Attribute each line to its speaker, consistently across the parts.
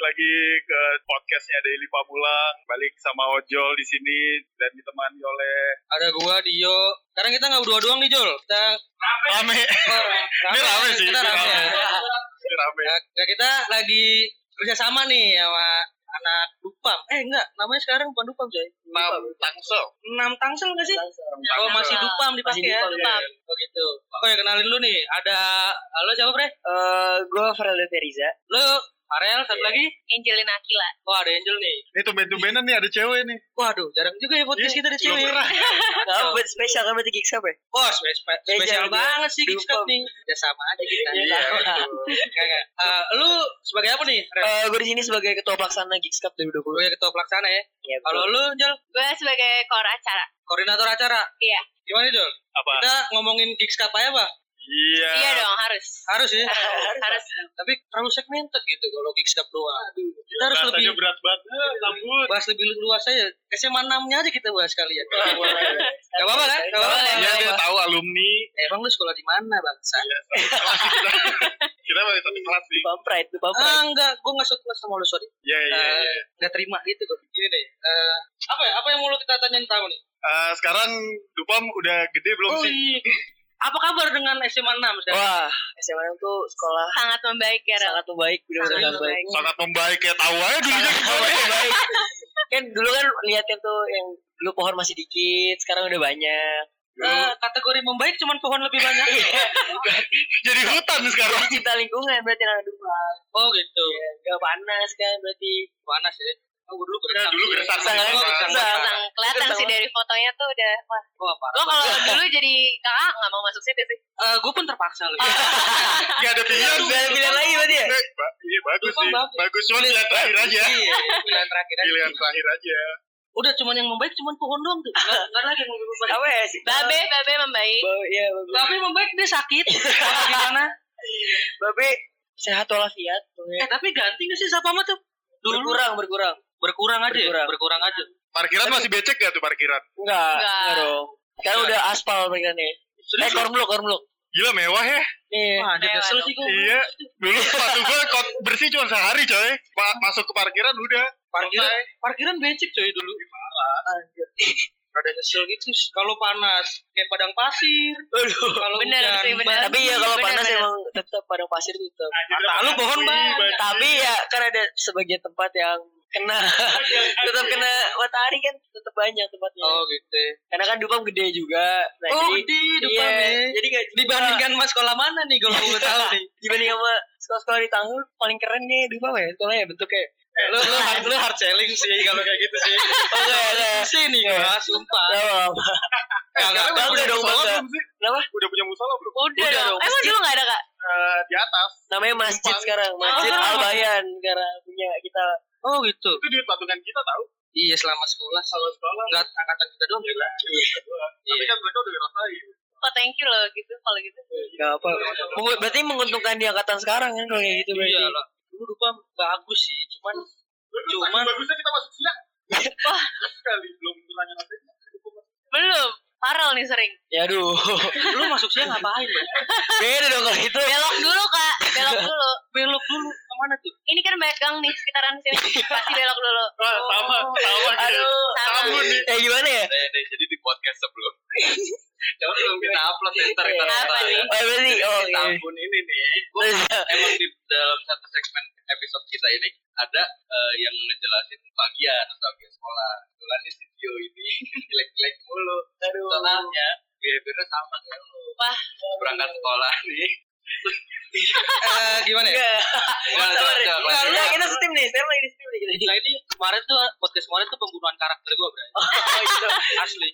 Speaker 1: lagi ke podcastnya Daily Pamulang. Balik sama Ojol di sini dan ditemani oleh
Speaker 2: Ada gua, Dio. Sekarang kita nggak berdua doang nih, Jol. Kita
Speaker 3: rame
Speaker 2: rame,
Speaker 3: Ini rame sih,
Speaker 2: Kita
Speaker 3: ini
Speaker 2: rame.
Speaker 3: rame.
Speaker 2: Ya.
Speaker 1: Ini Rame.
Speaker 2: Nah, nah, kita lagi kerjasama nih sama anak Dupam. Eh enggak, namanya sekarang bukan Dupam, Coy.
Speaker 3: Mam Tangsel.
Speaker 2: Enam Tangsel enggak sih? Oh,
Speaker 3: Tangsel. iya,
Speaker 2: masih Dupam dipakai
Speaker 4: Masih
Speaker 2: ya.
Speaker 4: Dupam,
Speaker 2: Dupam. Oh gitu. Oke, kenalin lu nih. Ada halo siapa, Pre?
Speaker 4: Eh, gue Farel Feriza.
Speaker 2: Lu Ariel, satu lagi.
Speaker 5: Angelina Akila.
Speaker 2: Wah, ada Angel nih.
Speaker 1: Ini tumben-tumbenan nih ada cewek nih.
Speaker 2: Waduh, jarang juga ya podcast
Speaker 1: Iya,
Speaker 2: kita ada
Speaker 1: belum
Speaker 2: cewek.
Speaker 1: pernah.
Speaker 4: Kamu buat spesial kamu di Gigs apa?
Speaker 2: Oh, spesial,
Speaker 4: Beda,
Speaker 2: spesial
Speaker 4: beda.
Speaker 2: banget sih Gigs Cup
Speaker 4: Dupam.
Speaker 2: nih. Ya sama aja kita.
Speaker 4: Iya,
Speaker 2: Enggak, enggak. Eh, lu sebagai apa nih? Rel?
Speaker 4: Eh, gue di sini sebagai ketua pelaksana Gigs Cup 2020.
Speaker 2: Sebagai ketua pelaksana ya.
Speaker 4: Ya,
Speaker 2: Kalau lu, Jol,
Speaker 5: Gue sebagai kor acara.
Speaker 2: koordinator acara.
Speaker 5: Iya.
Speaker 2: Gimana, Jol?
Speaker 3: Apa?
Speaker 2: Kita ngomongin Gigs Cup aja, Pak.
Speaker 1: Iya.
Speaker 5: Iya dong, harus.
Speaker 2: Harus ya.
Speaker 5: Harus. harus.
Speaker 2: Tapi terlalu segmented gitu kalau Gigs Cup doang. Kita harus
Speaker 1: Rasanya
Speaker 2: lebih
Speaker 1: berat banget. Eh, Sambut.
Speaker 2: bahas lebih luas aja. SMA 6-nya aja kita bahas kalian. Gak
Speaker 4: Gak
Speaker 2: apa-apa kan? Gak apa-apa.
Speaker 5: Boleh.
Speaker 3: Iya dia tahu alumni.
Speaker 2: Eh, Bang, lu sekolah di mana, bangsa?
Speaker 1: Kita balik satu kelas nih.
Speaker 4: Bump Pride, Bump Pride.
Speaker 2: Ah, enggak. Gue gak suka sama lu, sorry.
Speaker 1: Iya, iya,
Speaker 2: Eh,
Speaker 1: iya.
Speaker 2: Gak terima gitu. Gua. Gini deh. eh, apa ya? Apa yang mau lu kita tanyain tahu nih?
Speaker 1: Eh, sekarang Dupam udah gede belum
Speaker 2: Oh,
Speaker 1: sih?
Speaker 2: iya. Apa kabar dengan SMA 6 sekarang?
Speaker 4: Wah, SMA itu sekolah
Speaker 5: Sangat membaik, Gara.
Speaker 4: sangat membaik, benar-benar
Speaker 5: Sangat
Speaker 4: sangat baik.
Speaker 3: Sangat membaik ya tahu aja dulunya gimana.
Speaker 4: Baik. Kan dulu kan lihatnya tuh yang dulu pohon masih dikit, sekarang udah banyak.
Speaker 2: Eh, kategori membaik cuman pohon lebih banyak.
Speaker 3: Jadi hutan sekarang.
Speaker 4: Cinta lingkungan berarti anak dua.
Speaker 2: oh gitu.
Speaker 4: Gak Iya, panas kan berarti.
Speaker 2: Panas ya. Oh, gua dulu
Speaker 3: Ya,
Speaker 2: gersang.
Speaker 3: dulu gersang.
Speaker 2: Gua gersang.
Speaker 4: Gersang.
Speaker 2: gersang.
Speaker 5: Sang kelihatan
Speaker 4: Sama.
Speaker 5: sih dari fotonya tuh udah wah.
Speaker 2: Gua apa?
Speaker 5: Lo kalau dulu jadi kakak nggak mau masuk situ sih.
Speaker 2: Eh, gua pun terpaksa loh.
Speaker 3: Gak ada pilihan
Speaker 4: Gak
Speaker 3: deh.
Speaker 4: ada pilihan lagi berarti ya?
Speaker 1: Eh, ba- Iya, bagus
Speaker 2: Dupam
Speaker 1: sih.
Speaker 2: bagus.
Speaker 1: Bagus cuma pilihan terakhir aja.
Speaker 2: Iya, pilihan terakhir aja.
Speaker 1: Pilihan terakhir aja.
Speaker 2: Udah cuman yang membaik cuman pohon doang tuh. Enggak enggak lagi yang lebih membaik.
Speaker 4: Apa ya? sih?
Speaker 5: Babe, babe membaik.
Speaker 4: Babe, iya, babe.
Speaker 2: Tapi membaik dia sakit. Apa gimana?
Speaker 4: Babe sehat walafiat.
Speaker 2: Eh, tapi ganti gak sih siapa mah tuh? Dulu
Speaker 4: Berkurang, berkurang.
Speaker 2: berkurang aja, ya?
Speaker 4: Berkurang.
Speaker 2: berkurang aja.
Speaker 1: Parkiran masih becek gak tuh parkiran?
Speaker 4: Enggak,
Speaker 5: Enggak.
Speaker 4: enggak dong. Sekarang udah aspal mereka nih. Eh,
Speaker 2: Serius?
Speaker 4: kormluk, kormluk.
Speaker 1: Gila mewah ya.
Speaker 4: Nih,
Speaker 2: Wah, dia
Speaker 5: Mewah
Speaker 2: kesel
Speaker 5: dong.
Speaker 2: sih gua.
Speaker 1: Iya. Dulu sepatu gue bersih cuma sehari coy. Ma- Masuk ke parkiran udah.
Speaker 2: Parkiran, parkiran becek coy dulu. Ada nyesel gitu. Kalau panas kayak padang pasir. Kalau
Speaker 5: Bener
Speaker 2: hujan,
Speaker 5: sih, bener.
Speaker 4: tapi ya kalau
Speaker 5: Bener,
Speaker 4: panas
Speaker 5: bener.
Speaker 4: emang tetap padang pasir itu tetap.
Speaker 1: Kata
Speaker 2: lu bohong banget.
Speaker 4: Tapi ya kan ada sebagian tempat yang kena tetap kena matahari kan tetap banyak tempatnya.
Speaker 2: Oh gitu.
Speaker 4: Karena kan Dupam gede juga. Nah,
Speaker 2: Oh
Speaker 4: jadi
Speaker 2: gede depan
Speaker 4: iya,
Speaker 2: nih.
Speaker 4: Jadi gak
Speaker 2: Dibandingkan mas sekolah mana nih kalau gue tahu nih.
Speaker 4: dibanding sama sekolah-sekolah di Tangerang paling keren nih Dupam ya sekolahnya bentuknya.
Speaker 2: Lu lu hard, lu hard selling sih kalau kayak gitu sih.
Speaker 1: Iya,
Speaker 4: Oh, enggak, enggak.
Speaker 2: Sih nih gua sumpah.
Speaker 4: Enggak apa-apa.
Speaker 2: Enggak
Speaker 1: Sekarang
Speaker 4: Bangga
Speaker 1: Eh, udah punya musola
Speaker 4: dong, bangga.
Speaker 1: belum sih?
Speaker 4: Kenapa?
Speaker 1: Udah punya musola belum?
Speaker 5: Udah,
Speaker 4: Udah
Speaker 5: dong.
Speaker 4: dong,
Speaker 5: Emang
Speaker 4: masjid.
Speaker 5: dulu nggak ada kak?
Speaker 1: Eh, di atas.
Speaker 4: Namanya masjid sekarang, Masjid
Speaker 2: Oh.
Speaker 4: Al Bayan karena punya kita
Speaker 2: Oh gitu.
Speaker 1: Itu duit patungan kita tahu. Iya,
Speaker 2: Iya selama sekolah selama sekolah enggak angkatan kita doang Iya. gila.
Speaker 1: Tapi kan mereka udah ngerasain.
Speaker 5: Oh thank you loh gitu kalau gitu.
Speaker 4: Gak apa. Mengu- berarti menguntungkan di angkatan sekarang kan kalau kayak gitu berarti.
Speaker 2: Iya lah. Dulu Dupam bagus sih, cuman
Speaker 1: Cuman
Speaker 2: Cuman-
Speaker 1: bagusnya kita masuk siang.
Speaker 5: Wah.
Speaker 1: sekali belum tanya nanti.
Speaker 5: Belum. Parel nih sering.
Speaker 4: Ya aduh.
Speaker 2: lu masuk siang ngapain ya?
Speaker 4: Beda dong kalau gitu.
Speaker 5: Belok dulu kak. Belok dulu.
Speaker 2: Belok dulu kemana tuh?
Speaker 5: Ini kan banyak gang nih sekitaran sini. Pasti belok dulu.
Speaker 1: Wah, sama, sama gitu.
Speaker 4: Aduh.
Speaker 5: Sama.
Speaker 1: Tamu nih.
Speaker 4: Ya gimana ya?
Speaker 3: Eh, Jadi di podcast sebelum. Coba belum kita upload ya, ntar kita
Speaker 5: Apa
Speaker 3: upload ya.
Speaker 5: nih?
Speaker 4: Oh, berarti oh iya.
Speaker 3: Tambun ini nih. Gua
Speaker 4: Terus,
Speaker 3: Emang di dalam satu segmen episode kita ini ada eh, yang ngejelasin bagian atau bagian sekolah. Kebetulan di studio ini jelek-jelek mulu.
Speaker 4: Aduh.
Speaker 3: Soalnya behaviornya sama kayak lu.
Speaker 5: Wah.
Speaker 3: Berangkat
Speaker 4: Iya.
Speaker 3: sekolah nih.
Speaker 2: Eh gimana ya?
Speaker 4: Enggak.
Speaker 3: Wah, coba, coba, coba.
Speaker 4: Enggak, lu kita steam nih. Sekarang lagi di steam nih.
Speaker 2: Nah ini kemarin tuh podcast kemarin tuh pembunuhan karakter gue bro
Speaker 4: Oh, iya.
Speaker 2: asli.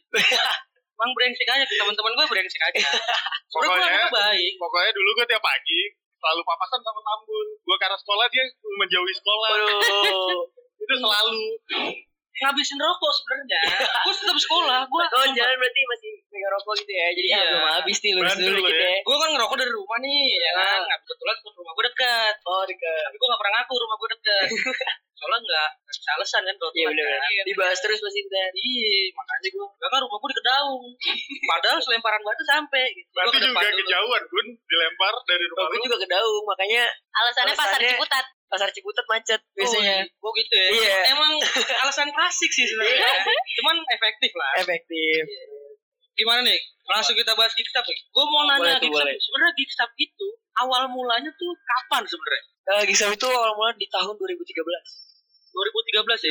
Speaker 2: Emang brengsek aja teman-teman gue brengsek aja. Soalnya gue
Speaker 1: Pokoknya-
Speaker 2: emang baik.
Speaker 1: Pokoknya dulu gue tiap pagi selalu papasan sama Tambun. Gue karena sekolah dia menjauhi sekolah.
Speaker 4: Aduh.
Speaker 1: Itu selalu.
Speaker 2: Ngabisin rokok sebenarnya. gue tetap sekolah. Gue
Speaker 4: Oh, jalan berarti masih megang rokok gitu ya. Jadi ah,
Speaker 2: Iya.
Speaker 4: belum habis nih lurus
Speaker 1: Bantu
Speaker 4: dulu
Speaker 1: lu
Speaker 4: gitu
Speaker 1: ya.
Speaker 4: ya.
Speaker 2: gue kan ngerokok dari rumah nih, ya kan? Nah, kebetulan rumah gue dekat.
Speaker 4: Ah. Oh, dekat.
Speaker 2: Tapi gue gak pernah ngaku rumah gue dekat. Soalnya gak gak bisa alasan kan kalau
Speaker 4: Iya
Speaker 2: kita
Speaker 4: benar.
Speaker 2: ngapain.
Speaker 4: Dibahas terus masih dan.
Speaker 2: Iya, makanya gue. Gak kan rumah gue di Kedaung. Padahal selemparan batu sampai. Gitu. Gua
Speaker 1: Berarti
Speaker 2: ke depan
Speaker 1: juga
Speaker 2: dulu.
Speaker 1: kejauhan, Bun. Dilempar dari rumah
Speaker 4: Gue
Speaker 1: lu.
Speaker 4: juga ke Daung, makanya
Speaker 5: Alasannya pasar
Speaker 4: Alasannya-
Speaker 5: Ciputat.
Speaker 4: pasar Ciputat macet biasanya.
Speaker 2: Oh, oh gitu ya.
Speaker 4: Iya.
Speaker 2: Emang alasan klasik sih sebenarnya. Cuman efektif lah.
Speaker 4: Efektif.
Speaker 2: Gimana nih? Langsung kita bahas Geekstab nih. Gue mau nanya
Speaker 4: Boleh tuh,
Speaker 2: Geekstab.
Speaker 4: boleh.
Speaker 2: Sebenarnya Geekstab itu awal mulanya tuh kapan sebenarnya?
Speaker 4: Eh, Gisel itu awal mula di tahun 2013.
Speaker 2: 2013 ya?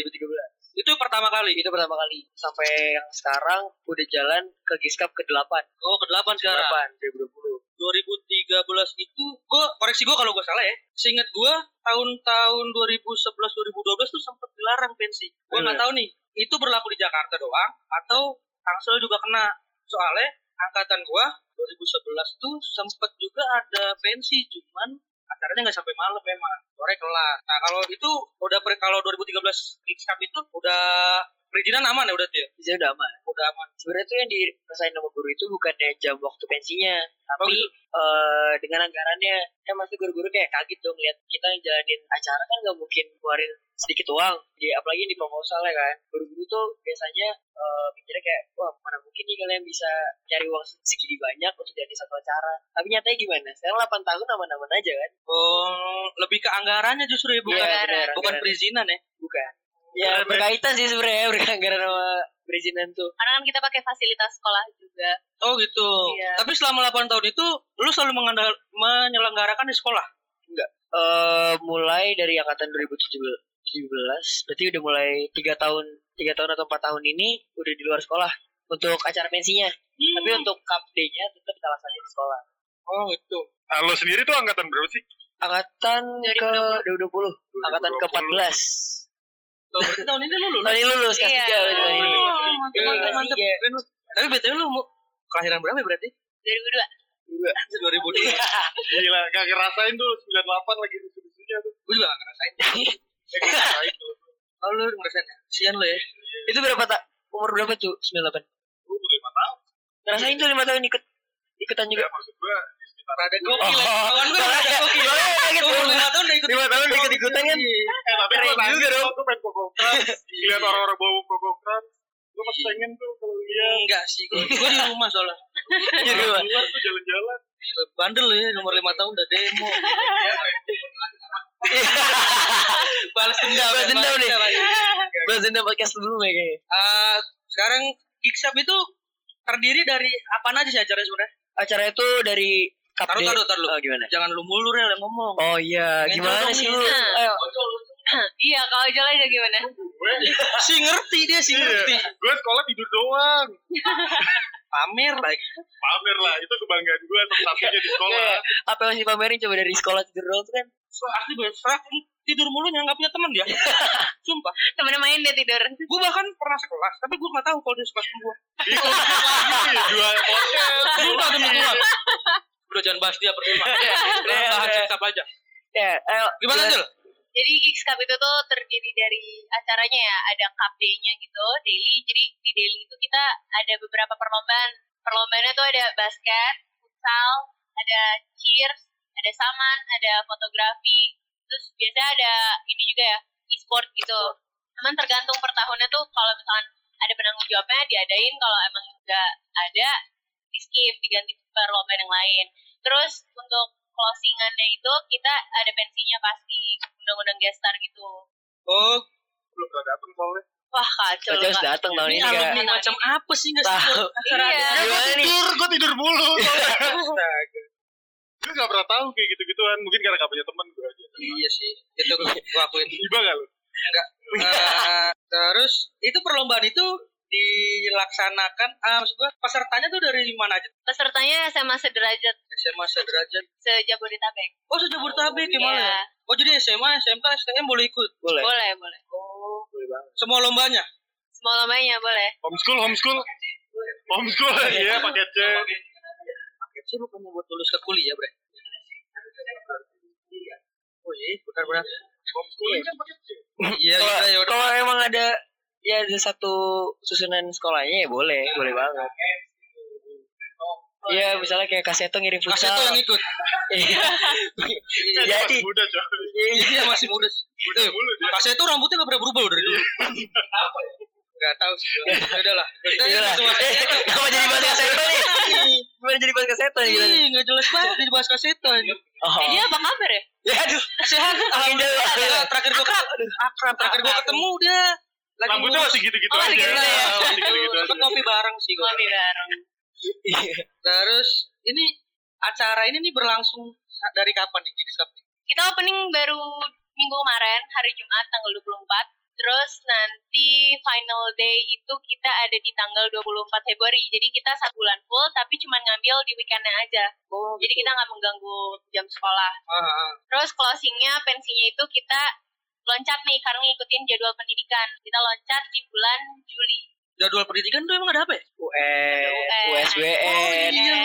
Speaker 2: 2013. Itu pertama kali?
Speaker 4: Itu pertama kali. Sampai yang sekarang udah jalan ke Giskap ke-8.
Speaker 2: Oh, ke-8 sekarang.
Speaker 4: 8 2020.
Speaker 2: 2013 itu gue koreksi gue kalau gue salah ya seingat gue tahun-tahun 2011 2012 tuh sempet dilarang pensi gue nggak
Speaker 4: Bener.
Speaker 2: tahu nih itu berlaku di Jakarta doang atau Tangsel juga kena soalnya angkatan gue 2011 tuh sempet juga ada pensi cuman acaranya nggak sampai malam memang sore kelar nah kalau itu udah per, kalau 2013 Geekscape itu udah perizinan aman ya udah tuh ya
Speaker 4: Gisel udah aman.
Speaker 2: udah aman
Speaker 4: Sebenarnya tuh yang dirasain sama guru itu bukannya jam waktu pensinya, tapi
Speaker 2: gitu.
Speaker 4: eh, dengan anggarannya. Kan pasti guru-guru kayak kaget dong lihat kita yang jalanin acara kan nggak mungkin keluarin sedikit uang. Di, apalagi di proposal ya kan. Guru-guru tuh biasanya eh, mikirnya kayak, wah mana mungkin nih kalian bisa nyari uang segini banyak untuk jadi satu acara. Tapi nyatanya gimana? Sekarang 8 tahun aman-aman aja kan?
Speaker 2: oh lebih ke anggarannya justru ya bukan
Speaker 4: Iya, benar,
Speaker 2: bukan
Speaker 4: anggaran.
Speaker 2: perizinan ya
Speaker 4: Bukan. Ya berkaitan sih sebenarnya berkaitan sama perizinan tuh.
Speaker 5: Karena kan kita pakai fasilitas sekolah juga.
Speaker 2: Oh gitu.
Speaker 5: Iya.
Speaker 2: Tapi selama 8 tahun itu lu selalu mengandal menyelenggarakan di sekolah.
Speaker 4: eh mulai dari angkatan 2017 17, berarti udah mulai tiga tahun tiga tahun atau empat tahun ini udah di luar sekolah untuk acara pensinya tapi untuk cup day-nya tetap alasannya di sekolah
Speaker 2: Oh gitu.
Speaker 1: Nah, lo sendiri tuh angkatan berapa sih?
Speaker 4: angkatan ke 2020 angkatan ke 14
Speaker 2: Tuh, berarti tahun ini lu lulus.
Speaker 4: tahun ini lulus kelas
Speaker 5: Iya.
Speaker 4: tiga berarti tahun ini
Speaker 5: Oh,
Speaker 2: mantep,
Speaker 4: Iya,
Speaker 2: mantep,
Speaker 4: kelas
Speaker 2: mantep.
Speaker 4: tiga.
Speaker 2: Keren lu. Tapi BTW lu mau kelahiran berapa ya berarti? 2002.
Speaker 5: 2002.
Speaker 1: Gila, gak ngerasain tuh 98 lagi rusuh-rusuhnya tuh.
Speaker 2: Gue juga gak ngerasain. Oh lu ngerasain ya? Sian lu ya.
Speaker 4: itu berapa tak umur berapa tuh 98
Speaker 1: Gue udah lima tahun.
Speaker 4: ngerasain tuh lima tahun ikut ikutan
Speaker 1: Ya,
Speaker 4: juga
Speaker 1: maksud gue di sekitar
Speaker 2: Rada gokil. ya. Kawan gue rada gokil. Umur 5 tahun udah ikut.
Speaker 4: lima tahun ikut ikutan kan
Speaker 1: Eh, tapi
Speaker 4: Keren
Speaker 1: gue nangis
Speaker 4: juga dong.
Speaker 1: dong. Gue pengen koko Crunch. Lihat orang-orang bawa koko Crunch. Gue masih pengen tuh kalau lihat.
Speaker 2: Enggak sih, gue gue di rumah soalnya.
Speaker 4: Di
Speaker 1: Orang
Speaker 4: rumah.
Speaker 1: Keluar tuh jalan-jalan.
Speaker 2: Gila, Bandel lu ya, nomor 5 tahun udah demo. Balas dendam.
Speaker 4: Balas dendam
Speaker 2: balas
Speaker 4: nih. Bahas dendam podcast sebelumnya kayaknya
Speaker 2: Eh, sekarang Geeksap itu terdiri dari apa aja sih acaranya sebenarnya?
Speaker 4: acara itu dari cup
Speaker 2: Taruh,
Speaker 4: day
Speaker 2: taruh, taruh.
Speaker 4: Oh, gimana
Speaker 2: Jangan lu mulu Rel, yang ngomong.
Speaker 4: Oh iya,
Speaker 2: Ngeco dong,
Speaker 4: gimana sih
Speaker 2: Nina.
Speaker 4: lu? Eh, Ayo,
Speaker 5: Iya, kalau jalan aja gimana?
Speaker 2: si ngerti dia, si ngerti.
Speaker 1: Gue sekolah tidur doang.
Speaker 2: Pamer lagi.
Speaker 1: Pamer lah. Itu kebanggaan gue satu-satunya di sekolah.
Speaker 4: Iya. apa yang harus dipamerin coba dari sekolah tidur doang tuh kan?
Speaker 2: So, Asli berserak tidur mulu yang nggak punya teman dia. Sumpah.
Speaker 5: Temen main dia tidur.
Speaker 2: Gue bahkan pernah sekelas, tapi gue nggak tahu kalau dia sekelas sama gue.
Speaker 1: Iya, Dua podcast.
Speaker 2: Sumpah demi gue. Udah jangan bahas dia percuma. Udah
Speaker 4: Iya,
Speaker 2: bahas
Speaker 4: iya.
Speaker 2: Geeksap aja.
Speaker 4: Ya, ayo.
Speaker 2: Gimana
Speaker 4: jelasin.
Speaker 2: Jel?
Speaker 5: Jadi Geeks Cup itu tuh terdiri dari acaranya ya, ada cup day-nya gitu, daily. Jadi di daily itu kita ada beberapa perlombaan. Perlombaannya tuh ada basket, futsal, ada cheers, ada saman, ada fotografi. Terus biasanya ada ini juga ya, e-sport gitu. Cuman tergantung per tahunnya tuh kalau misalkan ada penanggung jawabnya diadain, kalau emang nggak ada di skip, diganti perlombaan yang lain. Terus untuk closingannya itu kita ada pensinya pasti undang-undang guest star gitu
Speaker 2: Oh,
Speaker 1: Belum gak dateng soalnya.
Speaker 5: wah kacau
Speaker 4: Coba
Speaker 5: lu,
Speaker 4: harus
Speaker 5: Kak.
Speaker 4: datang tahun
Speaker 2: Iya. ini
Speaker 4: ini kan.
Speaker 2: alumni macam apa sih nggak sih?
Speaker 4: Tahu.
Speaker 5: iya
Speaker 4: Gimana nih?
Speaker 1: Gue tidur mulu. Gue gak pernah tahu kayak gitu-gituan. Mungkin karena gak punya temen gue aja.
Speaker 2: Iya sih, itu gue gue akuin.
Speaker 1: Iba gak lu?
Speaker 2: Eh, terus itu perlombaan itu dilaksanakan ah maksud gua pesertanya tuh dari mana aja
Speaker 5: pesertanya SMA sederajat
Speaker 2: SMA sederajat
Speaker 5: sejabodetabek
Speaker 2: oh sejak Burtabek gimana ya?
Speaker 5: Iya.
Speaker 2: oh jadi SMA SMK STM boleh ikut
Speaker 4: Boleh.
Speaker 5: boleh boleh
Speaker 2: oh boleh banget semua lombanya
Speaker 5: semua lombanya boleh
Speaker 1: Homeschool, homeschool. Homeschool, iya pakai C.
Speaker 2: Ya, paket sih bukannya buat lulus ke kuliah bre oh iya benar-benar
Speaker 1: Homeschool kan pakai C.
Speaker 2: iya
Speaker 4: Kalau-
Speaker 2: iya ya udah
Speaker 4: Kalau emang ada ya ada satu susunan sekolahnya ya boleh, boleh banget. Iya, misalnya kayak Kaseto ngirim
Speaker 2: kasih
Speaker 4: futsal.
Speaker 2: tuh yang ikut
Speaker 4: Iya.
Speaker 1: Dia
Speaker 4: Jadi
Speaker 1: masih muda coy.
Speaker 2: iya masih muda sih
Speaker 1: Muda
Speaker 2: Eh,
Speaker 1: mulu dia.
Speaker 2: kasih tuh rambutnya nggak pernah berubah loh dari dulu apa ya nggak tahu sih gua. Ya udahlah kita
Speaker 4: Iya lah.
Speaker 2: langsung masuk aja.
Speaker 4: Kenapa jadi bahas Kaseto nih? Gimana jadi bahas Kaseto nih?
Speaker 2: Ih, nggak jelas banget jadi bahas kasetan.
Speaker 4: Oh.
Speaker 5: eh dia apa kabar ya
Speaker 4: Ya aduh,
Speaker 2: sehat alhamdulillah sehat. terakhir gue
Speaker 4: akrab. Aduh,
Speaker 2: akrab terakhir gue ketemu dia lagi
Speaker 1: Rambutnya
Speaker 2: ngurus-
Speaker 1: masih gitu-gitu
Speaker 5: Oh,
Speaker 1: aja.
Speaker 5: masih gitu ya.
Speaker 1: Masih gitu-gitu aja.
Speaker 2: sempet ngopi bareng sih gue
Speaker 5: Ngopi bareng.
Speaker 2: terus ini acara ini nih berlangsung sa- dari kapan nih Gigsab?
Speaker 5: Kita opening baru minggu kemarin, hari Jumat, tanggal 24. Terus nanti final day itu kita ada di tanggal 24 Februari. Jadi kita satu bulan full, tapi cuma ngambil di weekendnya aja.
Speaker 2: Oh,
Speaker 4: iya.
Speaker 5: Jadi kita nggak mengganggu jam sekolah.
Speaker 2: ah, ah.
Speaker 5: Terus closingnya pensinya itu kita loncat nih karena ngikutin jadwal pendidikan. Kita loncat di bulan Juli.
Speaker 2: jadwal pendidikan tuh emang ada apa ya?
Speaker 4: UN,
Speaker 5: UN. Oh,
Speaker 4: USBN,
Speaker 5: iya.
Speaker 4: ada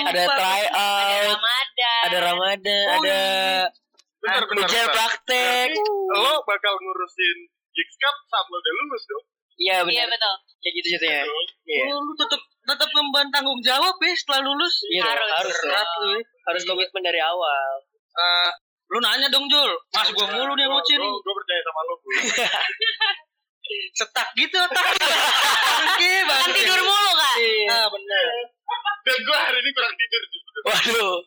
Speaker 2: Lupa.
Speaker 5: Ada
Speaker 4: tryout,
Speaker 5: Ramadan.
Speaker 4: Ah, ada Ramadan,
Speaker 2: Oh,
Speaker 4: ada
Speaker 1: Bentar, bentar,
Speaker 4: ujian
Speaker 1: bentar.
Speaker 4: praktek.
Speaker 1: Lo bakal ngurusin Gigs Cup saat lo udah lulus dong.
Speaker 4: Iya
Speaker 5: Iya
Speaker 4: benar.
Speaker 5: betul.
Speaker 4: Kayak gitu jatuhnya. Iya.
Speaker 2: Oh, lu tetap tetap memban tanggung jawab ya setelah lulus.
Speaker 4: Iya dong,
Speaker 5: Harus.
Speaker 4: harus dong.
Speaker 2: Berat lu ya.
Speaker 4: harus komitmen dari awal.
Speaker 2: Eh, lu nanya dong
Speaker 4: Iya.
Speaker 2: Jul, mas gue mulu nih
Speaker 1: Gua-
Speaker 2: ngocin,
Speaker 1: gua- Gua percaya sama lo, Bu.
Speaker 2: setak gitu otak. Oke,
Speaker 5: Kan
Speaker 2: banget.
Speaker 5: tidur mulu kak.
Speaker 4: Iya.
Speaker 2: Nah bener.
Speaker 1: Dan gue hari ini kurang tidur.
Speaker 4: Waduh,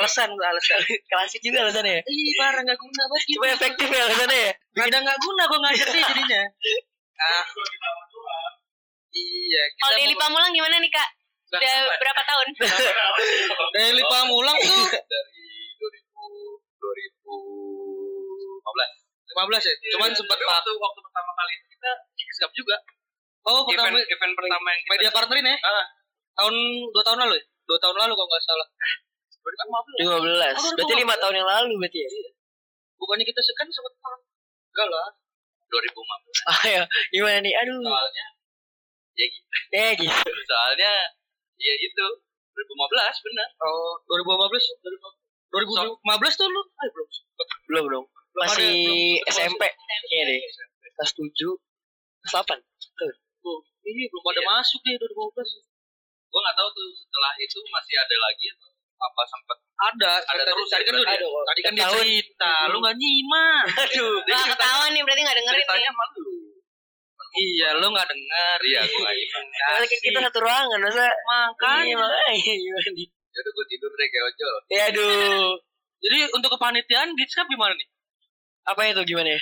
Speaker 2: Alasan gue alasan.
Speaker 4: klasik juga alasannya. ya.
Speaker 2: Ih, parah nggak guna banget. gitu.
Speaker 4: Cuma efektif ya alasannya. ya.
Speaker 2: Nggak ada nggak guna gue ngajaknya jadinya. Ah, iya. kita
Speaker 5: Kalau Deli
Speaker 2: mau-
Speaker 5: Pamulang gimana nih kak?
Speaker 3: Nah,
Speaker 4: Iya,
Speaker 5: Udah
Speaker 3: apa?
Speaker 5: berapa tahun?
Speaker 2: Deli Pamulang tuh
Speaker 3: dari 2000
Speaker 2: 15
Speaker 3: 2015.
Speaker 2: ya. Cuman sempat
Speaker 3: Iya, Tapi waktu waktu pertama kali kita Gigscap juga.
Speaker 2: Oh,
Speaker 3: event,
Speaker 2: pertama
Speaker 3: event pertama yang kita
Speaker 2: media partnerin ya?
Speaker 3: Ah.
Speaker 2: Tahun dua tahun lalu ya? Dua tahun lalu kalau nggak salah.
Speaker 4: 15. Berarti 5 tahun yang lalu berarti ya.
Speaker 2: Bukannya kita kan sekan sempat Enggak lah.
Speaker 3: 2015
Speaker 4: Ayo, gimana nih? Aduh.
Speaker 2: Nah.
Speaker 3: soalnya.
Speaker 4: Eh gitu.
Speaker 2: Hmm.
Speaker 3: Soalnya ya itu 2015 benar.
Speaker 2: Oh, 2015. 2015 tuh lu? Ah, belum. sempet.
Speaker 4: Belum dong.
Speaker 2: ada,
Speaker 4: Masih
Speaker 2: belum.
Speaker 4: SMP kayaknya Iya deh. Kelas 7, kelas 8.
Speaker 2: Iya, belum pada
Speaker 3: Iya.
Speaker 2: masuk deh 2015.
Speaker 3: Gua nggak tahu tuh setelah itu masih ada lagi atau apa sempat
Speaker 2: Ada,
Speaker 3: Ada
Speaker 2: tadi,
Speaker 3: terus
Speaker 2: tadi kan
Speaker 3: ya,
Speaker 2: tuh
Speaker 3: berarti.
Speaker 2: dia,
Speaker 4: Aduh,
Speaker 2: tadi kan dia
Speaker 4: tahun. Iya.
Speaker 2: cerita, lu nggak nyimak.
Speaker 4: Aduh.
Speaker 5: Wah ketahuan nih berarti nggak dengerin nih.
Speaker 3: ceritanya malu.
Speaker 2: iya, lu nggak dengar.
Speaker 3: Iya, gua nggak ingat.
Speaker 2: Nah,
Speaker 4: Padahal kan kita satu ruangan masa iya,
Speaker 2: Makanya.
Speaker 4: makanya gimana nih?
Speaker 3: Ya udah gua tidur deh kayak ojol.
Speaker 4: Ya aduh.
Speaker 2: Gitu. Jadi untuk kepanitiaan Gitskap gimana nih?
Speaker 4: Apa itu gimana ya?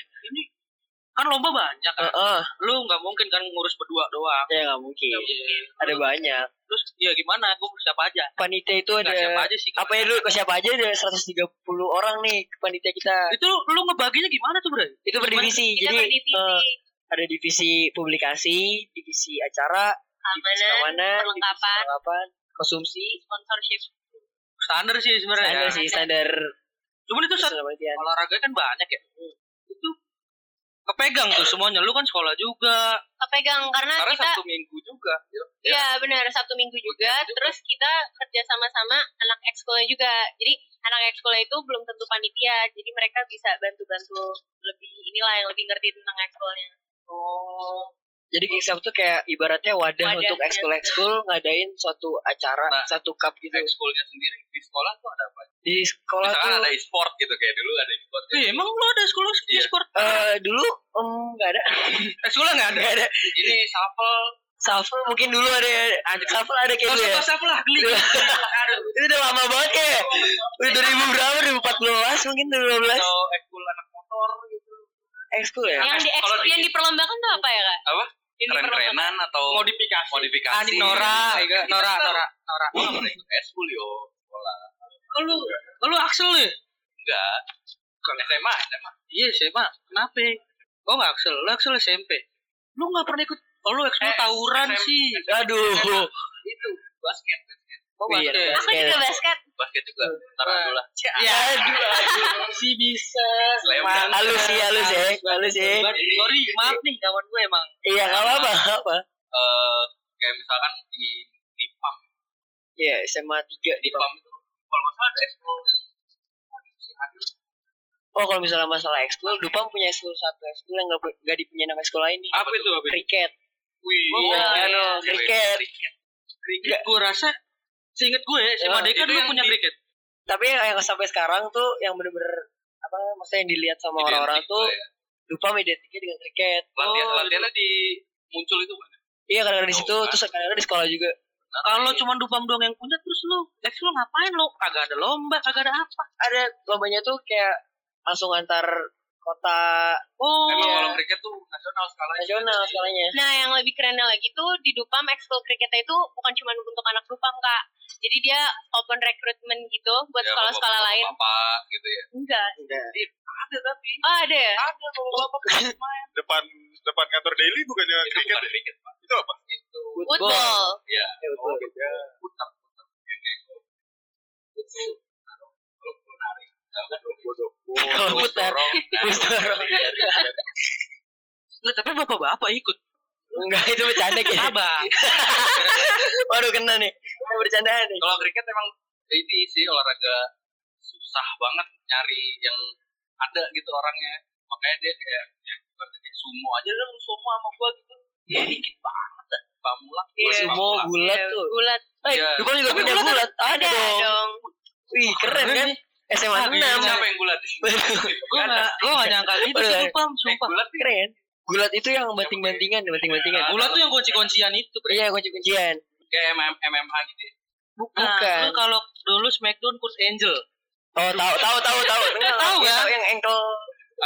Speaker 2: Kan lomba banyak
Speaker 4: Heeh.
Speaker 2: kan. Lu nggak mungkin kan ngurus berdua doang.
Speaker 4: Ya nggak mungkin.
Speaker 2: Iya.
Speaker 4: Ada banyak.
Speaker 2: Terus ya gimana? Gue siapa aja?
Speaker 4: Panitia itu
Speaker 2: Nggak Nah, siapa
Speaker 4: ada
Speaker 2: aja sih. kan?
Speaker 4: apa ya dulu ke siapa aja ada 130 orang nih panitia kita.
Speaker 2: itu lu ngebaginya gimana tuh bro?
Speaker 4: Itu berdivisi.
Speaker 5: Kita
Speaker 4: Jadi eh,
Speaker 5: berdivisi.
Speaker 4: ada divisi publikasi, divisi acara, divisi
Speaker 5: Keamanan,
Speaker 4: keamanan, gitu. divisi
Speaker 5: perlengkapan,
Speaker 4: perlengkapan, konsumsi,
Speaker 5: sponsorship.
Speaker 2: Standar sih
Speaker 4: standar
Speaker 2: sebenarnya. ya.
Speaker 4: sih standar
Speaker 2: Cuman kan? itu saat
Speaker 4: standar penelitian.
Speaker 2: olahraga kan banyak ya. Itu kepegang tuh semuanya. Lu kan sekolah juga.
Speaker 5: Kepegang karena
Speaker 4: Nah,
Speaker 2: Karena
Speaker 5: kita
Speaker 2: Sabtu Minggu juga.
Speaker 5: ya benar Sabtu Minggu juga. Terus kita kerja sama-sama anak ekskulnya juga. Jadi anak ekskulnya itu belum tentu panitia. Jadi mereka bisa bantu-bantu lebih inilah yang lebih ngerti tentang ekskulnya.
Speaker 2: Oh.
Speaker 4: Jadi Kickstarter tuh kayak ibaratnya wadah,
Speaker 5: Wadah,
Speaker 4: untuk
Speaker 5: ya.
Speaker 4: ekskul ekskul ngadain suatu acara,
Speaker 3: Nah,
Speaker 4: satu cup gitu.
Speaker 3: Ekskulnya sendiri di sekolah tuh ada apa?
Speaker 4: Di sekolah
Speaker 1: Nah,
Speaker 3: Misalkan
Speaker 4: tuh
Speaker 3: ada e-sport gitu kayak dulu ada e-sport.
Speaker 2: Iya, emang lu ada sekolah
Speaker 3: Iya.
Speaker 2: sport?
Speaker 4: eh dulu enggak ada.
Speaker 2: Eh, sekolah nggak ada?
Speaker 4: Enggak ada.
Speaker 3: Ini shuffle
Speaker 4: Shuffle mungkin dulu ada ya. Shuffle ada kayak
Speaker 2: Gak usah
Speaker 4: gitu ya.
Speaker 2: bahas apa lah, geli.
Speaker 4: Itu udah lama banget ya. Udah 2000 berapa? 2014 mungkin 2015.
Speaker 2: Atau ekskul anak motor gitu.
Speaker 4: Ekskul ya.
Speaker 5: Yang di ekskul yang diperlombakan tuh apa ya kak?
Speaker 3: Apa?
Speaker 5: Yang diperlombakan.
Speaker 3: keren-kerenan atau
Speaker 2: Modifikasi.
Speaker 3: modifikasi.
Speaker 2: Ah, ini Nora, Nora, Nora, Nora.
Speaker 3: Gua nggak pernah ikut eskul yo sekolah.
Speaker 2: Oh, lu, oh, lu Axel ya?
Speaker 3: Enggak. SMA, SMA.
Speaker 2: Iya, SMA. Kenapa? Oh, nggak Axel. Lu Axel SMP. Lu nggak pernah ikut Oh lu ekskul
Speaker 3: Eh,
Speaker 2: tawuran
Speaker 3: SM.
Speaker 2: sih.
Speaker 4: Aduh.
Speaker 3: Itu basket, basket.
Speaker 2: Oh,
Speaker 4: Iya,
Speaker 2: basket.
Speaker 5: Aku juga basket.
Speaker 3: Basket juga. Ntar
Speaker 1: Nah.
Speaker 3: aku lah.
Speaker 2: Ya,
Speaker 4: Aduh.
Speaker 2: si bisa.
Speaker 3: Slam dunk.
Speaker 4: Halus sih, halus ya. Halus ya.
Speaker 2: Sorry, sorry, maaf nih kawan gue emang.
Speaker 4: Iya, enggak apa-apa, nggak apa.
Speaker 3: Eh, kayak misalkan di di PAM,
Speaker 4: Iya, SMA 3
Speaker 3: di PAM itu kalau nggak salah ada eskul.
Speaker 4: Oh, kalau misalnya masalah ekskul, Dupam punya ekskul satu ekskul yang nggak pu- nggak dipunya nama sekolah ini.
Speaker 2: Apa itu? Apa itu?
Speaker 4: Kriket.
Speaker 3: Wih,
Speaker 4: Iya, anu, kriket.
Speaker 2: Kriket. Gue rasa ya, seinget gue
Speaker 4: Oh,
Speaker 2: SMA Deka
Speaker 3: itu
Speaker 2: dulu
Speaker 3: yang
Speaker 2: punya
Speaker 3: di-
Speaker 2: kriket.
Speaker 4: Tapi yang, yang sampai sekarang tuh yang bener-bener apa maksudnya yang dilihat sama orang-orang tuh
Speaker 3: ya.
Speaker 4: Dupam identiknya dengan kriket.
Speaker 3: latihan
Speaker 2: Oh,
Speaker 3: latihannya di muncul itu kan.
Speaker 4: Iya, kadang-kadang di situ
Speaker 3: Oh,
Speaker 4: terus kadang-kadang di sekolah juga.
Speaker 2: Kalau
Speaker 4: iya.
Speaker 2: cuma dupam doang yang punya terus lu, eks lu ngapain lu? Kagak ada lomba, kagak ada apa.
Speaker 4: Ada lombanya tuh kayak langsung antar kota
Speaker 5: Oh.
Speaker 3: Emang
Speaker 4: Iya.
Speaker 3: kalau kriket tuh nasional skalanya.
Speaker 4: nasional skalanya.
Speaker 5: Nah, yang lebih kerennya lagi tuh di Dupam ekskul kriketnya itu bukan cuma untuk anak Dupam, Kak. Jadi dia open recruitment gitu buat
Speaker 2: Iya,
Speaker 3: Ya,
Speaker 5: sekolah-sekolah
Speaker 3: bapak-bapak,
Speaker 5: lain.
Speaker 3: Bapak gitu ya.
Speaker 5: Enggak.
Speaker 4: Enggak.
Speaker 2: Ada tapi
Speaker 5: Oh, ada ya?
Speaker 2: ada bapak-bapak kemarin main.
Speaker 1: Depan depan kantor Daily bukannya
Speaker 3: Itu
Speaker 1: kriket?
Speaker 3: bukan kriket, Pak.
Speaker 1: Itu apa?
Speaker 3: Itu
Speaker 5: Football.
Speaker 4: Ya,
Speaker 3: Oh,
Speaker 4: betul.
Speaker 3: gitu putar putar yang kayak gua. Itu taruh, kalau gua narik, taruh, gua dorong,
Speaker 4: Kalau
Speaker 3: gua
Speaker 4: putar.
Speaker 3: dorong,
Speaker 4: Gua
Speaker 3: taruh,
Speaker 4: dorong.
Speaker 3: dari- dari-
Speaker 2: Nah, tapi bapak-bapak ikut.
Speaker 4: Enggak itu bercanda gitu.
Speaker 2: Abang.
Speaker 4: Waduh kena nih. Ini bercandaan nih.
Speaker 3: Kalau kriket emang ini sih olahraga susah banget nyari yang ada gitu orangnya. Makanya dia kayak ya ibaratnya kayak sumo aja lu sumo sama gua gitu. Ya dikit banget dah. Pamulak. gua
Speaker 5: Iya.
Speaker 4: Sumo
Speaker 3: Pamulak.
Speaker 4: gulat
Speaker 5: Iya,
Speaker 4: tuh.
Speaker 5: Gulat.
Speaker 4: Eh,
Speaker 3: Iya.
Speaker 4: Dupam juga
Speaker 5: Tapi
Speaker 4: punya
Speaker 5: gulat
Speaker 4: gulat. Ada
Speaker 5: Ada
Speaker 4: dong.
Speaker 5: dong.
Speaker 4: Wih, keren kan? SMA 6.
Speaker 3: Siapa yang gulat?
Speaker 2: Gue gak, gue gak nyangka gitu
Speaker 4: Bener.
Speaker 2: sih Dupam,
Speaker 3: Eh,
Speaker 2: sumpah.
Speaker 3: gulat nih.
Speaker 4: Keren. Gulat itu yang banting-bantingan, banting-bantingan.
Speaker 3: Iya.
Speaker 2: Gula tuh yang kunci-kuncian itu.
Speaker 4: Iya, kunci-kuncian.
Speaker 3: kayak MM, MMA gitu ya.
Speaker 2: Bukan.
Speaker 4: Bukan.
Speaker 2: Nah, Lu kalau dulu Smackdown Kurt Angel.
Speaker 4: Oh, tahu tahu tahu tahu.
Speaker 2: Tahu
Speaker 4: Iya,
Speaker 2: kan?
Speaker 4: yang ankle.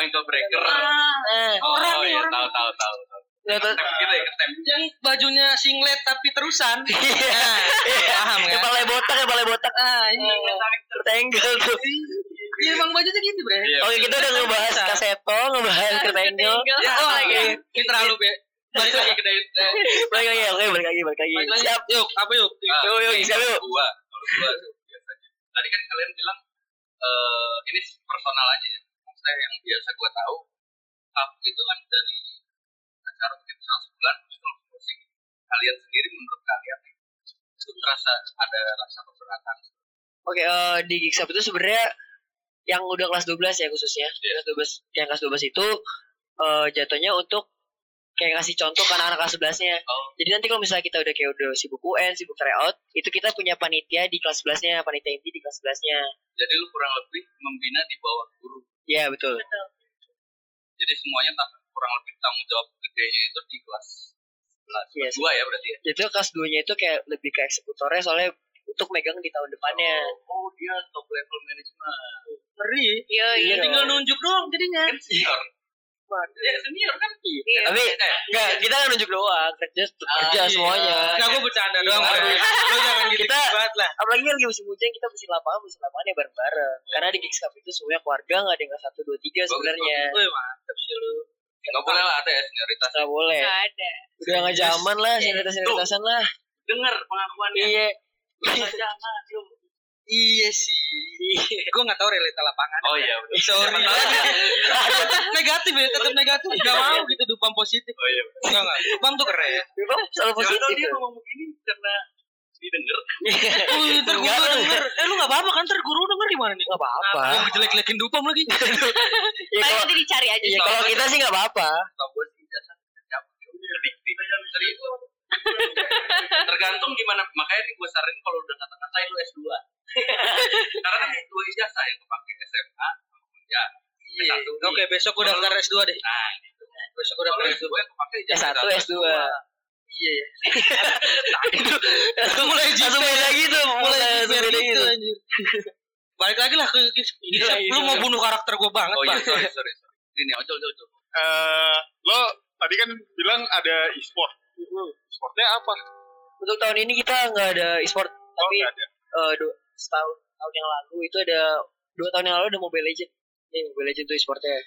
Speaker 3: Ankle Oh, breaker.
Speaker 4: Nah,
Speaker 3: Oh,
Speaker 2: orang nih,
Speaker 3: iya,
Speaker 2: orang.
Speaker 3: tahu tahu tahu. tahu.
Speaker 4: tahu tahu.
Speaker 3: Ketem gitu ya, ketem.
Speaker 2: Yang bajunya singlet tapi terusan.
Speaker 4: Iya.
Speaker 2: Nah, paham
Speaker 4: Yang
Speaker 2: kan?
Speaker 4: balai botak, yang balai botak.
Speaker 2: Ah, ini yang tarik
Speaker 4: Kurt Angle tuh.
Speaker 2: Iya, emang bajunya gitu, Bre.
Speaker 3: Iya.
Speaker 4: Oke, kita udah ngebahas
Speaker 2: Bisa.
Speaker 4: Kaseto, ngebahas Kurt Angle.
Speaker 5: Triangle.
Speaker 2: Ya,
Speaker 4: Oh,
Speaker 2: oh,
Speaker 4: iya.
Speaker 2: iya. Ini terlalu, Be.
Speaker 3: Balik lagi ke dari- eh,
Speaker 4: Balik lagi, oke, balik lagi, balik lagi.
Speaker 2: Balik lagi.
Speaker 4: Siap.
Speaker 2: Yuk, apa yuk?
Speaker 3: ah,
Speaker 4: Yuk, yuk, siap yuk.
Speaker 3: gua, kalau gua tuh biasanya. Tadi kan kalian bilang eh ini personal aja ya. Maksudnya yang biasa gua tahu cup itu kan dari acara mungkin misal sebulan terus terus closing. Kalian sendiri menurut kalian itu merasa ada rasa keberatan
Speaker 4: Oke, eh, di Gigsap itu sebenarnya yang udah kelas 12 ya khususnya.
Speaker 3: Iya.
Speaker 4: Kelas 12, yang kelas 12 itu eh, jatuhnya untuk kayak ngasih contoh ke anak-anak kelas 11-nya.
Speaker 3: Oh.
Speaker 4: Jadi nanti kalau misalnya kita udah kayak udah sibuk UN, sibuk tryout, itu kita punya panitia di kelas 11-nya, panitia inti di kelas 11-nya.
Speaker 3: Jadi lu kurang lebih membina di bawah guru.
Speaker 4: Iya, betul.
Speaker 5: Betul.
Speaker 3: Jadi semuanya tak kurang lebih tanggung jawab gedenya itu di kelas 11.
Speaker 4: Iya,
Speaker 3: Dua ya berarti ya.
Speaker 4: Jadi kelas 2-nya itu kayak lebih ke eksekutornya soalnya untuk megang di tahun depannya.
Speaker 3: Oh, oh, dia top level management. Ya.
Speaker 2: Ngeri. Ya,
Speaker 5: Yoi.
Speaker 4: Iya.
Speaker 2: Tinggal nunjuk doang jadinya.
Speaker 3: Kan senior. Iya, senior kan.
Speaker 5: Iya.
Speaker 4: Tapi
Speaker 3: Iya.
Speaker 4: enggak, kita kan nunjuk doang, kerja tetap
Speaker 3: Ah,
Speaker 4: kerja Ya,
Speaker 3: iya.
Speaker 4: semuanya.
Speaker 2: Enggak, gue bercanda
Speaker 4: Iya.
Speaker 2: doang, Bre. Lu jangan gitu
Speaker 4: Kita-
Speaker 2: banget lah.
Speaker 4: apalagi kan lagi musim hujan kita mesti lapangan mesti lapangannya bareng-bareng karena di Geeks Cup itu semuanya keluarga nggak ada yang kelas satu dua tiga sebenarnya
Speaker 2: Wih, mantep sih lu.
Speaker 3: Enggak boleh lah ada ya senioritas.
Speaker 4: nggak boleh
Speaker 5: Nggak ada.
Speaker 4: udah nggak zaman lah senioritas senioritasan lah
Speaker 3: Dengar pengakuannya.
Speaker 4: iya
Speaker 2: Iya sih. Gue gak tau realita lapangan.
Speaker 3: Oh iya, betul.
Speaker 2: Sorry. negatif ya, tetap negatif. Gak mau gitu dupam positif.
Speaker 3: Oh iya.
Speaker 2: Enggak, enggak. Dupam tuh keren.
Speaker 4: memang selalu
Speaker 3: Jangan
Speaker 4: positif
Speaker 3: tahu dia ngomong begini karena didengar.
Speaker 2: Wih, ntar
Speaker 4: Enggak,
Speaker 2: guru
Speaker 4: lu.
Speaker 2: denger. Eh, lu gak apa-apa kan? Ntar guru denger gimana nih?
Speaker 4: nggak apa-apa
Speaker 2: Gue jelek-jelekin dupam lagi.
Speaker 4: ya
Speaker 5: Paling
Speaker 4: kalau
Speaker 5: nanti dicari aja. sih.
Speaker 4: ya kalau kita sih nggak apa-apa
Speaker 3: Tahu gue sih jasa siapa.
Speaker 2: Iya.
Speaker 3: Prediksi serius. Tergantung gimana makanya nih gue saranin kalau udah kata-katain lu S2. Karena S2 ijazah yang kepake SMA sama kuliah.
Speaker 2: Iya.
Speaker 3: S1 nih.
Speaker 2: Oke, besok gue daftar S2 deh.
Speaker 3: Nah, gitu.
Speaker 2: Besok gue daftar
Speaker 3: Kalau
Speaker 2: S2.
Speaker 3: S2 yang kepake
Speaker 4: S
Speaker 3: ijazah
Speaker 4: Eh, satu
Speaker 2: ya.
Speaker 4: S dua
Speaker 2: Iya, iya.
Speaker 4: langsung mulai langsung beda gitu mulai
Speaker 2: Mulai
Speaker 4: langsung
Speaker 2: jiper
Speaker 4: beda
Speaker 2: gitu,
Speaker 4: gitu
Speaker 2: anjir. Balik lagi lah ke
Speaker 4: Gila,
Speaker 2: Lu
Speaker 4: gila.
Speaker 2: mau bunuh karakter gue banget,
Speaker 3: Iya, Oh iya,
Speaker 2: Bang.
Speaker 3: sorry, sorry, sorry. Ini ojol, ojol, ojol.
Speaker 1: Eh, lo tadi kan bilang ada e-sport.
Speaker 3: Mm-hmm.
Speaker 1: E-sportnya apa?
Speaker 4: untuk tahun ini kita nggak ada e-sport
Speaker 1: Oh,
Speaker 4: tapi
Speaker 1: nggak ada.
Speaker 4: eh, dua- setahun tahun yang lalu itu ada dua tahun yang lalu ada Mobile Legend ini Mobile Legend tuh e-sportnya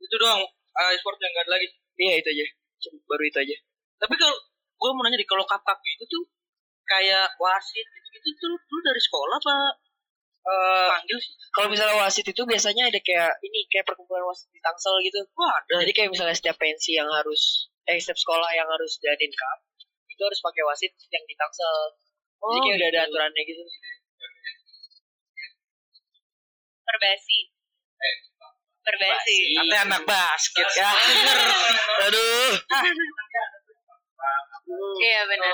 Speaker 2: Itu doang eh, e-sport yang gak ada lagi.
Speaker 4: Iya itu aja. Cuma Baru itu aja.
Speaker 2: Tapi kalau gue mau nanya di kalau kakak itu tuh kayak wasit gitu-gitu tuh lu dari sekolah apa
Speaker 4: Eh,
Speaker 2: panggil sih?
Speaker 4: kalau misalnya wasit itu biasanya ada kayak ini kayak perkumpulan wasit di Tangsel gitu.
Speaker 2: Wah ada.
Speaker 4: Jadi kayak misalnya setiap pensi yang harus eh setiap sekolah yang harus jadiin cup itu harus pakai wasit yang di Tangsel. Jadi kayak udah ada aturannya gitu.
Speaker 5: Perbasi. Perbasi.
Speaker 2: Ada anak
Speaker 3: Iya.
Speaker 2: basket ya.
Speaker 4: Aduh.
Speaker 5: Iya benar.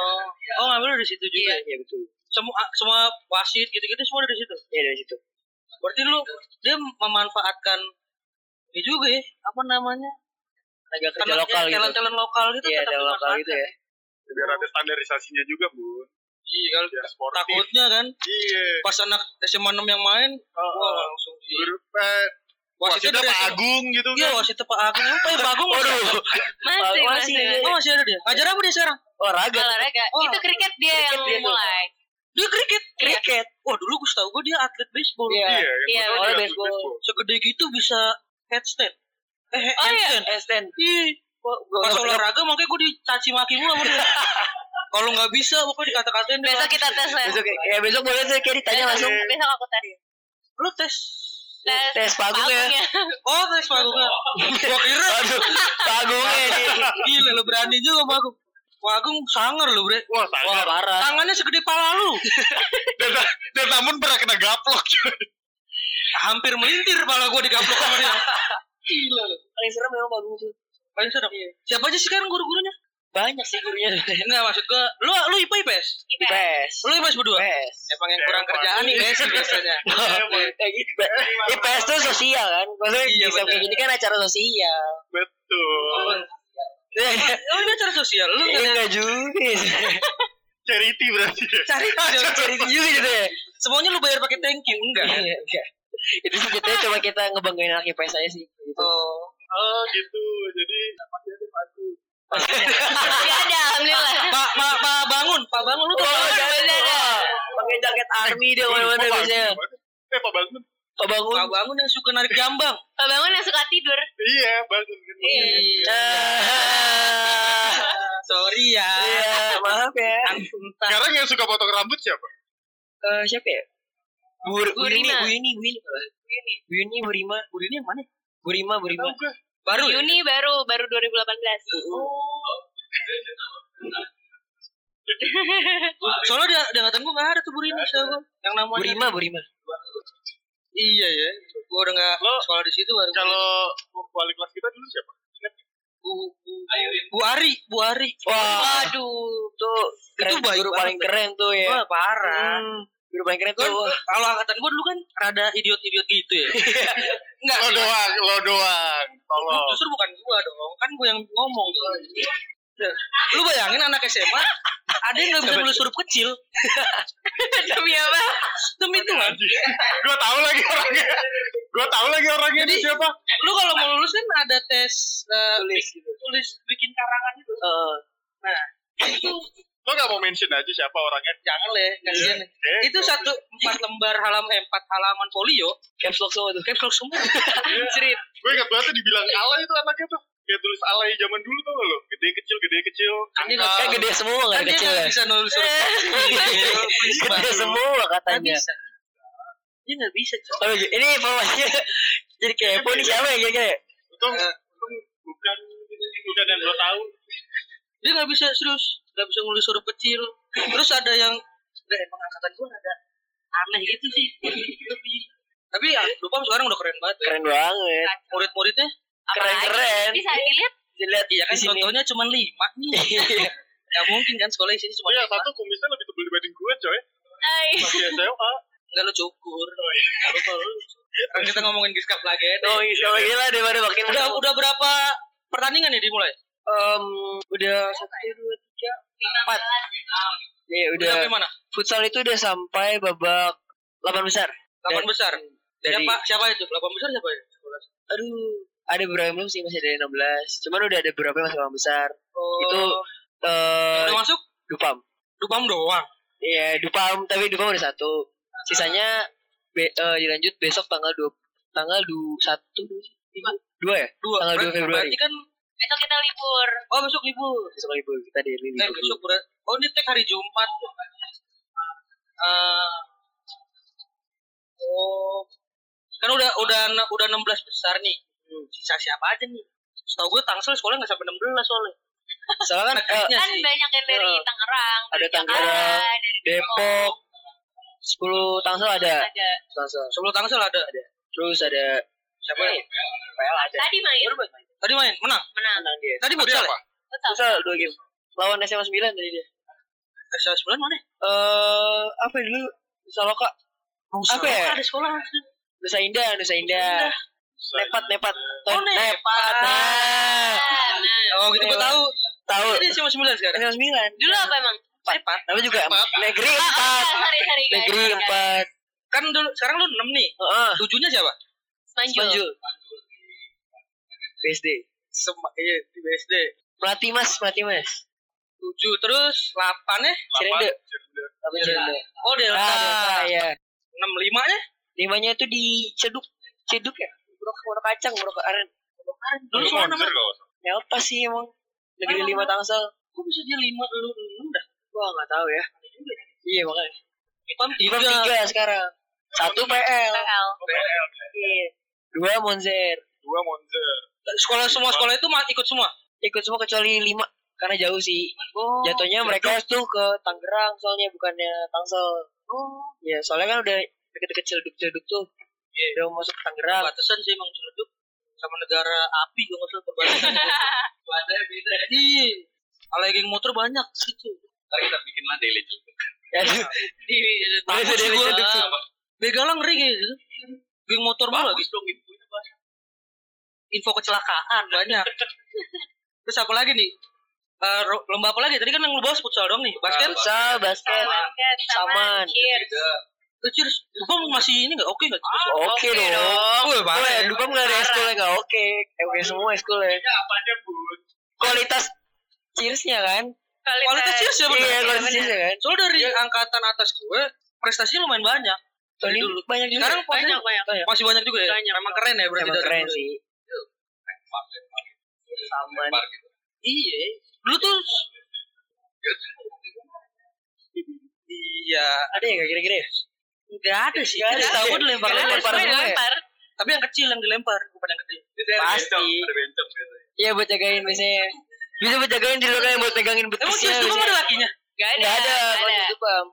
Speaker 2: Oh ngambil dari situ juga.
Speaker 4: Iya, iya betul.
Speaker 2: Semua ah, semua wasit gitu-gitu semua dari situ.
Speaker 4: Iya dari situ.
Speaker 2: Berarti lu dia memanfaatkan ini juga ya apa namanya
Speaker 4: Tenaga kerja
Speaker 2: Talent-
Speaker 4: lokal gitu.
Speaker 2: talent-talent lokal gitu
Speaker 4: Iya,
Speaker 2: tetap
Speaker 4: ada lokal gitu
Speaker 2: dimanfaatkan.
Speaker 4: ya.
Speaker 1: Biar ada standarisasinya juga, Bu.
Speaker 2: Iya, kalau
Speaker 1: Biar sportif.
Speaker 2: takutnya kan
Speaker 1: Iya.
Speaker 2: pas anak SMA 6 yang main wah langsung di
Speaker 1: Guru, eh,
Speaker 2: wasitnya
Speaker 1: Wasitnya
Speaker 2: dari
Speaker 1: Pak Agung gitu
Speaker 2: Iya,
Speaker 1: kan.
Speaker 2: wasitnya Pak Agung. Apa ya, Pak Agung?
Speaker 1: Waduh,
Speaker 5: Masih,
Speaker 4: Oh,
Speaker 5: masih.
Speaker 4: masih, iya,
Speaker 2: Oh, masih ada dia. Ngajar apa dia sekarang?
Speaker 4: olahraga
Speaker 5: Olahraga.
Speaker 2: Oh.
Speaker 5: Itu kriket dia yang
Speaker 4: dia tuh.
Speaker 5: mulai.
Speaker 2: Dia kriket. Kriket. Wah, dulu gue tau gue dia atlet baseball.
Speaker 4: Iya.
Speaker 1: iya. yang
Speaker 5: Iya,
Speaker 1: bener
Speaker 4: orang
Speaker 1: juga,
Speaker 4: baseball.
Speaker 2: Segede gitu bisa headstand. Eh, he-
Speaker 5: Oh, iya.
Speaker 2: handstand.
Speaker 4: Esten
Speaker 2: Ih,
Speaker 4: pas
Speaker 2: pas olahraga makanya gue dicaci maki mulu sama dia. Kalau nggak bisa, pokoknya dikata-katain. dia
Speaker 5: Besok
Speaker 2: nggak
Speaker 5: kita
Speaker 2: bisa.
Speaker 5: tes lah.
Speaker 4: besok ya besok boleh tuh kayak ditanya
Speaker 2: Iya,
Speaker 5: Besok-
Speaker 4: langsung Iya.
Speaker 5: Besok aku tes.
Speaker 2: Lu tes.
Speaker 5: Tes.
Speaker 4: tes panggung ya
Speaker 5: panggungnya.
Speaker 2: Oh, tes Pak Agung. Gue kira. Eh,
Speaker 4: aduh panggungnya
Speaker 1: iya.
Speaker 4: nih
Speaker 2: Gila, lu berani juga sama aku. Pak Agung sangar lu, bre.
Speaker 1: Wah,
Speaker 4: wah
Speaker 1: sangar.
Speaker 4: parah
Speaker 2: Tangannya segede pala lu.
Speaker 1: Dan, dan namun pernah kena gaplok.
Speaker 2: Hampir melintir pala gue digaplok sama dia. Gila. lu.
Speaker 4: paling serem memang panggung tuh
Speaker 2: Paling serem. Siapa aja sih kan guru-gurunya?
Speaker 4: banyak sih gurunya
Speaker 2: Enggak maksud gue, lu lu IPA IPS.
Speaker 5: Iya.
Speaker 4: IPS
Speaker 2: Iya. Lu IPS berdua.
Speaker 4: IPS
Speaker 2: Emang yang
Speaker 1: Emang.
Speaker 2: kurang kerjaan nih guys biasanya.
Speaker 1: Iya,
Speaker 4: Kayak gitu. IPS tuh sosial kan maksudnya
Speaker 2: Iya,
Speaker 4: bisa kayak
Speaker 2: benar.
Speaker 4: gini kan acara sosial
Speaker 1: Betul.
Speaker 2: Oh ini acara sosial lu
Speaker 4: Iya
Speaker 2: enggak
Speaker 4: enggak juga
Speaker 2: Iya.
Speaker 1: Charity berarti. ya.
Speaker 2: cari aja.
Speaker 4: Cari juga gitu ya
Speaker 2: Semuanya lu bayar pakai thank you enggak?
Speaker 4: Iya, enggak. Itu sih kita coba kita ngebanggain anak IPS aja sih gitu.
Speaker 2: Oh.
Speaker 1: Oh, gitu. Jadi pasti ada pasti.
Speaker 5: Gak Iya, ada, alhamdulillah.
Speaker 2: Pak Pak Pak bangun, Pak Iya, bangun lu. tuh.
Speaker 4: Oh, jangan
Speaker 5: bener.
Speaker 2: iya.
Speaker 4: Wah, Pakai jaket army dia mana-mana biasanya.
Speaker 1: Eh, Pak Bangun.
Speaker 4: Pak bangun.
Speaker 2: Pak bangun yang suka narik jambang.
Speaker 5: Pak Bangun yang suka tidur.
Speaker 1: Iya, Bangun. Gitu.
Speaker 2: Iya.
Speaker 4: Eh, Ah,
Speaker 2: Sorry ya.
Speaker 4: Iya, maaf ya.
Speaker 2: Entah.
Speaker 1: Sekarang yang suka potong rambut siapa?
Speaker 4: Eh, siapa ya? Bu, Bu Yuni,
Speaker 5: Rima.
Speaker 4: Bu Yuni, Bu Yuni. Bu Yuni, Bu Yuni, Bu Rima, Bu Yuni yang mana? Bu Rima, Bu Rima.
Speaker 1: Tahu gue.
Speaker 4: Oh, iya.
Speaker 2: Baru ya?
Speaker 5: Juni baru, baru
Speaker 4: Uh,
Speaker 5: 2018.
Speaker 2: Soalnya dia dia ngatain gua enggak ada tuh Bu Rini siapa? Yang
Speaker 4: Bu
Speaker 2: namanya
Speaker 4: Rima, Bu Rima.
Speaker 2: Iya ya. Gua udah enggak
Speaker 1: Lo-
Speaker 2: sekolah di situ baru.
Speaker 1: Kalau wali kelas kita dulu siapa?
Speaker 2: Bu Bu, Bu Ari, Bu Ari.
Speaker 4: Wah,
Speaker 5: Aduh.
Speaker 4: tuh keren,
Speaker 2: Itu baik
Speaker 4: guru
Speaker 2: banget.
Speaker 4: paling keren tuh ya.
Speaker 2: Wah, parah.
Speaker 4: Hmm, Guru paling keren
Speaker 2: Kan,
Speaker 4: tuh. wah.
Speaker 2: kalau angkatan gue dulu kan rada idiot-idiot gitu ya. Enggak
Speaker 1: Lo
Speaker 2: sih.
Speaker 1: doang, lo doang.
Speaker 2: Lu
Speaker 1: Tolong.
Speaker 2: justru bukan gua dong, kan gua yang ngomong. Nah, Lu bayangin anak SMA, ada yang nggak
Speaker 4: Iya,
Speaker 2: bisa nulis huruf kecil.
Speaker 5: Demi apa?
Speaker 2: Demi Tuhan.
Speaker 1: Gue tahu lagi orangnya. Gue tahu lagi orangnya itu
Speaker 2: Jadi-
Speaker 1: siapa?
Speaker 2: Lu kalau mau lulus kan ada tes eh,
Speaker 4: Tulis gitu.
Speaker 2: tulis bikin karangan gitu. itu.
Speaker 4: Eh,
Speaker 2: Itu
Speaker 1: Lo gak mau mention aja siapa orangnya?
Speaker 2: jangan leh,
Speaker 4: ya,
Speaker 2: kasihan.
Speaker 1: Eh,
Speaker 2: Itu satu empat lembar halaman eh, empat halaman folio,
Speaker 4: caps lock semua tuh. Kan
Speaker 2: caps lock semua.
Speaker 5: Anjrit.
Speaker 1: Gue ingat banget tuh dibilang alay itu anaknya tuh. Kayak tulis alay zaman dulu tuh lo. Gede kecil, gede kecil.
Speaker 2: Ini
Speaker 4: Kan
Speaker 2: nggak-
Speaker 4: gede semua
Speaker 2: kan
Speaker 4: kan
Speaker 2: dia
Speaker 4: kecil
Speaker 2: nggak
Speaker 4: ya. Iya,
Speaker 2: bisa nulis huruf kecil.
Speaker 4: Gede semua
Speaker 2: Nggak
Speaker 4: katanya.
Speaker 2: bisa. Dia nggak bisa. coy.
Speaker 4: Aduh, ini informasinya jadi kepo nih siapa ya kira-kira? ya?
Speaker 1: Untung,
Speaker 2: Eh.
Speaker 1: untung bukan bukan yang lo tahu.
Speaker 2: dia nggak bisa serius nggak bisa ngulis huruf kecil terus ada yang nggak emang angkatan gue ada aneh gitu sih lebih tapi ya Lupam sekarang udah keren banget ya.
Speaker 4: Keren banget.
Speaker 2: murid-muridnya
Speaker 5: Apalagi?
Speaker 4: Keren-keren.
Speaker 5: Bisa dilihat.
Speaker 4: Dilihat
Speaker 2: iya kan
Speaker 4: di sini.
Speaker 2: contohnya cuma lima nih ya mungkin kan sekolah di sini cuma
Speaker 1: Iya,
Speaker 2: lima
Speaker 1: satu kumisnya lebih tebel dibanding gue coy.
Speaker 5: Ay.
Speaker 1: Pas di SMA.
Speaker 2: nggak lo cukur Oh, iya. Nggak lo kalau lu cukur. Sekarang kita ngomongin giskap lagi ya
Speaker 4: Oh, iya, sama gila deh baru makin
Speaker 2: udah udah berapa pertandingan ya dimulai
Speaker 4: Em, udah satu dua tiga empat. Ya
Speaker 2: udah
Speaker 4: udah
Speaker 2: sampai mana
Speaker 4: futsal itu udah sampai babak delapan besar.
Speaker 2: delapan
Speaker 4: Dari-
Speaker 2: besar
Speaker 4: Dari
Speaker 2: siapa siapa itu delapan besar siapa ya sekolah
Speaker 4: aduh ada beberapa yang belum sih masih ada 16. Cuman udah ada beberapa yang masih delapan besar.
Speaker 2: oh,
Speaker 4: Itu
Speaker 2: yang
Speaker 4: eh
Speaker 2: udah masuk
Speaker 4: Dupam.
Speaker 2: Lupam doang
Speaker 4: Iya, Dupam tapi Dupam udah satu. Sisanya be- eh, dilanjut besok tanggal dua tanggal du, satu dua tiga dua ya
Speaker 2: dua
Speaker 4: Tanggal dua
Speaker 2: Berarti-
Speaker 4: Februari.
Speaker 2: berarti kan
Speaker 5: Besok kita libur.
Speaker 2: oh besok libur
Speaker 4: besok libur kita di libur
Speaker 2: Eh besok ber- Oh ini tek hari Jumat. Eh, oh. Kan udah udah ne- udah 16 besar nih. Sisa siapa aja nih? Setahu gue Tangsel sekolah nggak sampai 16 soalnya.
Speaker 4: soalnya kan eh,
Speaker 2: Negerinya
Speaker 5: Kan
Speaker 2: sih.
Speaker 5: banyak yang dari
Speaker 4: Iya.
Speaker 5: Tangerang.
Speaker 4: Ada
Speaker 5: dari Jakarta,
Speaker 4: Tangerang,
Speaker 2: Ah.
Speaker 5: dari
Speaker 4: Depok 10 tangsel ada
Speaker 5: ada.
Speaker 4: tangsel
Speaker 2: Sebelum Tangsel ada. Iya.
Speaker 4: terus ada
Speaker 2: Siapa
Speaker 4: Eh,
Speaker 2: yang
Speaker 4: PL ada
Speaker 5: Tadi main.
Speaker 4: baru main
Speaker 2: tadi main? Menang.
Speaker 5: Menang.
Speaker 4: menang dia
Speaker 2: Tadi
Speaker 1: Tapi
Speaker 2: futsal.
Speaker 1: apa?
Speaker 2: Ya?
Speaker 5: Betul.
Speaker 4: misal dua game lawan SMA 9 tadi dia
Speaker 2: Eh, Siapa sebulan mana?
Speaker 4: eh apa ya dulu Saloka
Speaker 2: Rusak.
Speaker 4: Apa ya?
Speaker 2: Ada sekolah.
Speaker 4: Nusa Indah Nusa Indah Nepat Nepat
Speaker 2: Oh, Nepat.
Speaker 4: nah
Speaker 5: Nah,
Speaker 2: Oh gitu gue tahu.
Speaker 4: tahu
Speaker 2: Jadi SMA 9 sekarang.
Speaker 4: SMA 9
Speaker 5: Dulu apa emang?
Speaker 2: Nepat.
Speaker 4: Nama juga
Speaker 2: Nepat.
Speaker 4: negeri
Speaker 5: Ah, ah, Iya,
Speaker 4: 4
Speaker 5: sorry, sorry guys.
Speaker 4: negeri
Speaker 5: Sorry, guys.
Speaker 4: 4
Speaker 2: Kan dulu sekarang lu 6 nih.
Speaker 4: Heeh.
Speaker 2: Tujuhnya siapa?
Speaker 5: Manjul.
Speaker 4: Manjul. BSD.
Speaker 2: Sem- iya, di BSD.
Speaker 4: Melati mas, melati mas.
Speaker 2: 7 terus 8 ya.
Speaker 4: Cirende.
Speaker 1: Cirende.
Speaker 4: Apa
Speaker 2: Cirende.
Speaker 4: Cirende?
Speaker 2: Oh, Delta. ya?
Speaker 4: Ah, Delta, ya.
Speaker 2: 65 nya.
Speaker 4: Limanya itu di Ceduk. Ceduk ya? Buruk, buruk kacang, buruk aren. Buruk aren.
Speaker 2: Dulu
Speaker 1: Lu
Speaker 2: semua
Speaker 1: monster kalau nggak salah.
Speaker 4: Delta sih emang. Negeri
Speaker 2: Emang,
Speaker 4: lima
Speaker 2: emang.
Speaker 4: tangsel.
Speaker 2: Kok bisa dia 5 lu 6 dah?
Speaker 4: Wah nggak tahu ya. Iya makanya.
Speaker 2: Ipam
Speaker 4: Imam
Speaker 2: 3.
Speaker 4: tiga sekarang. Satu PL.
Speaker 5: PL.
Speaker 1: PL.
Speaker 4: Iya. Dua Monzer.
Speaker 1: Dua monster.
Speaker 2: Sekolah semua sekolah itu ma- ikut semua.
Speaker 4: Ikut semua kecuali lima. Karena jauh sih.
Speaker 2: Oh.
Speaker 4: Jatuhnya mereka tuh ke Tangerang soalnya bukannya Tangsel. Oh. Ya soalnya kan udah deket-deket celduk-celduk tuh. Udah mau masuk Tangerang.
Speaker 2: Batasan sih emang celeduk sama negara api gak usah perbatasan.
Speaker 3: Bahasanya beda ya.
Speaker 2: Iya. Alay geng motor banyak situ.
Speaker 3: Ntar kita bikin lah daily juga.
Speaker 4: Ya,
Speaker 3: Di
Speaker 4: Daily
Speaker 2: Takut sih gua.
Speaker 4: Celduk, Celduk, Celduk.
Speaker 2: Begalang ngeri kayak gitu. Geng motor mulu lagi.
Speaker 3: bagus dong infonya Pak.
Speaker 2: Info kecelakaan banyak. Terus apa lagi nih? Eh, ro- lomba apa lagi? Tadi kan yang lu bahas futsal dong nih. Basket?
Speaker 4: Futsal, Nah, basket.
Speaker 3: Sama.
Speaker 5: Basket
Speaker 4: Saman.
Speaker 5: sama cheers.
Speaker 3: Tiga.
Speaker 2: Eh, cheers. Gua masih ini gak oke gak?
Speaker 4: Ah, Oke dong. kan
Speaker 2: Wih,
Speaker 4: Boleh,
Speaker 2: banget.
Speaker 4: Dukung nggak ada eskul nggak oke. Eh, Oke semua eskul ya.
Speaker 1: Ya apa aja bun?
Speaker 4: Kualitas cheersnya kan.
Speaker 2: Iya, Kualitas cheers ya bener.
Speaker 4: Iya, kualitas cheersnya kan.
Speaker 2: Soalnya dari angkatan atas gue, prestasinya lumayan banyak.
Speaker 4: Soalnya
Speaker 2: dulu.
Speaker 4: banyak juga.
Speaker 2: Sekarang
Speaker 5: banyak banyak.
Speaker 4: banyak.
Speaker 2: Masih banyak juga ya?
Speaker 5: Banyak.
Speaker 2: Emang keren ya berarti
Speaker 4: Emang
Speaker 2: dari
Speaker 4: keren
Speaker 2: dulu.
Speaker 4: sih.
Speaker 3: Lempar, lempar.
Speaker 4: Saman.
Speaker 3: Lempar gitu.
Speaker 2: Iya. Dulu tuh... Iya.
Speaker 4: Ada ya nggak kira-kira? ya?
Speaker 2: Enggak ada sih.
Speaker 4: Nggak ada.
Speaker 2: Kita tahu gue dilempar.
Speaker 4: Kalian
Speaker 2: lempar
Speaker 4: lempar
Speaker 2: semua.
Speaker 4: semua ya?
Speaker 5: lempar.
Speaker 2: Tapi yang kecil yang dilempar. Bukan yang gede.
Speaker 3: Jadi ada
Speaker 4: Pasti.
Speaker 3: bencong, ada bencong biasanya.
Speaker 4: Iya buat jagain biasanya. Bisa buat jagain di lokasi buat pegangin
Speaker 2: Emang cheers
Speaker 4: betisnya.
Speaker 2: tuh
Speaker 4: biasanya.
Speaker 2: ada lakinya?
Speaker 5: Gak ada.
Speaker 4: Nggak ada.
Speaker 5: nggak
Speaker 4: Kalau
Speaker 5: ada.
Speaker 4: itu bam.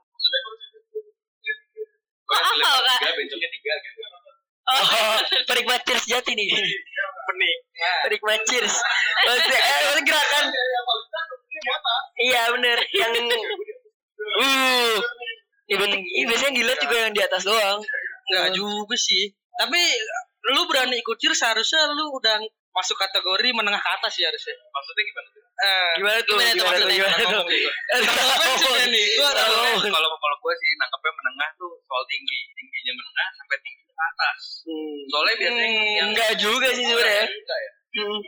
Speaker 3: Orang
Speaker 5: Mahal,
Speaker 3: dilempar
Speaker 5: Kak.
Speaker 3: tiga, bencongnya tiga gitu.
Speaker 5: Oh,
Speaker 4: Oh, Perikmat cheers jati nih.
Speaker 2: Iya,
Speaker 1: Pening.
Speaker 4: Perikmat cheers. Maksudnya, eh, maksudnya gerakan. Iya bener. Yang uh, Ya, berarti- iya, biasanya gila juga yang di atas doang.
Speaker 2: Enggak juga sih. Tapi lu berani ikut cheers harusnya lu udah masuk kategori menengah ke atas ya harusnya.
Speaker 3: Maksudnya gimana tuh?
Speaker 2: Eh,
Speaker 4: Gimana tuh?
Speaker 2: Gimana tuh maksudnya?
Speaker 4: Gimana tuh? Eh,
Speaker 2: Ngomong gitu. Ngomong juga nih. Gua ada
Speaker 4: Tahu.
Speaker 2: ngomong.
Speaker 3: Kalau kalau gue sih nangkepnya menengah tuh soal tinggi, tingginya menengah sampai tinggi ke atas. Soalnya biasanya
Speaker 2: Hmm,
Speaker 3: yang
Speaker 4: Enggak juga sih sebenarnya.
Speaker 3: Enggak ya.
Speaker 4: Hmm.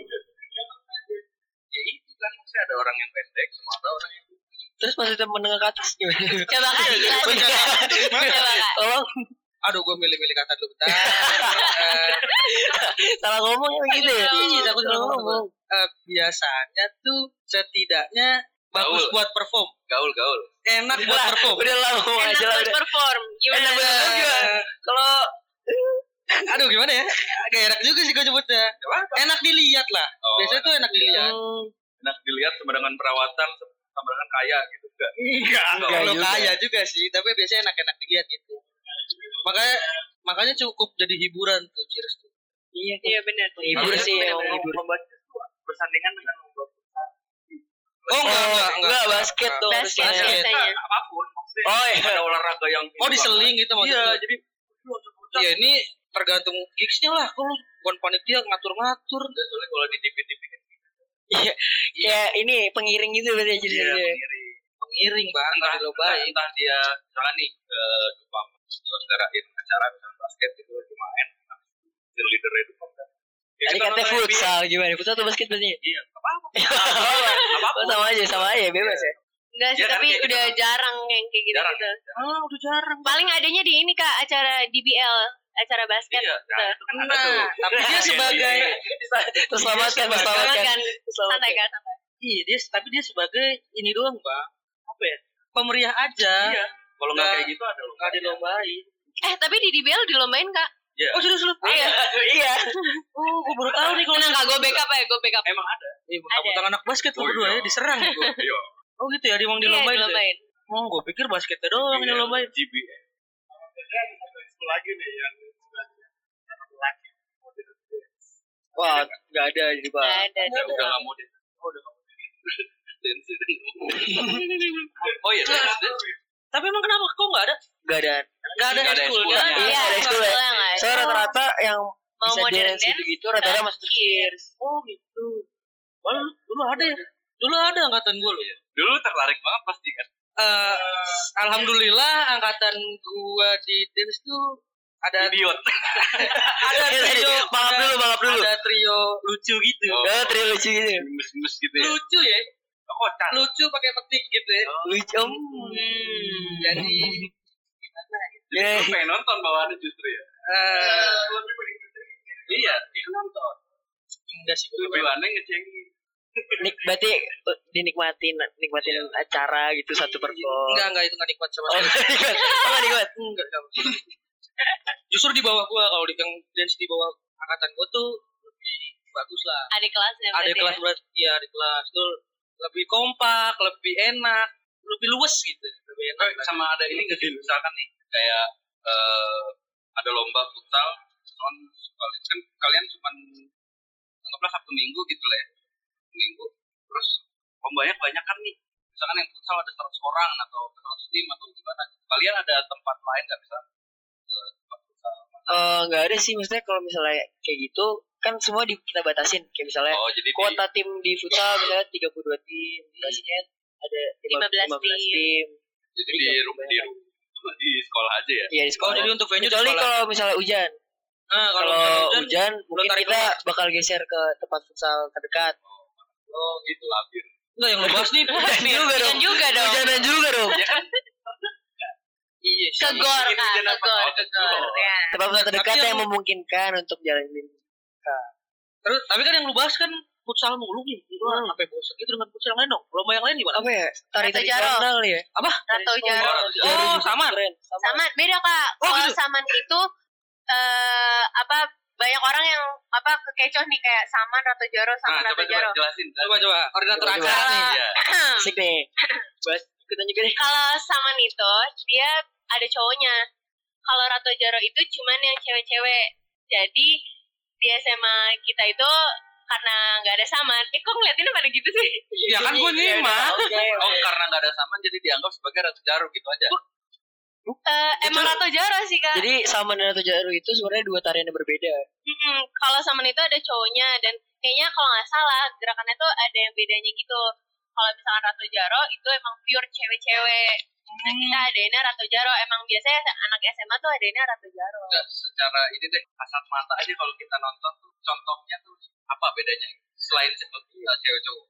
Speaker 3: Ya itu kan maksudnya ada orang yang pendek sama ada orang yang
Speaker 4: Terus maksudnya menengah ke atas gimana?
Speaker 5: coba kak dijelasin. Coba kak.
Speaker 4: Tolong
Speaker 2: Aduh, gua milih-milih kata dulu bentar. Eh,
Speaker 4: salah ngomongnya begitu ya.
Speaker 2: Iya, takut salah
Speaker 4: Salah
Speaker 2: ngomong. eh, biasanya tuh setidaknya bagus
Speaker 3: Gaul.
Speaker 2: buat perform,
Speaker 3: gaul gaul.
Speaker 2: enak buat
Speaker 4: Udah,
Speaker 2: perform.
Speaker 4: udah lah ngomong
Speaker 5: Enak
Speaker 4: aja lah.
Speaker 5: buat
Speaker 4: udah.
Speaker 5: perform. Gimana?
Speaker 4: Enak buat-
Speaker 2: Eh,
Speaker 4: Kalau
Speaker 2: Aduh gimana ya? Agak enak juga sih gue nyebutnya. Enak dilihat lah.
Speaker 3: Oh,
Speaker 2: Biasanya tuh enak dilihat.
Speaker 4: Hmm,
Speaker 3: enak dilihat sama dengan perawatan sama dengan kaya gitu enggak.
Speaker 2: Enggak,
Speaker 1: Iya
Speaker 4: enggak
Speaker 2: Kalau
Speaker 4: juga.
Speaker 2: kaya juga sih, tapi biasanya enak-enak dilihat gitu. Makanya makanya cukup jadi hiburan tuh Cheers tuh.
Speaker 4: iya.
Speaker 5: Iya benar.
Speaker 4: Hibur
Speaker 3: Makanya
Speaker 4: sih,
Speaker 3: tuh
Speaker 4: emang
Speaker 3: memang
Speaker 4: hibur.
Speaker 3: lomba itu tuh bersandingan dengan lomba
Speaker 2: Oh,
Speaker 4: Oh, enggak, enggak, basket tuh
Speaker 5: Basket
Speaker 2: Basket.
Speaker 4: harusnya.
Speaker 5: biasanya.
Speaker 3: Enggak, apapun maksudnya
Speaker 4: Oh iya.
Speaker 3: ada olahraga yang
Speaker 2: Oh, diseling gitu
Speaker 3: Iya,
Speaker 2: maksudnya.
Speaker 3: jadi
Speaker 2: Iya, ini tergantung gigsnya lah. Kalau bukan panitia ngatur-ngatur.
Speaker 3: Enggak, soalnya kalau di TV-TV kan
Speaker 4: Ya ini pengiring gitu berarti jadi.
Speaker 2: Iya.
Speaker 3: dia
Speaker 4: jadi.
Speaker 3: sendiri.
Speaker 2: Pengiring banget
Speaker 3: entah
Speaker 2: lo
Speaker 3: entah, entah dia misalkan nih ke Dupam selenggarain acara misalnya basket gitu lagi main leader Dupam kan Ya,
Speaker 4: Tadi
Speaker 3: kita
Speaker 4: katanya
Speaker 3: nonton NBA.
Speaker 4: futsal gimana? Futsal atau basket berarti?
Speaker 3: iya nggak apa-apa
Speaker 4: Oh, sama aja, sama aja, bebas ya.
Speaker 5: Enggak sih,
Speaker 3: Iya kan,
Speaker 5: tapi
Speaker 3: kayak gitu.
Speaker 5: udah jarang yang kayak gitu
Speaker 3: Jarang.
Speaker 5: gitu.
Speaker 2: Ah, udah jarang.
Speaker 5: Paling adanya di ini kak acara DBL, acara basket.
Speaker 3: iya nah, itu kan ada tuh.
Speaker 2: Nah, tapi dia sebagai
Speaker 4: Iya, Terselamatkan,
Speaker 5: Banget
Speaker 4: terselamatkan.
Speaker 5: kan, santai kan.
Speaker 2: iya, dia tapi dia sebagai ini doang, Bang. Apa ya? Pemeriah aja.
Speaker 3: Iya. kalau nggak
Speaker 2: Nah,
Speaker 3: kayak gitu ada loh
Speaker 2: Enggak dilombain.
Speaker 5: Eh tapi di DBL dilombain kak.
Speaker 2: Oh, serius lu?
Speaker 4: Iya, iya.
Speaker 2: Oh, gue baru tahu nih kalau
Speaker 5: Tenang kak, gue backup ya, gue backup.
Speaker 3: emang ada
Speaker 2: Eh, mentang-mentang anak basket lu
Speaker 3: Oh,
Speaker 2: berdua
Speaker 3: iya.
Speaker 2: ya diserang gua.
Speaker 3: iya
Speaker 2: Oh gitu ya, emang
Speaker 5: Iya,
Speaker 2: dilombain. tuh ya?
Speaker 5: dilombain.
Speaker 2: Oh, gue pikir basketnya doang yang
Speaker 3: Iya.
Speaker 2: dilombain.
Speaker 1: GBL. Maksudnya ada satu ekskul lagi nih yang anak laki.
Speaker 4: Wah, nggak Nah, ada di Bang.
Speaker 5: Nggak ada.
Speaker 3: udah Ya, udah nggak mau deh oh, udah nggak mau deh. Dan sih, dan mau. oh iya dan- dan-
Speaker 2: Tapi emang kenapa kok nggak ada?
Speaker 4: Nggak ada.
Speaker 2: Nggak ada kan?
Speaker 3: Nggak ada
Speaker 2: ekskul.
Speaker 3: ekskul.
Speaker 2: Nggak ada.
Speaker 5: Iya,
Speaker 4: ada school ya.
Speaker 5: sekolah nggak ada.
Speaker 4: Saya rata-rata yang
Speaker 5: Oh. Mau
Speaker 4: bisa
Speaker 5: modern
Speaker 4: dance
Speaker 5: dance,
Speaker 4: gitu-gitu rata-rata masuk
Speaker 5: cheers.
Speaker 2: Oh gitu. Wah, lu- dulu ada ya? Dulu ada angkatan gue loh.
Speaker 3: Iya. dulu tertarik banget pasti kan
Speaker 2: Eh, Alhamdulillah angkatan gua di dance tuh ada
Speaker 3: idiot
Speaker 2: ada trio
Speaker 4: balap
Speaker 2: ada-
Speaker 4: dulu, balap dulu.
Speaker 2: ada trio lucu gitu
Speaker 3: Oh.
Speaker 4: Oh, trio lucu gitu.
Speaker 1: Mes-mes gitu ya.
Speaker 2: lucu ya
Speaker 3: kocak
Speaker 2: lucu pakai petik gitu ya
Speaker 4: Lucu. om.
Speaker 5: Hmm.
Speaker 2: jadi
Speaker 4: Ya,
Speaker 3: Lu pengen nonton bawaannya justru ya
Speaker 2: eh,
Speaker 3: iya dia nonton
Speaker 2: enggak sih gue
Speaker 3: tujuannya ngecengin
Speaker 4: nik berarti eh, dinikmatin nikmatin acara gitu satu perform.
Speaker 2: enggak enggak itu nggak nikmat sama
Speaker 4: Oh,
Speaker 2: sekali
Speaker 4: nikmat. Oh, nikmat.
Speaker 2: enggak enggak justru di bawah gua kalau di yang dance di bawah angkatan gua tuh lebih bagus lah
Speaker 5: Ada kelas ya
Speaker 2: ada
Speaker 5: berarti
Speaker 2: kelas
Speaker 5: ya?
Speaker 2: berat ya ada kelas tuh lebih kompak lebih enak lebih luas gitu lebih enak
Speaker 3: Eh, sama ada ini nggak sih misalkan nih kayak eh, ada lomba futsal cuman sekali- kan kalian cuman anggaplah sabtu minggu gitu lah ya Sabtu minggu terus lombanya banyak kan nih misalkan yang futsal ada 100 orang atau 100 tim atau gimana kalian ada tempat lain nggak bisa ke tempat futsal
Speaker 4: Eh, enggak ada sih maksudnya kalau misalnya kayak gitu kan semua di, kita batasin kayak
Speaker 2: Eh,
Speaker 4: misalnya
Speaker 3: oh jadi di-
Speaker 4: kuota tim di futsal misalnya 32 tim basket ada
Speaker 5: 15
Speaker 4: 15, 15 tim
Speaker 3: jadi di rumah di rumah di sekolah aja ya
Speaker 4: Iya di
Speaker 2: Iya, oh
Speaker 4: sekolah
Speaker 2: jadi untuk venue di
Speaker 4: kecuali
Speaker 2: sekolah.
Speaker 4: kalau misalnya hujan
Speaker 2: Nah, kalau
Speaker 4: kalau
Speaker 2: hujan,
Speaker 4: hujan mungkin
Speaker 2: tarik
Speaker 4: kita
Speaker 2: keluar.
Speaker 4: bakal geser ke tempat futsal terdekat
Speaker 3: oh gitu labir
Speaker 2: enggak yang lo bahas nih
Speaker 4: Hujan juga
Speaker 5: Hujan juga dong.
Speaker 4: hujanan juga dong
Speaker 2: Ya kan? iya sih.
Speaker 5: Kegor
Speaker 3: Ini
Speaker 5: kak,
Speaker 3: hujan apa?
Speaker 5: kegor,
Speaker 3: Oh,
Speaker 5: kegor.
Speaker 3: kegor.
Speaker 5: Ya.
Speaker 4: tempat futsal terdekat
Speaker 2: yang-
Speaker 4: yang memungkinkan untuk jalanin
Speaker 2: Terus, tapi kan yang lu bahas kan futsal mulu nih. Gua sampai bosan gitu dengan futsal yang lain dong. Lomba yang lain gimana?
Speaker 4: apa ya tarik tarik
Speaker 5: Atau jarol.
Speaker 4: sandal ya
Speaker 2: Apa?
Speaker 5: Atau
Speaker 3: Oh,
Speaker 5: jarum.
Speaker 3: harus-
Speaker 2: Oh,
Speaker 4: Jarum.
Speaker 2: sama.
Speaker 4: Keren. sama
Speaker 5: Saman beda kak.
Speaker 2: Oh,
Speaker 5: Kalau
Speaker 2: gitu.
Speaker 5: saman itu eh apa banyak orang yang apa kekecoh nih kayak saman atau jaro
Speaker 3: nah
Speaker 5: saman
Speaker 3: coba
Speaker 5: atau
Speaker 3: coba
Speaker 5: jaro.
Speaker 3: jelasin
Speaker 2: Ah, Coba coba koordinator
Speaker 4: Coba, coba.
Speaker 2: acara nih.
Speaker 3: iya
Speaker 4: asik nih bahas ikutan juga deh
Speaker 5: Kalau saman itu dia ada cowoknya. Kalau rato jaro itu cuman yang cewek-cewek. Jadi di SMA kita itu karena nggak ada saman. Eh kok ngeliatin pada gitu sih?
Speaker 2: Ya kan gue nih mah.
Speaker 3: Oh, karena nggak ada saman jadi dianggap sebagai ratu jarum gitu aja.
Speaker 5: Eh, emang rato jaro sih kak.
Speaker 4: jadi sama dan atau jarum itu sebenarnya dua tarian yang berbeda
Speaker 5: Mm-mm, kalau saman itu ada cowoknya dan kayaknya kalau nggak salah gerakannya tuh ada yang bedanya gitu. Kalau misalkan Ratu Jaro itu emang pure cewek-cewek. Nah kita adainnya Ratu Jaro emang biasanya anak SMA tuh adainnya Ratu Jaro.
Speaker 3: Nggak secara ini deh kasat mata aja kalau kita nonton tuh contohnya tuh apa bedanya selain seperti uh, cewek cowok.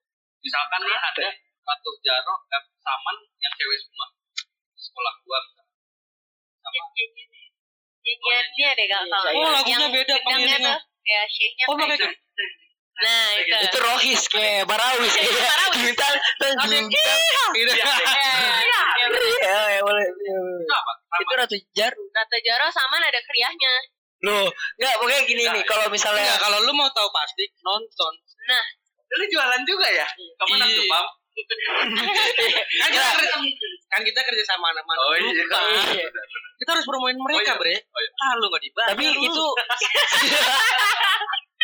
Speaker 3: Misalkan nih ada ratu jaro eh, saman yang cewek semua Di sekolah gua. Oh, misalkan.
Speaker 5: Ya,
Speaker 3: ya,
Speaker 5: Nyanyinya dia deh Ya, kak kalau
Speaker 4: Oh,
Speaker 2: lagunya beda,
Speaker 5: gendangnya
Speaker 2: pengiringan.
Speaker 5: tuh. Ya syihnya.
Speaker 2: Oh, pakai kan.
Speaker 5: Nah itu.
Speaker 4: itu rohis kayak barawis kayak
Speaker 2: Iya.
Speaker 5: Barawis.
Speaker 4: bintang dan
Speaker 2: Oke.
Speaker 4: bintang
Speaker 2: Gitu.
Speaker 5: Ya, ya, ya.
Speaker 4: ya ya boleh ya, boleh.
Speaker 3: Itu apa? Saman.
Speaker 4: itu ratu jarum
Speaker 5: Ratu Jaro sama ada kriahnya.
Speaker 4: loh nggak pokoknya gini nih kalau misalnya
Speaker 2: Enggak, iya. kalau lu mau tahu pasti nonton.
Speaker 3: Lu jualan juga ya? Kamu anak
Speaker 2: Iya.
Speaker 3: Jepang?
Speaker 2: Kan kita kerja, kan kita kerja sama anak-anak.
Speaker 3: Oh iya.
Speaker 2: Lupa.
Speaker 4: Iya.
Speaker 2: Kita harus promoin mereka,
Speaker 3: Oh, iya.
Speaker 2: Bre.
Speaker 3: Oh, iya.
Speaker 2: Ah, lu nggak dibahas.
Speaker 4: tapi
Speaker 2: Lu
Speaker 4: itu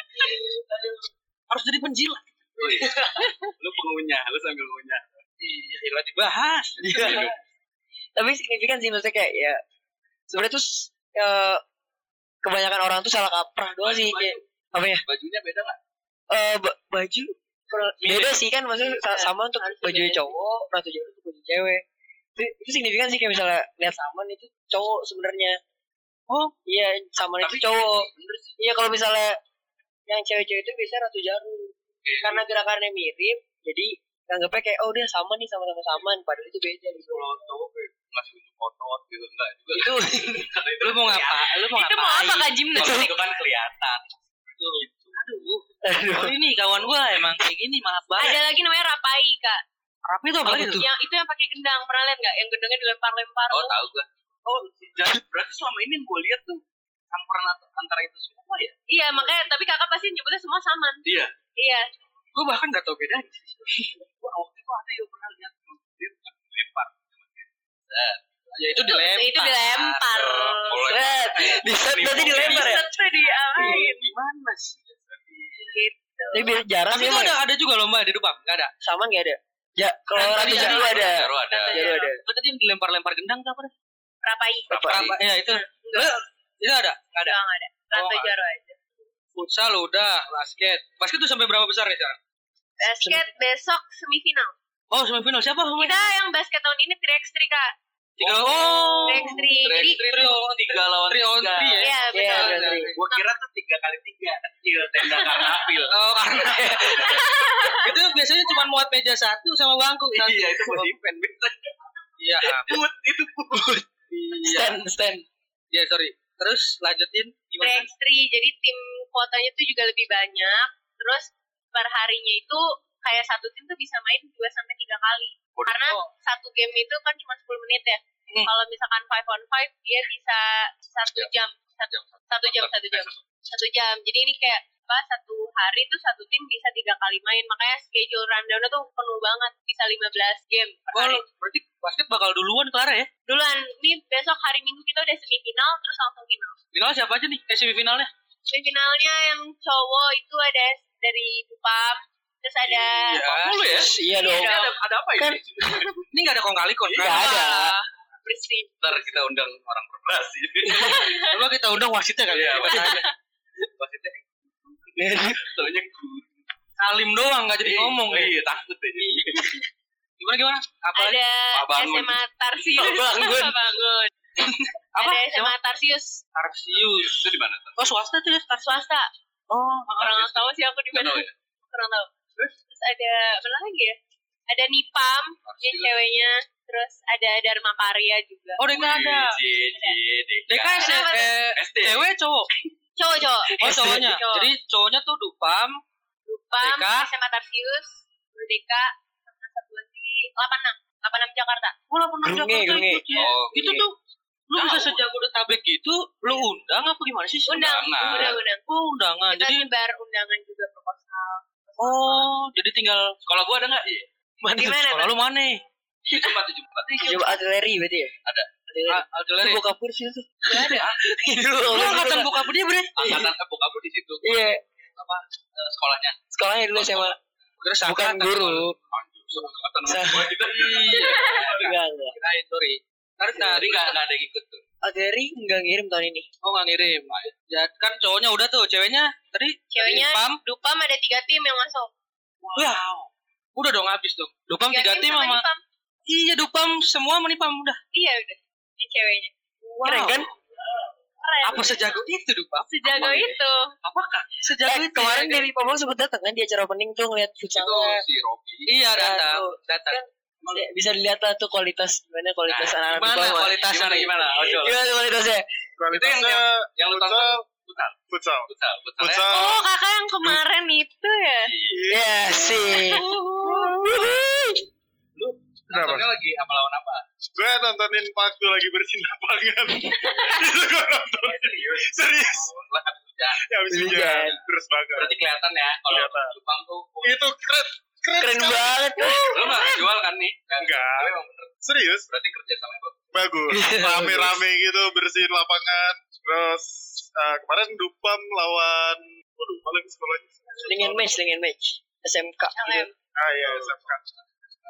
Speaker 2: harus jadi penjilat.
Speaker 3: Oh, iya. Lu pengunyah, lu sambil ngunyah.
Speaker 2: Iya, nggak dibahas.
Speaker 4: Iya. tapi signifikan sih maksudnya kayak ya sebenarnya tuh s- ya, kebanyakan orang tuh salah kaprah doang Oh, sih kayak apa ya
Speaker 3: Bajunya beda nggak?
Speaker 4: eh, ba- baju beda sih kan maksudnya sa- sama untuk baju cowok ratu jauh untuk baju cewek itu, itu signifikan sih kayak misalnya lihat saman itu cowok sebenarnya oh iya saman itu cowok iya kalau misalnya yang cewek-cewek itu biasanya ratu jarum karena gerakannya mirip jadi anggapnya kayak oh dia sama nih sama-sama saman padahal itu beda gitu
Speaker 3: Kalau cowok kayak masih otot gitu enggak juga.
Speaker 4: itu
Speaker 2: Lu mau ngapa? Lu mau
Speaker 5: Itu mau apa
Speaker 2: ngapain?
Speaker 5: kak Jimnas?
Speaker 3: Kalau itu kan kelihatan.
Speaker 2: Aduh.
Speaker 4: aduh
Speaker 2: Oh, ini kawan gue emang kayak gini maaf banget.
Speaker 5: Ada lagi namanya Rapai kak.
Speaker 2: Rapi tuh apa itu?
Speaker 5: Yang itu yang pakai gendang pernah lihat nggak? Yang gendangnya dilempar-lempar.
Speaker 3: Oh, tahu gua. Oh, jadi berarti selama ini yang gua lihat tuh campuran at- antara itu semua ya.
Speaker 5: Iya makanya tapi kakak pasti nyebutnya semua saman.
Speaker 3: Iya.
Speaker 5: Iya.
Speaker 2: Gue bahkan gak tau bedanya.
Speaker 3: Gua waktu itu ada yang pernah lihat tuh,
Speaker 2: hmm,
Speaker 3: dia bukan lempar.
Speaker 2: Ya itu
Speaker 5: Itu-
Speaker 2: dilempar.
Speaker 5: Nah, Itu dilempar.
Speaker 4: Red, di set berarti dilempar ya?
Speaker 5: Set tuh diapain?
Speaker 2: Gimana sih?
Speaker 4: Tapi biar jarang
Speaker 2: Tapi
Speaker 4: ya, sih,
Speaker 2: itu
Speaker 4: Bang.
Speaker 2: ada ada juga lomba di Dupam, enggak ada.
Speaker 4: Sama nggak ada? Ya, kalau
Speaker 2: Kan
Speaker 4: Ratu
Speaker 2: tadi
Speaker 4: Jaru
Speaker 2: ada-
Speaker 4: ada.
Speaker 3: Baru ada.
Speaker 5: Ada.
Speaker 4: Jaru ada.
Speaker 2: Lu tadi yang dilempar-lempar gendang tuh apa? deh?
Speaker 5: Rapai.
Speaker 4: Apa?
Speaker 2: Apa? Ya itu. Lu- Itu ada, enggak ada.
Speaker 5: Enggak ada. Ratu
Speaker 2: Oh,
Speaker 5: Jaro aja.
Speaker 2: Futsal udah, basket. Basket tuh sampai berapa besar ya sekarang?
Speaker 5: Basket besok semifinal.
Speaker 2: Oh, semifinal siapa?
Speaker 5: Kita yang basket tahun ini 3x3 kak.
Speaker 2: Tiga. Oh.
Speaker 5: 3x3. Jadi
Speaker 3: 3 lawan
Speaker 2: Three on
Speaker 3: tiga.
Speaker 2: three ya.
Speaker 5: Iya, Nah.
Speaker 4: kira tuh tiga kali tiga kecil tenda karena apil.
Speaker 2: Oh, karena itu biasanya cuma muat meja satu sama bangku. satu.
Speaker 4: iya itu buat event
Speaker 2: Iya.
Speaker 4: Buat itu buat.
Speaker 2: Iya.
Speaker 4: Stand stand.
Speaker 2: Iya, sorry. Terus lanjutin gimana?
Speaker 5: Grand Prix. Jadi tim kuotanya tuh juga lebih banyak. Terus perharinya itu kayak satu tim tuh bisa main 2 sampai 3 kali. Karena satu game itu kan cuma 10 menit ya.
Speaker 2: Hmm.
Speaker 5: Kalau misalkan 5 on 5 dia bisa satu jam, satu
Speaker 3: Jam.
Speaker 5: satu jam, satu jam, satu jam. Jadi ini kayak apa satu hari tuh satu tim bisa tiga kali main makanya schedule rundown tuh penuh banget bisa 15 game per
Speaker 2: Oh,
Speaker 5: hari.
Speaker 2: berarti basket bakal duluan kelar ya?
Speaker 5: Duluan ini besok hari Minggu kita udah semifinal terus langsung final.
Speaker 2: Final siapa aja nih? Eh, semifinalnya?
Speaker 5: semifinalnya yang cowok itu ada dari Kupam terus ada
Speaker 2: Oh,
Speaker 3: Mulu ya?
Speaker 4: Iya dong.
Speaker 5: Iya
Speaker 3: Ada, ada apa
Speaker 4: Kan-
Speaker 3: ini?
Speaker 2: Ini nggak ada kong kali kon.
Speaker 4: Nggak ada.
Speaker 5: bersih
Speaker 3: Ntar kita undang orang berbelas ini.
Speaker 2: kan? Coba kita undang wasitnya kali ya.
Speaker 3: Iya,
Speaker 2: tanya.
Speaker 3: Maksudnya, taunya gue.
Speaker 2: Salim doang nggak jadi ngomong. ya.
Speaker 3: Iya, takut ini.
Speaker 2: Gimana gimana? Apa? lagi?
Speaker 5: ada
Speaker 3: Pak Bangun.
Speaker 5: SMA Tarsius
Speaker 2: Pak Bangun.
Speaker 5: Pak Bangun.
Speaker 2: Apa?
Speaker 5: ada
Speaker 2: Siapa?
Speaker 5: SMA Tarsius
Speaker 2: Tarsius.
Speaker 3: Itu di mana? Tan?
Speaker 2: Oh, swasta tuh ya Tarsius.
Speaker 5: swasta
Speaker 2: Oh,
Speaker 5: orang nggak tahu sih aku di
Speaker 3: Nggak
Speaker 5: mana
Speaker 3: tahu ya?
Speaker 5: kurang tahu terus ada apa lagi ya ada Nipam yang
Speaker 3: Tarsius.
Speaker 5: ceweknya terus ada Dharma Karya juga
Speaker 2: Oh, DK ada.
Speaker 3: Wih, J, J, DK.
Speaker 2: DK se-
Speaker 5: Kenapa tuh?
Speaker 2: eh,
Speaker 3: SD.
Speaker 2: cewek cowok.
Speaker 5: cowok-cowok
Speaker 2: Oh, cowoknya.
Speaker 5: Cowok.
Speaker 2: Jadi cowoknya tuh Dupam,
Speaker 5: Kupam
Speaker 2: DK.
Speaker 5: SMA Tarsius Merdeka sama satu lagi 86 86 Jakarta
Speaker 2: Oh, lapor
Speaker 4: Gerunge,
Speaker 2: Jakarta ikut
Speaker 4: gerunge.
Speaker 2: ya.
Speaker 3: Oh,
Speaker 2: Itu
Speaker 3: ini.
Speaker 2: tuh lu
Speaker 3: Tahu.
Speaker 2: bisa sejak udah tabek gitu, lu undang apa gimana sih?
Speaker 5: Iya. undang
Speaker 3: Undangan.
Speaker 5: undang undang
Speaker 2: Oh, undangan.
Speaker 5: kita
Speaker 2: Jadi
Speaker 5: nyebar undangan juga proposal
Speaker 2: oh, jadi tinggal
Speaker 3: Sekolah gua ada nggak? Iya.
Speaker 2: mana
Speaker 5: Gimana,
Speaker 2: sekolah lu mana?
Speaker 3: Tujuh empat, tujuh empat.
Speaker 4: Coba artileri berarti ya.
Speaker 3: Ada.
Speaker 4: Artileri.
Speaker 2: Ah, Artileri.
Speaker 4: Itu buka kursi itu.
Speaker 5: Gak ada
Speaker 4: Itu
Speaker 2: Lu angkatan
Speaker 4: angkatan
Speaker 2: buka dia, Bre.
Speaker 3: Angkatan eh, bokap lu di situ.
Speaker 4: Iya.
Speaker 3: eh, Sekolahnya.
Speaker 4: Sekolahnya dulu SMA.
Speaker 2: Kira
Speaker 4: Bukan
Speaker 2: seangkatan.
Speaker 4: guru.
Speaker 3: Anjir, seangkatan sama gua kita.
Speaker 2: Iya.
Speaker 4: Enggak enggak.
Speaker 2: Kirain, sorry.
Speaker 3: Nah, jadi nggak nggak ada yang ikut tuh.
Speaker 4: Artileri enggak ngirim tahun ini.
Speaker 2: Oh nggak ngirim. Ya kan cowoknya udah tuh, ceweknya tadi
Speaker 5: ceweknya
Speaker 2: tadi Pam.
Speaker 5: Dupam ada tiga tim yang masuk
Speaker 2: Wah. Udah dong habis tuh. Dupam tiga, tim sama
Speaker 5: Dipam.
Speaker 2: Iya Dupam semua menipam udah.
Speaker 5: iya udah ini ceweknya
Speaker 4: Keren kan?
Speaker 5: keren
Speaker 2: Apa sejago itu Dupam?
Speaker 5: sejago itu
Speaker 2: Apakah?
Speaker 4: Eh,
Speaker 2: Sejago itu.
Speaker 4: kemarin
Speaker 2: ya,
Speaker 4: Dewi Pamong sempat datang kan di acara opening tuh ngeliat
Speaker 3: Itu
Speaker 4: futsal.
Speaker 3: si Robi.
Speaker 2: Iya datang,
Speaker 4: Aduh.
Speaker 2: datang.
Speaker 4: Bisa dilihat lah tuh kualitas gimana kualitas
Speaker 3: Nah,
Speaker 4: anak-anak
Speaker 2: Gimana
Speaker 4: Pamong.
Speaker 2: kualitasnya?
Speaker 3: Gimana gimana? Ojol.
Speaker 4: Gimana kualitasnya?
Speaker 3: Itu yang
Speaker 1: Kualitasnya
Speaker 3: yang lu tonton
Speaker 1: futsal, futsal,
Speaker 3: futsal, ya? futsalnya.
Speaker 1: futsal.
Speaker 5: oh kakak yang kemarin itu ya Oh.
Speaker 4: Iya sih.
Speaker 1: Kenapa?
Speaker 3: Nontonnya lagi apa lawan apa?
Speaker 1: Gue nontonin Paku lagi bersihin lapangan. Itu gue nonton. Serius.
Speaker 3: Eh, Oh, Lah, habis hujan.
Speaker 1: Ya habis
Speaker 4: Hujan.
Speaker 1: hujan. Terus bakar.
Speaker 3: Berarti kelihatan ya kalau
Speaker 1: Kelihatan.
Speaker 3: Jepang tuh oh,
Speaker 1: Itu keren. Keren,
Speaker 4: Keren
Speaker 1: sekali.
Speaker 4: banget.
Speaker 3: lu nggak jual kan nih?
Speaker 1: Enggak.
Speaker 3: Lu emang iya, bener.
Speaker 1: Serius.
Speaker 3: Berarti kerja sama yang bagus.
Speaker 1: Bagus. Rame-rame gitu bersihin lapangan. Terus eh, kemarin Dupam lawan Waduh, malah di sekolahnya.
Speaker 4: Dengan match, dengan match. SMK.
Speaker 5: LM
Speaker 1: Ah iya, SMK.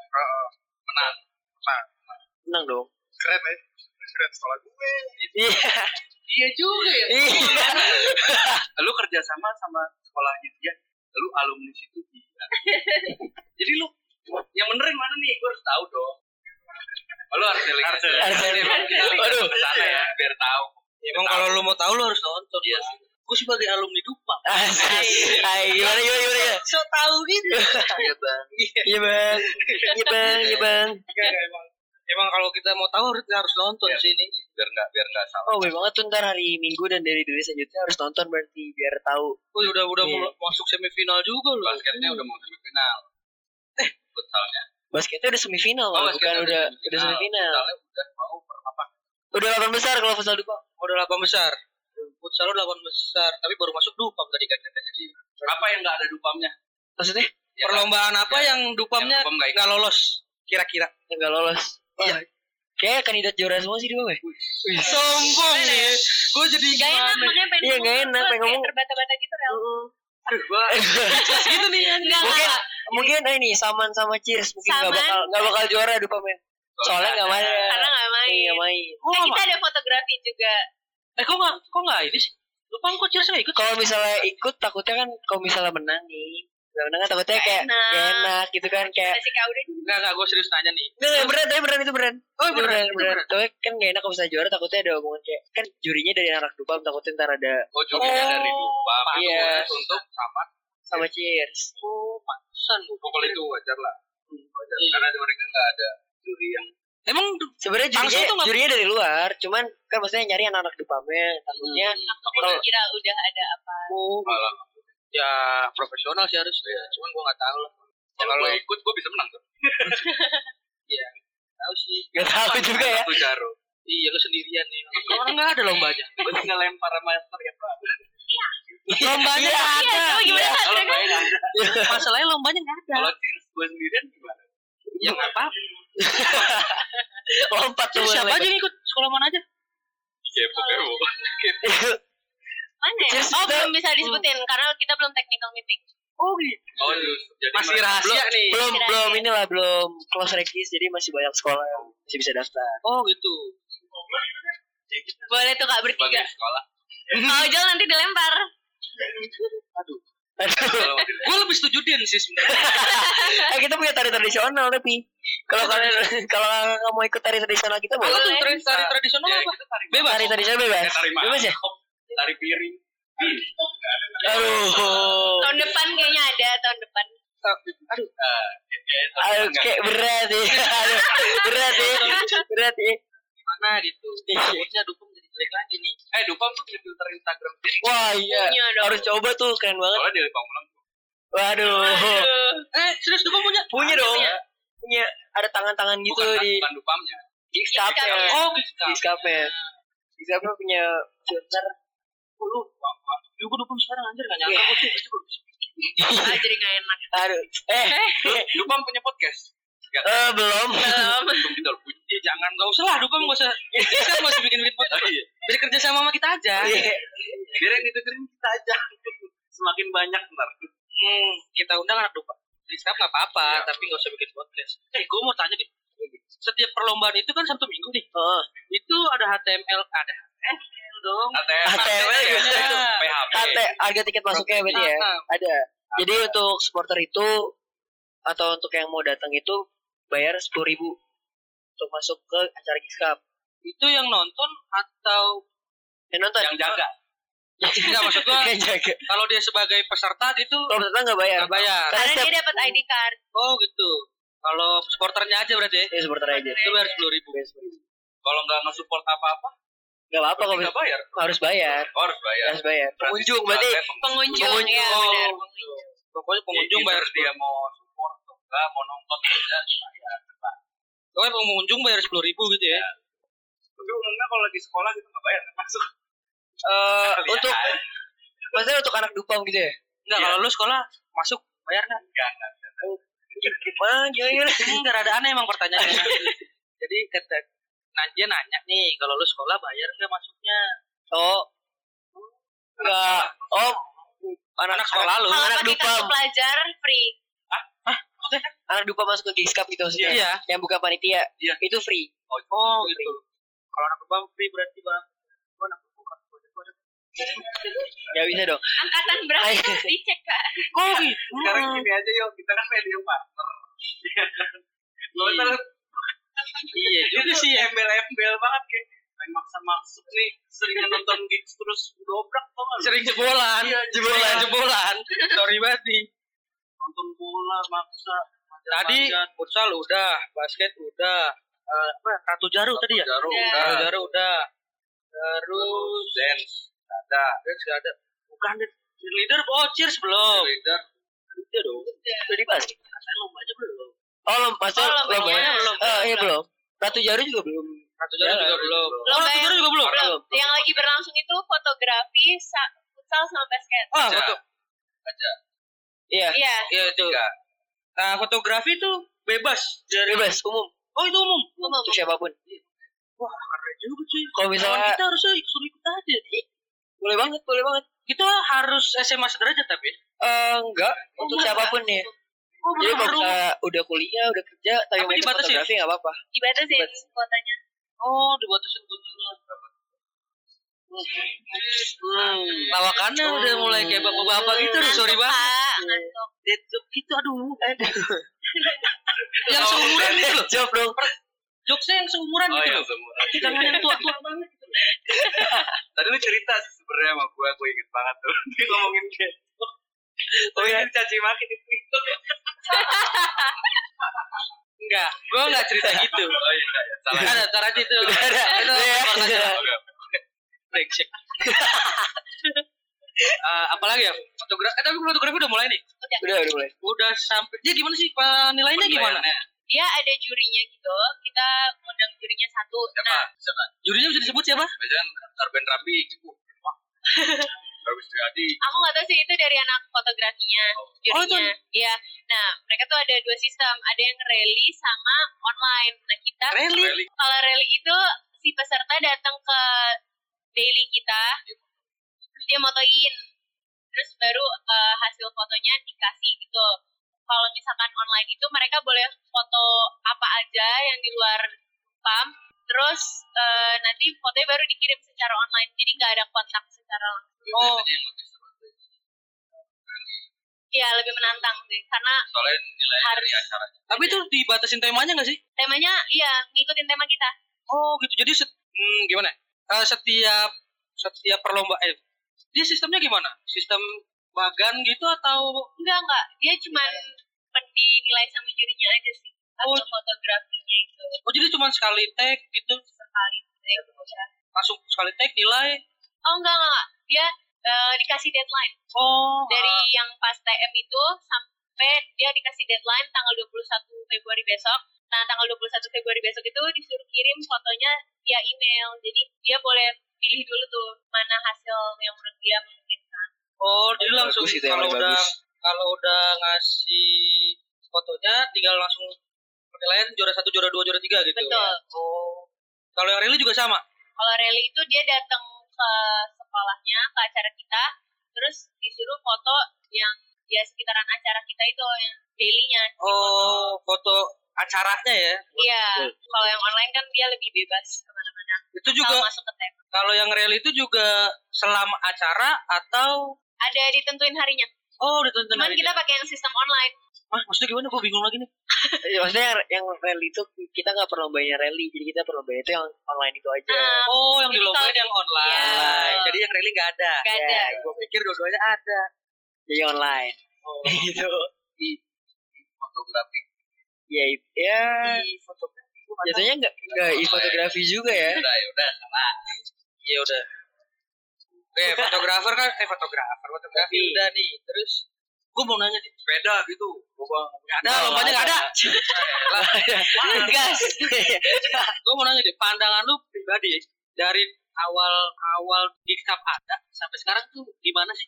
Speaker 1: Heeh.
Speaker 4: Menang dong.
Speaker 1: keren ya. Keren sekolah gue.
Speaker 4: Iya.
Speaker 3: Iya juga ya.
Speaker 4: Iya.
Speaker 3: Lu kerja sama sama sekolahnya dia. Lu alumni situ dia. Jadi lu yang bener yang mana nih? Gue harus tahu dong. Oh, Lu harus delik.
Speaker 1: Harus
Speaker 3: aja.
Speaker 4: delik.
Speaker 3: Harus
Speaker 4: Aduh.
Speaker 3: delik. Kita link ke sana ya biar tahu.
Speaker 2: Emang kalau lu mau tahu lu harus nonton.
Speaker 3: Iya sih.
Speaker 2: Gue sebagai alumni Dupam.
Speaker 4: Asik. Hai, gimana gimana gimana? gimana?
Speaker 2: So tahu gitu. Iya bang.
Speaker 4: Iya bang, iya bang, iya bang.
Speaker 2: emang. Emang kalau kita mau tahu harus- harus nonton
Speaker 3: Iya.
Speaker 2: sih ini.
Speaker 3: Biar nggak biar nggak salah.
Speaker 4: Oh, boleh banget tuh ntar hari Minggu dan dari dulu selanjutnya harus nonton berarti biar tahu.
Speaker 2: Wih, ya udah udah
Speaker 4: Iya.
Speaker 2: mau masuk semifinal juga loh.
Speaker 3: Basketnya udah mau semifinal. Futsalnya.
Speaker 4: Basketnya udah semifinal,
Speaker 3: Oh,
Speaker 4: Bang.
Speaker 3: basketnya
Speaker 4: bukan
Speaker 3: udah
Speaker 4: udah
Speaker 3: semifinal.
Speaker 4: udah semifinal.
Speaker 3: Futsalnya udah mau per apa?
Speaker 4: Udah delapan besar kalau futsal dupa.
Speaker 2: udah delapan besar. Futsal lu delapan besar, tapi baru masuk Dupam tadi kan katanya.
Speaker 3: Apa yang nggak ada dupamnya?
Speaker 4: Maksudnya
Speaker 3: Ya,
Speaker 2: Perlombaan apa yang Dupamnya
Speaker 3: yang Dupam nggak ikut.
Speaker 2: nggak lolos? Kira-kira.
Speaker 4: yang nggak lolos. Iya. Kayak kandidat juara semua sih di bawah. ya?
Speaker 2: Iya. Sombong ya. Gue jadi
Speaker 5: gak enak
Speaker 2: gimana?
Speaker 5: makanya pengen
Speaker 4: Iya, nggak
Speaker 5: ngomong,
Speaker 4: enak,
Speaker 5: terus
Speaker 4: pengen
Speaker 5: kayak
Speaker 4: ngomong.
Speaker 5: terbata-bata gitu Rel
Speaker 2: Aduh, gua
Speaker 3: Eh,
Speaker 2: gitu nih.
Speaker 5: enggak
Speaker 4: Mungkin-
Speaker 5: enggak
Speaker 4: Mungkin eh, ini saman sama Cheers mungkin nggak
Speaker 5: Saman.
Speaker 4: bakal nggak bakal juara dupa men. Soalnya nggak main.
Speaker 5: karena nggak main
Speaker 4: Iya main.
Speaker 5: Kan kita ada fotografi juga
Speaker 2: Eh kok nggak kok nggak ini sih? Dupam kok Cheers nggak ikut?
Speaker 4: Kalau misalnya ikut takutnya kan kalau misalnya menang nih Kadang-kadang kan takutnya kayak
Speaker 5: Enak.
Speaker 4: gak enak gitu kan kayak
Speaker 5: Kasih kau deh.
Speaker 2: Enggak, enggak, gue serius nanya nih.
Speaker 4: Nggak, nggak, beneran, tapi beneran itu beneran
Speaker 2: Oh,
Speaker 4: Itu
Speaker 2: beneran,
Speaker 4: beneran,
Speaker 2: itu
Speaker 4: beneran.
Speaker 2: beneran.
Speaker 4: Tapi kan gak enak kalau misalnya juara takutnya ada omongan kayak Kan jurinya dari anak dupam takutnya ntar ada
Speaker 3: Oh, jurinya
Speaker 2: Oh,
Speaker 3: dari Dupam. Itu
Speaker 4: iya.
Speaker 3: khusus untuk sama.
Speaker 4: sama cheers
Speaker 2: Oh, pantesan gue.
Speaker 3: Oh, kalau itu wajar lah. Wajar.
Speaker 2: Iya.
Speaker 3: Karena itu mereka nggak ada juri yang
Speaker 2: Emang
Speaker 4: Sebenarnya
Speaker 2: Langsung
Speaker 4: jurinya,
Speaker 2: tuh nggak-
Speaker 4: jurinya dari luar Cuman kan maksudnya nyari anak-anak dupamnya Takutnya
Speaker 2: Hmm.
Speaker 5: Aku kira udah ada apa.
Speaker 3: malah.
Speaker 2: ya profesional sih harus ya. Cuman gue nggak tahu lah.
Speaker 3: Kalau gue ikut, gue bisa menang tuh.
Speaker 2: Tahu sih.
Speaker 4: Gak tahu juga ya
Speaker 3: Satu jarum.
Speaker 2: Iya, lu sendirian nih. Orang Oh, nggak ada lombanya.
Speaker 3: Gue tinggal lempar sama ya, Pak.
Speaker 4: Lombanya
Speaker 5: Iya,
Speaker 4: ada
Speaker 5: coba gimana?
Speaker 3: Kalau
Speaker 5: Sandra?
Speaker 3: main ada.
Speaker 2: Masalahnya lombanya nggak ada.
Speaker 3: Kalau cheers, gue sendirian gimana?
Speaker 2: Ya nggak apa.
Speaker 4: Lompat
Speaker 2: Terus
Speaker 4: semua
Speaker 2: siapa aja yang ikut sekolah mana aja?
Speaker 3: Kepo,
Speaker 2: Oh,
Speaker 3: kepo.
Speaker 5: Mana ya?
Speaker 4: Just
Speaker 5: Oh,
Speaker 4: the-
Speaker 5: belum bisa disebutin karena kita belum technical meeting.
Speaker 2: Oh gitu.
Speaker 3: Oh, jus. Jadi
Speaker 2: Masih
Speaker 3: mereka-
Speaker 2: rahasia nih.
Speaker 5: Kira-kira.
Speaker 4: belum Oh, belum inilah belum close regis jadi masih banyak sekolah yang masih bisa daftar
Speaker 2: Oh gitu.
Speaker 5: Boleh tuh Kak bertiga.
Speaker 3: Sebagai sekolah.
Speaker 5: Kalau jual Oh, nanti dilempar.
Speaker 3: Kalau mau dilihat.
Speaker 2: Gue lebih setuju Din sih sebenarnya.
Speaker 4: eh kita punya tari tradisional tapi kalau kalian kalau nggak mau ikut tari tradisional kita
Speaker 2: Kalau tuh
Speaker 4: boleh
Speaker 2: tari, tari tradisional
Speaker 3: Ya,
Speaker 2: apa?
Speaker 3: kita tarik
Speaker 2: Bebas.
Speaker 4: tari tradisional bebas
Speaker 3: Eh, tari
Speaker 4: bebas ya
Speaker 3: mangkok, Tari piring.
Speaker 4: aduh
Speaker 2: Oh.
Speaker 4: Oh.
Speaker 5: Tahun depan kayaknya ada tahun depan.
Speaker 2: Aduh.
Speaker 3: Eh, kayak- kayak-
Speaker 4: aduh kayak berat ya Aduh, berat ya berat ya
Speaker 2: Mana gitu. Bosnya dukung jadi jelek lagi nih.
Speaker 3: Eh, Dupam tuh punya filter Instagram sendiri.
Speaker 4: wah iya
Speaker 5: Punya dong.
Speaker 4: harus coba tuh keren banget
Speaker 3: Soalnya dari Pamulang.
Speaker 4: waduh
Speaker 5: Aduh.
Speaker 2: Eh serius dukung punya?
Speaker 4: punya dong
Speaker 5: Iya.
Speaker 4: punya ada tangan-tangan gitu
Speaker 3: Bukan,
Speaker 4: di
Speaker 3: bukan Dupamnya.
Speaker 4: Gixcap-nya.
Speaker 5: Gixcap-nya.
Speaker 2: Oh gitu.
Speaker 4: Gixcap-nya. Gixcap-nya punya filter
Speaker 2: Lu Lu gue dukung sekarang anjir gak nyangka gue tuh.
Speaker 5: Ah, jadi gak enak.
Speaker 4: aduh eh
Speaker 3: Dupam punya podcast.
Speaker 4: eh, belum
Speaker 5: Belum.
Speaker 3: Belum kita udah punya.
Speaker 2: Ya jangan gak usah lah dukung gak usah. Sekarang gak usah bikin-bikin podcast.
Speaker 3: Iya. Oh, iya.
Speaker 2: Biar kerja sama sama kita aja.
Speaker 4: Iya.
Speaker 3: Biar yang didengerin kita aja. Semakin banyak ntar.
Speaker 2: Hmm, kita undang anak dupa. Rizka nggak apa-apa,
Speaker 3: Iya.
Speaker 2: tapi nggak usah bikin podcast. Eh, gue mau tanya deh. Setiap perlombaan itu kan satu minggu nih.
Speaker 3: Oh.
Speaker 4: Heeh.
Speaker 2: Itu ada HTML, ada HTML dong.
Speaker 3: ATM.
Speaker 4: ATM.
Speaker 3: iya.
Speaker 2: ya?
Speaker 3: PHP.
Speaker 4: Ate, harga tiket masuknya berarti ya
Speaker 2: Nah,
Speaker 4: ada jadi untuk supporter itu atau untuk yang mau datang itu bayar sepuluh ribu untuk masuk ke acara Geeks Cup
Speaker 2: itu yang nonton atau
Speaker 4: yang nonton
Speaker 3: Yang jaga.
Speaker 2: nggak maksud gua
Speaker 4: yang jaga
Speaker 2: kalau dia sebagai peserta gitu
Speaker 4: kalau datang nggak bayar
Speaker 2: nggak bayar.
Speaker 4: Karena
Speaker 5: Karena
Speaker 4: setiap-
Speaker 5: dia dapat ID card.
Speaker 2: Oh gitu. Kalau supporternya aja berarti ya.
Speaker 4: ya supporter aja
Speaker 2: Itu bayar sepuluh ribu.
Speaker 4: Bayar 10.000.
Speaker 3: Kalau nggak nge-support apa-apa,
Speaker 4: nggak apa-apa
Speaker 3: berarti
Speaker 4: kalau
Speaker 3: nggak bayar.
Speaker 4: harus bayar
Speaker 3: Oh, harus bayar.
Speaker 4: harus bayar
Speaker 3: Berarti
Speaker 4: pengunjung berarti
Speaker 3: ATM.
Speaker 5: Pengunjung,
Speaker 4: Pengunjung.
Speaker 5: ya benar.
Speaker 2: Oh, gitu. Pokoknya pengunjung
Speaker 3: Jadi,
Speaker 2: bayar
Speaker 3: either dia mau support atau enggak, mau nonton aja bayar.
Speaker 2: Pokoknya pengunjung bayar sepuluh ribu gitu ya.
Speaker 3: Iya. Tapi umumnya kalau lagi sekolah gitu nggak bayar, nggak masuk.
Speaker 4: Eh,
Speaker 3: Kalian.
Speaker 4: untuk maksudnya untuk anak dupam gitu ya
Speaker 2: Enggak,
Speaker 3: Iya.
Speaker 2: kalau lu sekolah masuk bayar nggak?
Speaker 3: Nggak, nggak.
Speaker 4: Wah,
Speaker 2: iya,
Speaker 4: gimana gimana
Speaker 2: Enggak rada aneh emang pertanyaannya. Jadi kata nah, dia nanya nih kalau lu sekolah bayar nggak masuknya?
Speaker 4: oh nggak oh
Speaker 2: Anak sekolah lu.
Speaker 5: Kalau
Speaker 4: anak
Speaker 5: pakai
Speaker 4: dupam
Speaker 5: kartu pelajar free.
Speaker 4: anak dupam masuk ke Geeks Cup gitu maksudnya
Speaker 2: Iya.
Speaker 4: yang bukan panitia
Speaker 3: Iya.
Speaker 4: itu free
Speaker 2: Oh, oh gitu. Kalau anak dupam free berarti bang. Gua anak dupam kan gua ada- gua ada.
Speaker 4: nggak Ya bisa dong
Speaker 5: Angkatan berapa dicek kak?
Speaker 2: Kok gitu?
Speaker 3: Sekarang gini aja yuk, kita kan medium partner. Iya kan? Lo ntar
Speaker 2: Iya juga sih ya.
Speaker 3: embel-embel banget kayak main maksa masuk nih seringan nonton gigs terus dobrak tau gak lu?
Speaker 2: Sering jebolan.
Speaker 3: Iya,
Speaker 2: Jebolan, jebolan. Sorry banget nih.
Speaker 3: nonton bola maksa
Speaker 2: Tadi futsal udah, basket udah, Eh, apa ya, kartu jaru tadi ya?
Speaker 3: jarum
Speaker 5: Udah.
Speaker 2: Kartu jaru udah. Terus
Speaker 3: dance
Speaker 2: ada, terus nggak ada. Bukan deh. Cheerleader, oh cheers belum.
Speaker 3: leader
Speaker 2: Udah Iya dong.
Speaker 4: udah dibahas
Speaker 2: Katanya lombanya belum.
Speaker 4: oh lom maksudnya
Speaker 5: Oh, lombanya
Speaker 2: ya?
Speaker 4: lombanya
Speaker 5: belum.
Speaker 4: Eh, iya belum ratu jaru juga belum
Speaker 2: Kartu jarum
Speaker 4: Jarum
Speaker 2: juga belum.
Speaker 5: Lomba
Speaker 2: Iya, Oh, kartu
Speaker 5: yang-
Speaker 2: jarum juga belum.
Speaker 5: Belum. Yang lagi berlangsung itu fotografi, sa- futsal sama basket.
Speaker 2: Ah,
Speaker 3: Aja.
Speaker 2: foto.
Speaker 4: iya
Speaker 5: Iya.
Speaker 2: Iya itu.
Speaker 3: tiga
Speaker 2: Nah, fotografi itu bebas dari
Speaker 4: bebas umum
Speaker 2: Oh, itu umum.
Speaker 5: Umum.
Speaker 4: untuk siapapun
Speaker 2: Iya. Wah, keren juga cuy.
Speaker 4: kalau
Speaker 2: Misalnya
Speaker 4: misalnya
Speaker 2: kita harusnya suruh ikut aja.
Speaker 4: boleh banget boleh banget
Speaker 2: Kita harus SMA sederajat tapi.
Speaker 4: Eh, enggak untuk
Speaker 5: enggak.
Speaker 4: siapapun ya
Speaker 2: Oh,
Speaker 4: jadi kalau
Speaker 2: belum.
Speaker 4: misalnya udah kuliah udah kerja tapi
Speaker 2: Tapi
Speaker 4: mau ikut
Speaker 2: dibatasin.
Speaker 4: fotografi nggak apa-apa
Speaker 5: Dibatasin
Speaker 4: Dibat-
Speaker 5: kuotanya.
Speaker 2: Oh, dibatasin kuotanya.
Speaker 4: Hmm, bawakannya udah mulai kayak bapak-bapak gitu udah sorry
Speaker 5: Ngantuk,
Speaker 4: banget.
Speaker 5: Pak, ngantuk.
Speaker 2: Dead joke
Speaker 4: gitu,
Speaker 2: itu aduh. Eh,
Speaker 3: Oh,
Speaker 4: Yang seumuran gitu loh. Jawab dong.
Speaker 2: jokesnya yang seumuran
Speaker 3: Oh
Speaker 2: gitu
Speaker 3: yang
Speaker 2: loh.
Speaker 3: semua.
Speaker 2: Jangan yang tua-tua banget. gitu.
Speaker 3: Tadi lu cerita sih sebenarnya sama gue, gue inget banget tuh. Dia ngomongin kayak
Speaker 4: Oh ya,
Speaker 3: caci maki di Twitter.
Speaker 4: enggak. Gua enggak cerita gitu.
Speaker 3: Oh iya, iya, salah.
Speaker 4: Ada tar aja itu. Ada. Itu
Speaker 3: Oke,
Speaker 4: aja.
Speaker 3: oke.
Speaker 4: Break check. Eh, apalagi ya fotografi eh tapi fotografi udah mulai nih udah udah mulai
Speaker 2: Udah sampai. Dia gimana sih penilaiannya gimana?
Speaker 3: Penilaiannya.
Speaker 5: Dia ada jurinya gitu. Kita ngundang jurinya satu.
Speaker 3: Siapa?
Speaker 5: Nah,
Speaker 3: Siapa?
Speaker 2: Jurinya bisa disebut siapa?
Speaker 3: Biasanya kan Arben Rambi, Cipu. Wah. Harus jadi.
Speaker 5: aku nggak tahu sih itu dari anak fotografinya
Speaker 2: Oh, itu-
Speaker 5: jurinya. Iya. Nah, mereka tuh ada dua sistem. Ada yang rally sama online. Nah, kita
Speaker 2: Rally.
Speaker 3: Rally.
Speaker 5: kalau rally itu si peserta datang ke daily kita. Terus dia motoin. Terus baru eh, hasil fotonya dikasih gitu. Kalau misalkan online itu mereka boleh foto apa aja yang di luar pam. Terus eh, nanti fotonya baru dikirim secara online. Jadi nggak ada kontak secara langsung.
Speaker 3: Oh. Biasanya yang lebih seru. tuh.
Speaker 5: Iya lebih menantang sih karena
Speaker 3: Soalnya nilai dari
Speaker 5: Harus.
Speaker 2: Iya.
Speaker 3: acaranya.
Speaker 2: Tapi itu dibatasin temanya nggak sih?
Speaker 5: temanya iya ngikutin tema kita.
Speaker 2: Oh gitu. Jadi set- hmm, gimana? Eh, setiap setiap perlombaan eh, dia sistemnya gimana? Sistem bagan gitu atau
Speaker 5: Enggak enggak dia cuman pen- dinilai sama jurinya aja sih hasil
Speaker 2: Oh.
Speaker 5: fotografinya itu
Speaker 2: oh jadi cuma sekali tag gitu
Speaker 5: sekali. Ya.
Speaker 2: langsung sekali tag nilai
Speaker 5: Oh enggak enggak, enggak. dia eh, dikasih deadline
Speaker 2: oh
Speaker 5: dari yang pas TM itu sampai dia dikasih deadline tanggal 21 Februari besok. Nah tanggal 21 Februari besok itu disuruh kirim fotonya via email jadi dia boleh pilih dulu tuh mana hasil yang menurut dia memungkinkan.
Speaker 2: oh jadi langsung
Speaker 4: Bagus itu yang
Speaker 2: kalau
Speaker 4: paling
Speaker 2: udah
Speaker 4: bagus.
Speaker 2: kalau udah ngasih fotonya tinggal langsung penilaian juara satu juara dua juara tiga gitu
Speaker 5: Betul.
Speaker 2: oh kalau yang rally juga sama
Speaker 5: Kalau rally itu dia datang ke sekolahnya, ke acara kita, terus disuruh foto yang ya sekitaran acara kita itu yang dailynya.
Speaker 2: oh foto acaranya ya
Speaker 5: Iya. Kalau yang online kan dia lebih bebas kemana-mana.
Speaker 2: itu
Speaker 5: Kalau
Speaker 2: juga
Speaker 5: masuk ke tema.
Speaker 2: kalau yang rally itu juga selama acara atau
Speaker 5: Ada ditentuin harinya.
Speaker 2: oh ditonton
Speaker 5: Cuman kita pakai yang sistem online.
Speaker 2: ah maksudnya gimana gue bingung lagi nih
Speaker 4: Ya, maksudnya yang, yang rally itu kita nggak perlu bayar rally jadi kita perlu bayar itu yang online itu aja Nah,
Speaker 5: Nah,
Speaker 2: oh yang
Speaker 5: Jadi
Speaker 2: dilombain
Speaker 5: kalau-
Speaker 2: yang online
Speaker 5: Iya.
Speaker 2: jadi yang rally nggak ada
Speaker 5: gak
Speaker 4: Ya,
Speaker 5: ada.
Speaker 2: gue pikir dua-duanya ada
Speaker 4: jadi online
Speaker 2: oh.
Speaker 4: gitu
Speaker 3: Fotografi.
Speaker 4: ya it- ya
Speaker 2: Di fotografi gua nggak tahu.
Speaker 4: jatuhnya nggak nggak
Speaker 3: Online.
Speaker 4: fotografi juga ya
Speaker 3: Udah, ya udah. Salah.
Speaker 2: Iya udah. Oke, fotografer kan eh fotografer, fotografi
Speaker 4: Tapi-
Speaker 2: udah nih. Terus gue mau nanya nih,
Speaker 3: Sepeda gitu. Gua nggak
Speaker 2: ada
Speaker 4: Oh,
Speaker 2: lombanya nggak ada?
Speaker 4: Wah, gas
Speaker 2: Gue mau nanya deh, pandangan lu pribadi dari awal-awal Gigtap ada sampai sekarang tuh gimana sih?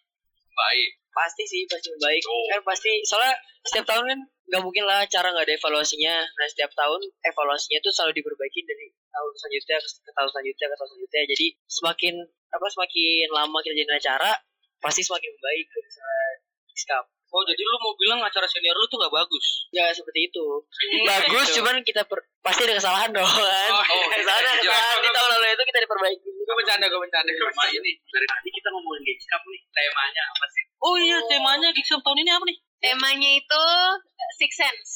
Speaker 3: Baik.
Speaker 4: pasti sih pasti baik
Speaker 3: Oh.
Speaker 4: kan pasti soalnya setiap tahun kan nggak mungkin lah cara nggak ada evaluasinya nah setiap tahun evaluasinya tuh selalu diperbaiki dari tahun selanjutnya ke ke tahun selanjutnya ke tahun selanjutnya jadi semakin apa semakin lama kita jadi acara pasti semakin baik kalau misalnya Discup.
Speaker 2: Oh, jadi lu mau bilang acara senior lu tuh nggak bagus?
Speaker 4: ya seperti itu bagus cuman kita per- pasti ada kesalahan dong kan
Speaker 2: Oh,
Speaker 3: gitu. iya.
Speaker 4: kesalahan ada
Speaker 3: Iya.
Speaker 4: kesalahan di tahun lalu itu kita diperbaiki
Speaker 3: Gue bercanda, gue bercanda. Sama ini. Dari tadi kita ngomongin gigs cup nih. Temanya apa sih?
Speaker 2: Oh iya,
Speaker 5: Oh.
Speaker 2: temanya Gigtap tahun ini apa nih?
Speaker 5: Temanya itu eh, Six Sense.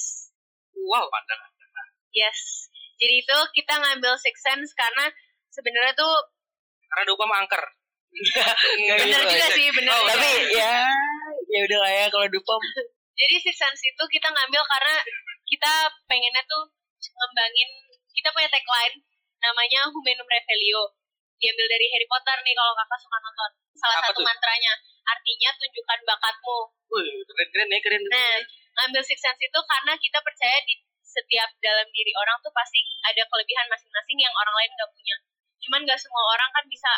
Speaker 3: Wow. Pandangan.
Speaker 5: Yes. Jadi itu kita ngambil Six Sense karena sebenarnya tuh
Speaker 2: Karena Dupam angker. Iya,
Speaker 5: bener
Speaker 4: gitu,
Speaker 5: juga
Speaker 4: Isaac.
Speaker 5: sih, bener. juga.
Speaker 4: tapi ya ya udah lah ya kalau dupam
Speaker 5: Jadi Six Sense itu kita ngambil karena kita pengennya tuh ngembangin kita punya tagline namanya Humanum Revelio. Diambil dari Harry Potter nih kalau kakak suka nonton. Salah
Speaker 2: Apa
Speaker 5: satu
Speaker 2: tuh?
Speaker 5: mantranya artinya tunjukkan bakatmu.
Speaker 2: Wih, keren-keren ya, keren.
Speaker 5: Nah, ngambil Six Sense itu karena kita percaya di setiap dalam diri orang tuh pasti ada kelebihan masing-masing yang orang lain nggak punya. Cuman nggak semua orang kan bisa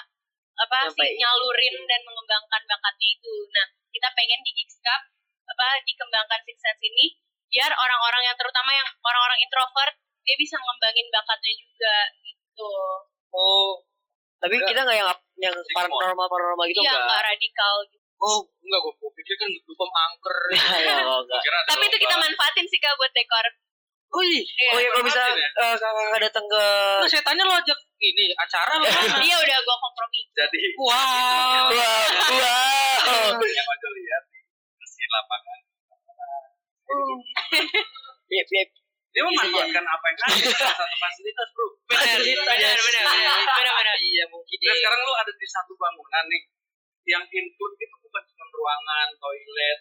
Speaker 5: apa sih
Speaker 4: Nyampai.
Speaker 5: nyalurin dan mengembangkan bakatnya itu. Nah, kita pengen di Geeks Cup apa dikembangkan Six Sense ini biar orang-orang yang terutama yang orang-orang introvert dia bisa ngembangin bakatnya juga gitu.
Speaker 2: Oh,
Speaker 4: tapi
Speaker 2: Enggak.
Speaker 4: kita nggak yang yang
Speaker 3: Sigmund.
Speaker 4: paranormal paranormal gitu
Speaker 5: Iya,
Speaker 4: enggak
Speaker 5: nggak radikal gitu.
Speaker 2: oh enggak gue pikir kan Dupam angker.
Speaker 4: ya kalau enggak
Speaker 3: Kira ada
Speaker 5: Tapi itu kita
Speaker 3: lomba.
Speaker 5: manfaatin sih Kak buat dekor.
Speaker 2: Oh iya.
Speaker 5: Iya.
Speaker 4: Oh iya kalau bisa
Speaker 3: Perhatiin ya.
Speaker 4: eh, kakak-kakak datang ke
Speaker 2: Nah, setannya lo ajak ini acara lu mana?
Speaker 5: Iya udah gue kompromi.
Speaker 3: Jadi
Speaker 1: Ah,
Speaker 2: wow.
Speaker 4: Wow, wow.
Speaker 3: yang aku lihat si lapangan
Speaker 4: Iya, iya.
Speaker 2: Dia memanfaatkan apa yang ada salah satu fasilitas, Bro.
Speaker 4: Benar, benar, benar, benar, benar, benar. Iya, mungkin.
Speaker 3: Nah, sekarang lu ada di satu bangunan nih yang include itu bukan cuma ruangan, toilet,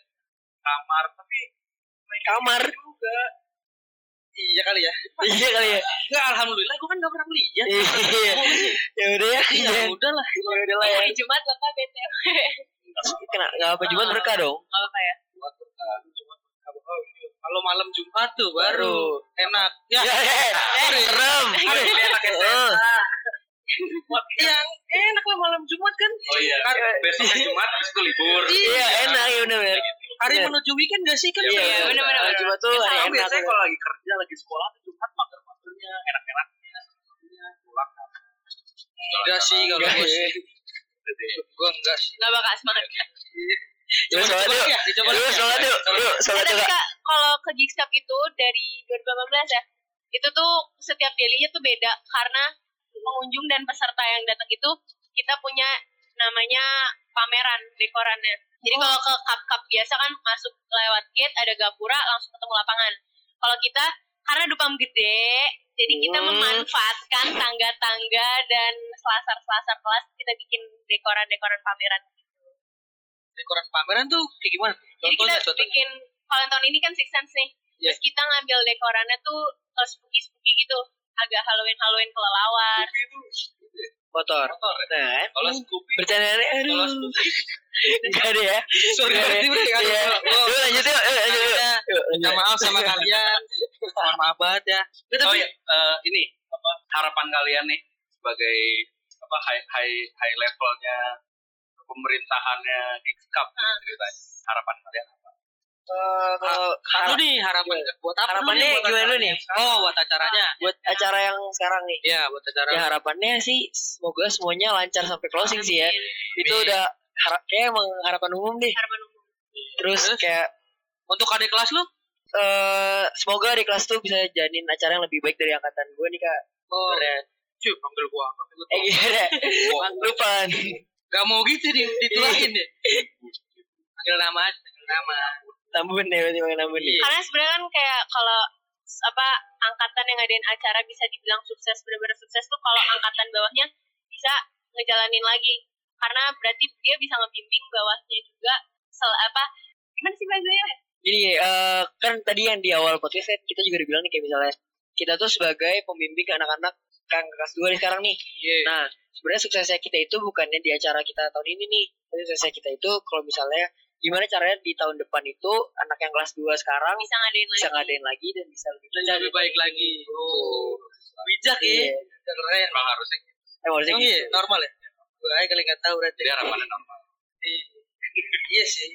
Speaker 3: kamar, tapi
Speaker 4: Kamar.
Speaker 3: juga.
Speaker 2: Iya kali ya.
Speaker 4: Iya kali ya.
Speaker 2: Enggak, alhamdulillah gue kan gak pernah melihat.
Speaker 4: Iya. Ya udah ya.
Speaker 2: Iya,
Speaker 4: Ya
Speaker 2: udah lah.
Speaker 4: udah lah ya.
Speaker 5: Hari Jumat lengkap BTW.
Speaker 4: Kena enggak apa Jumat berkah dong.
Speaker 5: Gak apa ya?
Speaker 3: Buat berkah, cuma berkah, berkah.
Speaker 2: Kalau malam Jumat tuh baru enak. Ya,
Speaker 4: Ya, ya. Serem.
Speaker 2: Aduh, dia pakai
Speaker 4: Eh,
Speaker 2: yang enak lah malam Jumat kan.
Speaker 3: Oh iya,
Speaker 2: Kan-
Speaker 3: besoknya Jumat habis itu libur.
Speaker 4: Iya, enak ya benar. benar.
Speaker 2: Hari
Speaker 4: Iya.
Speaker 2: menuju weekend gak sih kan?
Speaker 4: Iya,
Speaker 5: Iya,
Speaker 4: benar
Speaker 5: benar,
Speaker 4: benar.
Speaker 5: benar.
Speaker 4: Jumat tuh hari
Speaker 3: Tapi
Speaker 4: enak.
Speaker 3: biasanya kalau lagi kerja, lagi sekolah, tuh Jumat mager-magernya, enak-enaknya, sebelumnya, pulang.
Speaker 2: Enggak sih kalau
Speaker 4: Enggak
Speaker 2: gue
Speaker 4: ya.
Speaker 2: sih. Gue enggak sih.
Speaker 5: Gak bakal semangat.
Speaker 4: Yuk sholat
Speaker 2: Coba
Speaker 4: yuk.
Speaker 2: ya, dicoba
Speaker 4: Yuk
Speaker 2: ya.
Speaker 4: sholat yuk. Yuk
Speaker 5: Eh,
Speaker 4: sholat yuk.
Speaker 5: tapi
Speaker 4: Kak.
Speaker 5: kak, kalau ke Geeks Cup itu dari 2018 ya, itu tuh setiap dailynya tuh beda karena pengunjung dan peserta yang datang itu kita punya namanya pameran dekorannya. Jadi kalau ke cup-cup biasa kan masuk lewat gate ada gapura langsung ketemu lapangan. Kalau kita karena Dupam gede, jadi kita
Speaker 4: Hmm.
Speaker 5: memanfaatkan tangga-tangga dan selasar-selasar kelas kita bikin dekoran-dekoran pameran
Speaker 2: Dekoran pameran tuh kayak gimana?
Speaker 5: jadi
Speaker 2: Contohnya,
Speaker 5: kita
Speaker 2: contohnya.
Speaker 5: bikin kalau yang tahun ini kan Six Sense nih.
Speaker 2: Iya.
Speaker 5: Terus kita ngambil dekorannya tuh eh, spooky-spooky gitu. Agak Halloween-Halloween kelelawar.
Speaker 4: Kotor.
Speaker 2: Kotor.
Speaker 4: Nah, kan.
Speaker 2: Kalau
Speaker 3: Hmm.
Speaker 2: Scoopy,
Speaker 4: bercandanya aduh.
Speaker 2: kalau Scoopy,
Speaker 4: Enggak ada ya.
Speaker 2: sorry
Speaker 4: Iya.
Speaker 2: berarti bro, aduh,
Speaker 4: Iya.
Speaker 2: gua-
Speaker 4: Yuk lanjut yuk. Yuk lanjut yuk.
Speaker 2: Anda,
Speaker 4: Yuk,
Speaker 2: minta
Speaker 4: lanjut.
Speaker 2: maaf sama kalian. Mohon maaf banget ya. Tapi-
Speaker 3: Oh iya, eh, ini apa harapan kalian nih sebagai apa high high high levelnya pemerintahannya di Cup gitu
Speaker 2: Ah.
Speaker 3: ceritanya. Harapan kalian apa?
Speaker 4: Eh, Kalau
Speaker 2: Lu
Speaker 4: harap-
Speaker 2: nih harapan buat apa?
Speaker 4: Iya. Harapannya
Speaker 2: buat
Speaker 4: gimana
Speaker 2: acaranya?
Speaker 4: nih? Iya.
Speaker 2: Oh, buat acaranya.
Speaker 4: buat acara yang sekarang nih.
Speaker 2: Iya, buat acara.
Speaker 4: Ya harapannya sih semoga semuanya lancar sampai closing sih
Speaker 2: Iya.
Speaker 4: ya. Itu
Speaker 2: Amin.
Speaker 4: udah harap kayak emang harapan umum deh.
Speaker 5: Harapan umum.
Speaker 4: Terus
Speaker 2: Terus?
Speaker 4: kayak
Speaker 2: Untuk adik kelas lu?
Speaker 4: eh semoga di kelas tuh bisa jadiin acara yang lebih baik dari angkatan gue nih kak.
Speaker 2: Oh,
Speaker 4: Keren.
Speaker 2: cuy, panggil gua apa? Lu
Speaker 4: Eh
Speaker 2: tau.
Speaker 4: gimana? Lupa.
Speaker 2: Gak mau gitu di ditulain deh. Panggil nama aja, panggil nama.
Speaker 4: Tambun deh berarti makan tambun deh.
Speaker 2: Iya.
Speaker 5: Karena sebenarnya kan kayak kalau s- apa angkatan yang ngadain acara bisa dibilang sukses benar-benar sukses tuh kalau angkatan bawahnya bisa ngejalanin lagi karena berarti dia bisa ngebimbing bawahnya juga sel apa gimana sih ya? bahasanya
Speaker 4: Jadi eh kan tadi yang di awal podcast kan kita juga dibilang nih kayak misalnya kita tuh sebagai pembimbing ke anak-anak kan kelas dua nih sekarang nih.
Speaker 2: Iya.
Speaker 4: Nah sebenarnya suksesnya kita itu bukannya di acara kita tahun ini nih. Tapi suksesnya kita itu kalau misalnya gimana caranya di tahun depan itu anak yang kelas 2 sekarang
Speaker 5: bisa ngadain lagi
Speaker 4: bisa ngadain lagi dan bisa lebih
Speaker 3: Iya.
Speaker 2: Jadi lebih baik lagi. Oh. Bijak ya.
Speaker 4: Iya.
Speaker 2: Keren.
Speaker 3: Emang harusnya gitu.
Speaker 4: Eh, harusnya
Speaker 2: Emang
Speaker 4: gitu.
Speaker 2: iya, normal ya? Gue aja kali gak tau berarti.
Speaker 3: Jadi harapannya normal
Speaker 2: Iya sih.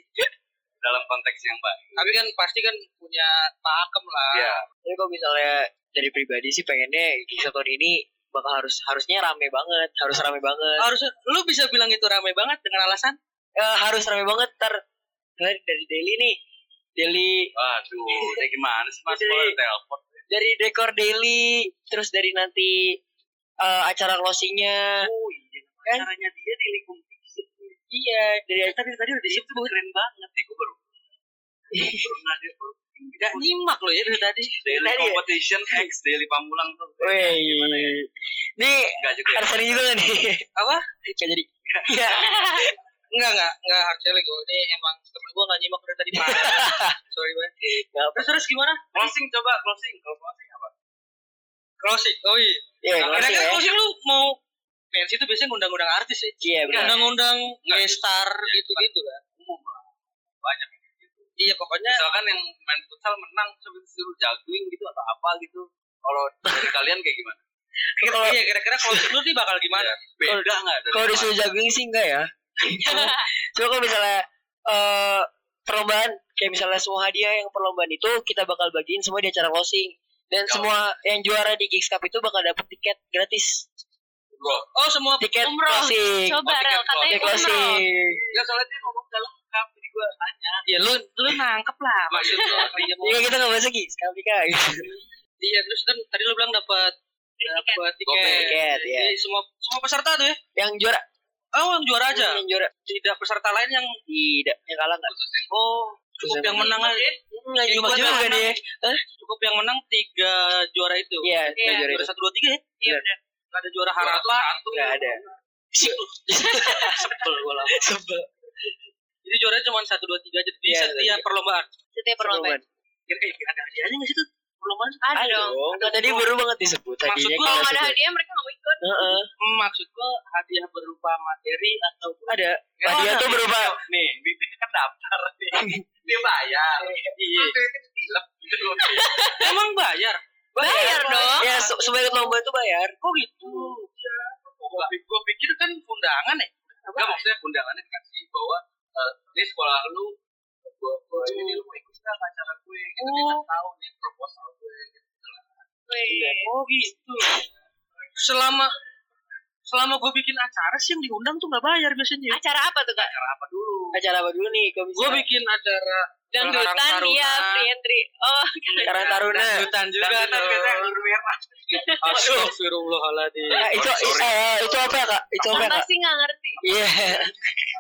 Speaker 3: dalam konteks yang baik.
Speaker 2: Tapi kan pasti kan punya pakem lah.
Speaker 3: Iya.
Speaker 4: Tapi kalau misalnya dari pribadi sih pengennya kisah tahun ini bakal harus harusnya rame banget, harus rame banget.
Speaker 2: Harus lu bisa bilang gitu.
Speaker 4: gitu,
Speaker 2: itu ramai banget dengan alasan
Speaker 4: Eh, harus rame banget ter dari, dari daily nih. Daily
Speaker 3: Waduh, ini gimana sih Mas
Speaker 4: Jadi-
Speaker 3: kalau telepon?
Speaker 4: dari dekor daily terus dari nanti eh, acara closingnya
Speaker 2: Oh iya.
Speaker 4: Kan?
Speaker 2: Caranya dia di lingkungan fisik.
Speaker 4: iya dari
Speaker 2: Tapi tadi udah disebut keren banget nih gue baru. baru ngadir baru. Gak nyimak lo ya dari tadi.
Speaker 3: Daily
Speaker 4: Tadi ya?
Speaker 3: competition X Daily Pamulang tuh.
Speaker 4: Wih, nih
Speaker 3: Enggak juga. ya?
Speaker 4: harus sering juga nggak nih
Speaker 2: Apa?
Speaker 4: Gak jadi Iya.
Speaker 2: Enggak enggak enggak harusnya lagi. oh, Ini emang temen gue gak nyimak dari tadi parah. Sorry banget.
Speaker 4: Nggak apa
Speaker 2: Terus terus gimana?
Speaker 3: Iya. Closing coba closing. Kalau closing apa?
Speaker 2: Closing. Oh iya.
Speaker 4: Iya,
Speaker 2: Nah,
Speaker 4: closing
Speaker 2: kadang-kadang
Speaker 4: ya.
Speaker 2: closing lu mau pensi itu biasanya ngundang-ngundang artis ya.
Speaker 4: Iya, benar.
Speaker 2: Undang-undang
Speaker 3: Nggak.
Speaker 2: star gitu-gitu kan.
Speaker 3: Umum lah. Banyak yang gitu.
Speaker 2: Iya pokoknya
Speaker 3: Misalkan yang main futsal menang terus disuruh juggling gitu atau apa gitu. Kalau dari kalian kayak gimana?
Speaker 4: Kalau
Speaker 2: iya kira-kira closing lu nih bakal gimana?
Speaker 3: Beda nggak? dari
Speaker 4: kalau disuruh juggling sih enggak ya. Cuma kalau misalnya eh perlombaan kayak misalnya semua hadiah yang perlombaan itu kita bakal bagiin semua di acara closing dan
Speaker 3: Ya.
Speaker 4: semua yang juara di Gigs Cup itu bakal dapet tiket gratis.
Speaker 3: Bro,
Speaker 2: Oh semua
Speaker 4: Tiket
Speaker 5: Umroh.
Speaker 4: closing.
Speaker 5: coba
Speaker 3: Mau
Speaker 5: rel
Speaker 3: tiket
Speaker 5: katanya
Speaker 4: Tiket
Speaker 5: umroh
Speaker 4: closing.
Speaker 3: ya soalnya dia ngomong gak lengkap, jadi gue tanya.
Speaker 2: ya lu lu nangkep lah maksud lu. Iya,
Speaker 4: Iya, kita enggak bahas Gigs Cup Kak.
Speaker 2: Iya terus kan tadi lu bilang dapat
Speaker 5: tiket.
Speaker 2: dapat
Speaker 3: Oke.
Speaker 2: tiket.
Speaker 4: Tiket, ya.
Speaker 2: Jadi semua semua peserta tuh ya.
Speaker 4: Yang juara
Speaker 2: Oh, yang juara aja.
Speaker 4: Yang juara
Speaker 2: Tidak peserta lain yang
Speaker 4: tidak yang kalah nggak?
Speaker 2: oh cukup
Speaker 4: Peserta
Speaker 2: yang menang aja.
Speaker 4: Hmm, Yang
Speaker 2: Yang
Speaker 4: juga
Speaker 2: juara
Speaker 4: juga
Speaker 2: menang. Eh,
Speaker 4: deh.
Speaker 2: Cukup yang menang tiga juara itu.
Speaker 4: Iya, yang
Speaker 5: Iya.
Speaker 4: juara
Speaker 2: Juara
Speaker 4: itu.
Speaker 2: satu dua tiga ya.
Speaker 5: Iya benar.
Speaker 2: Nggak ada juara
Speaker 3: Juara tuh
Speaker 2: harapan.
Speaker 3: satu.
Speaker 4: Nggak ada.
Speaker 2: Sebel gua lama.
Speaker 4: Sebel.
Speaker 2: Jadi juaranya cuma satu dua tiga jadi di
Speaker 4: Iya,
Speaker 2: setiap
Speaker 4: iya.
Speaker 2: perlombaan.
Speaker 5: Setiap perlombaan.
Speaker 2: Kira-kira ada hadiahnya nggak sih tuh perlombaan?
Speaker 5: Ada
Speaker 4: Ayo
Speaker 5: dong.
Speaker 4: dong. Tadi baru banget disebut
Speaker 2: Maksud
Speaker 4: tadinya.
Speaker 2: gua
Speaker 5: Kalau
Speaker 4: kita
Speaker 5: nggak ada
Speaker 4: sebut.
Speaker 5: hadiah mereka nggak mau ikut.
Speaker 4: Heeh.
Speaker 2: Maksud gua hadiah berupa materi atau Ya,
Speaker 4: Ada. Hadiah tuh berupa
Speaker 3: Nih, Bibi kan daftar nih. Dia bayar.
Speaker 2: Iya.
Speaker 3: Dilep.
Speaker 2: Emang bayar?
Speaker 5: Bayar dong.
Speaker 4: Ya, se- semua ikut lomba itu bayar.
Speaker 2: Kok gitu? Gua pi- gua pikir kan undangan ya.
Speaker 3: Enggak maksudnya undangannya dikasih bahwa eh, ini sekolah lu gua
Speaker 2: Oh,
Speaker 3: gua
Speaker 2: iya.
Speaker 3: ini lu mau ikut enggak ke acara gue gitu dia kasih tahu nih proposal gue gitu.
Speaker 4: Iya.
Speaker 5: Wih.
Speaker 2: Oh gitu. Selama selama gue bikin acara sih yang diundang tuh nggak bayar biasanya.
Speaker 5: Acara apa tuh kak?
Speaker 3: Acara apa dulu?
Speaker 4: Acara apa dulu nih? Kalau
Speaker 2: Gue
Speaker 4: bisa-
Speaker 2: bikin acara
Speaker 5: Dangdutan
Speaker 2: Karang
Speaker 5: dia
Speaker 2: Taruna.
Speaker 5: free entry. Oh
Speaker 4: Karang Taruna.
Speaker 2: Dangdutan juga kan kita.
Speaker 3: merah.
Speaker 2: Astagfirullahaladzim.
Speaker 4: Ah, itu,
Speaker 3: Oh, sorry.
Speaker 4: eh, itu apa ya, Kak? Itu apa ya,
Speaker 5: apa
Speaker 4: Kak?
Speaker 5: sih nggak ngerti?
Speaker 4: Iya.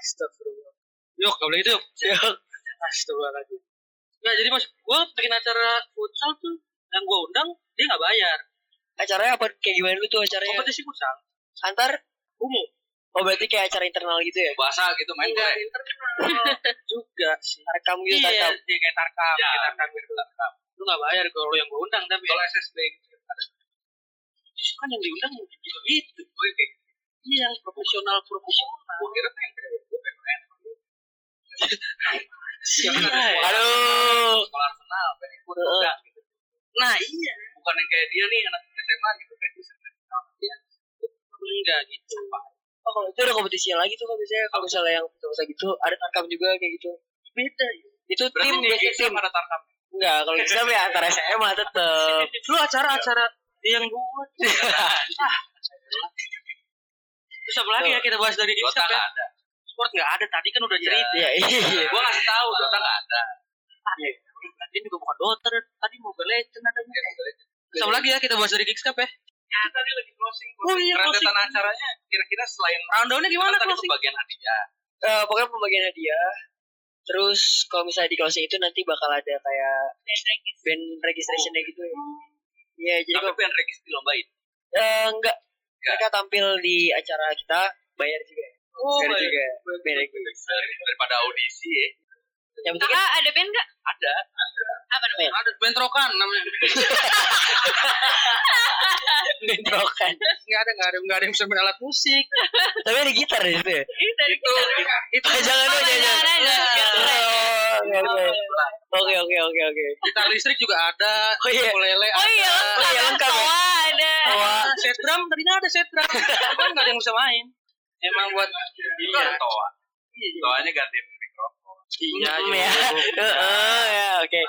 Speaker 2: Astagfirullah. Yuk, gak boleh gitu yuk.
Speaker 4: Yuk.
Speaker 2: Astagfirullahaladzim. Nah, jadi mas, gue bikin acara futsal tuh yang gue undang dia nggak bayar.
Speaker 4: Acaranya apa? Kayak gimana dulu tuh acaranya?
Speaker 2: Kompetisi futsal.
Speaker 4: Antar?
Speaker 2: Umum. Iya.
Speaker 4: Oh, berarti kayak acara internal gitu ya?
Speaker 3: Bahasa gitu main gue.
Speaker 2: juga sih.
Speaker 4: Rekam gitu,
Speaker 2: Iya,
Speaker 4: tarkam.
Speaker 2: dia kayak tarkam,
Speaker 3: Ya.
Speaker 2: kayak tarkam gitu tarkam. Lu nggak bayar kalau yang gue undang tapi
Speaker 3: Kalau SSB gitu.
Speaker 2: justru kan yang diundang gitu gitu. Iya, yang profesional profesional.
Speaker 3: Gue Oh, kira tuh yang kayak gue pengen
Speaker 2: Iya.
Speaker 4: Aduh.
Speaker 3: sekolah Arsenal pengen ikut
Speaker 4: Heeh.
Speaker 3: enggak gitu.
Speaker 2: Nah, iya.
Speaker 3: Bukan yang kayak dia nih anak SMA gitu kayak gue sering sama dia.
Speaker 2: Enggak gitu.
Speaker 4: Oh, kalau itu ada kompetisinya lagi tuh, kalau biasanya. Kalau misalnya yang bisa gitu, ada tarkam juga kayak gitu.
Speaker 2: Beda. ya.
Speaker 4: Itu
Speaker 3: Berarti
Speaker 4: tim,
Speaker 3: di
Speaker 4: biasanya tim.
Speaker 3: Gisam ada tarkam.
Speaker 4: Enggak, kalau kita ya antara SMA tetep.
Speaker 2: Lu acara-acara yang gue.
Speaker 3: Iya.
Speaker 2: Terus apa lagi ya kita bahas dari
Speaker 3: Dota
Speaker 2: Gipsap ya?
Speaker 3: nggak ada.
Speaker 2: Sport nggak ada tadi kan udah cerita.
Speaker 4: Iya, iya, iya.
Speaker 3: Gue ngasih tahu Dota nggak ada.
Speaker 2: Tadi juga bukan Dota tadi Mobile Legends adanya.
Speaker 3: Iya,
Speaker 2: Terus apa lagi ya kita bahas dari Gipsap ya?
Speaker 3: Nah, tadi lagi closing.
Speaker 2: Oh iya, closing.
Speaker 3: Rentetan acaranya kira-kira selain
Speaker 2: Round down-nya gimana
Speaker 3: tadi
Speaker 2: closing?
Speaker 3: pembagian hadiah.
Speaker 4: Eh, pokoknya pembagian hadiah. Terus kalau misalnya di closing itu nanti bakal ada kayak band registration gitu ya. Iya, jadi
Speaker 3: Tapi
Speaker 4: kalau
Speaker 3: pengen registrasi lomba itu.
Speaker 4: eh, enggak
Speaker 3: Enggak.
Speaker 4: mereka tampil di acara kita bayar juga.
Speaker 2: Oh,
Speaker 4: bayar
Speaker 2: baik.
Speaker 4: juga. Bayar juga.
Speaker 3: Dari- Daripada audisi ya.
Speaker 4: Yang penting
Speaker 5: Kakak ada band nggak?
Speaker 3: Ada.
Speaker 5: Apa namanya?
Speaker 2: Ada bentrokan namanya.
Speaker 4: bentrokan.
Speaker 2: Enggak ada, enggak ada, enggak ada yang bisa main alat musik.
Speaker 4: Tapi ada gitar di situ ya.
Speaker 5: Ini dari
Speaker 2: Itu itu
Speaker 4: Ah, jangan
Speaker 5: Oh,
Speaker 4: dong, jangan.
Speaker 5: jangan, jangan.
Speaker 2: Nah.
Speaker 4: jangan. Oh, oke, oke. Oke, oke, oke, oke.
Speaker 2: gitar listrik juga ada,
Speaker 4: Oh iya.
Speaker 2: ukulele
Speaker 5: Oh iya
Speaker 2: ada.
Speaker 5: lengkap.
Speaker 4: Oh iya,
Speaker 5: ya.
Speaker 4: lengkap ya.
Speaker 5: Toa ada.
Speaker 4: Wah,
Speaker 2: Nah, set drum tadinya ada set drum. Kan enggak ada yang bisa main. Emang buat
Speaker 3: Itu ada toa. Toanya ganti mikrofon.
Speaker 2: Iya,
Speaker 4: Hmm,
Speaker 2: iya.
Speaker 4: ya. Heeh, ya, oke.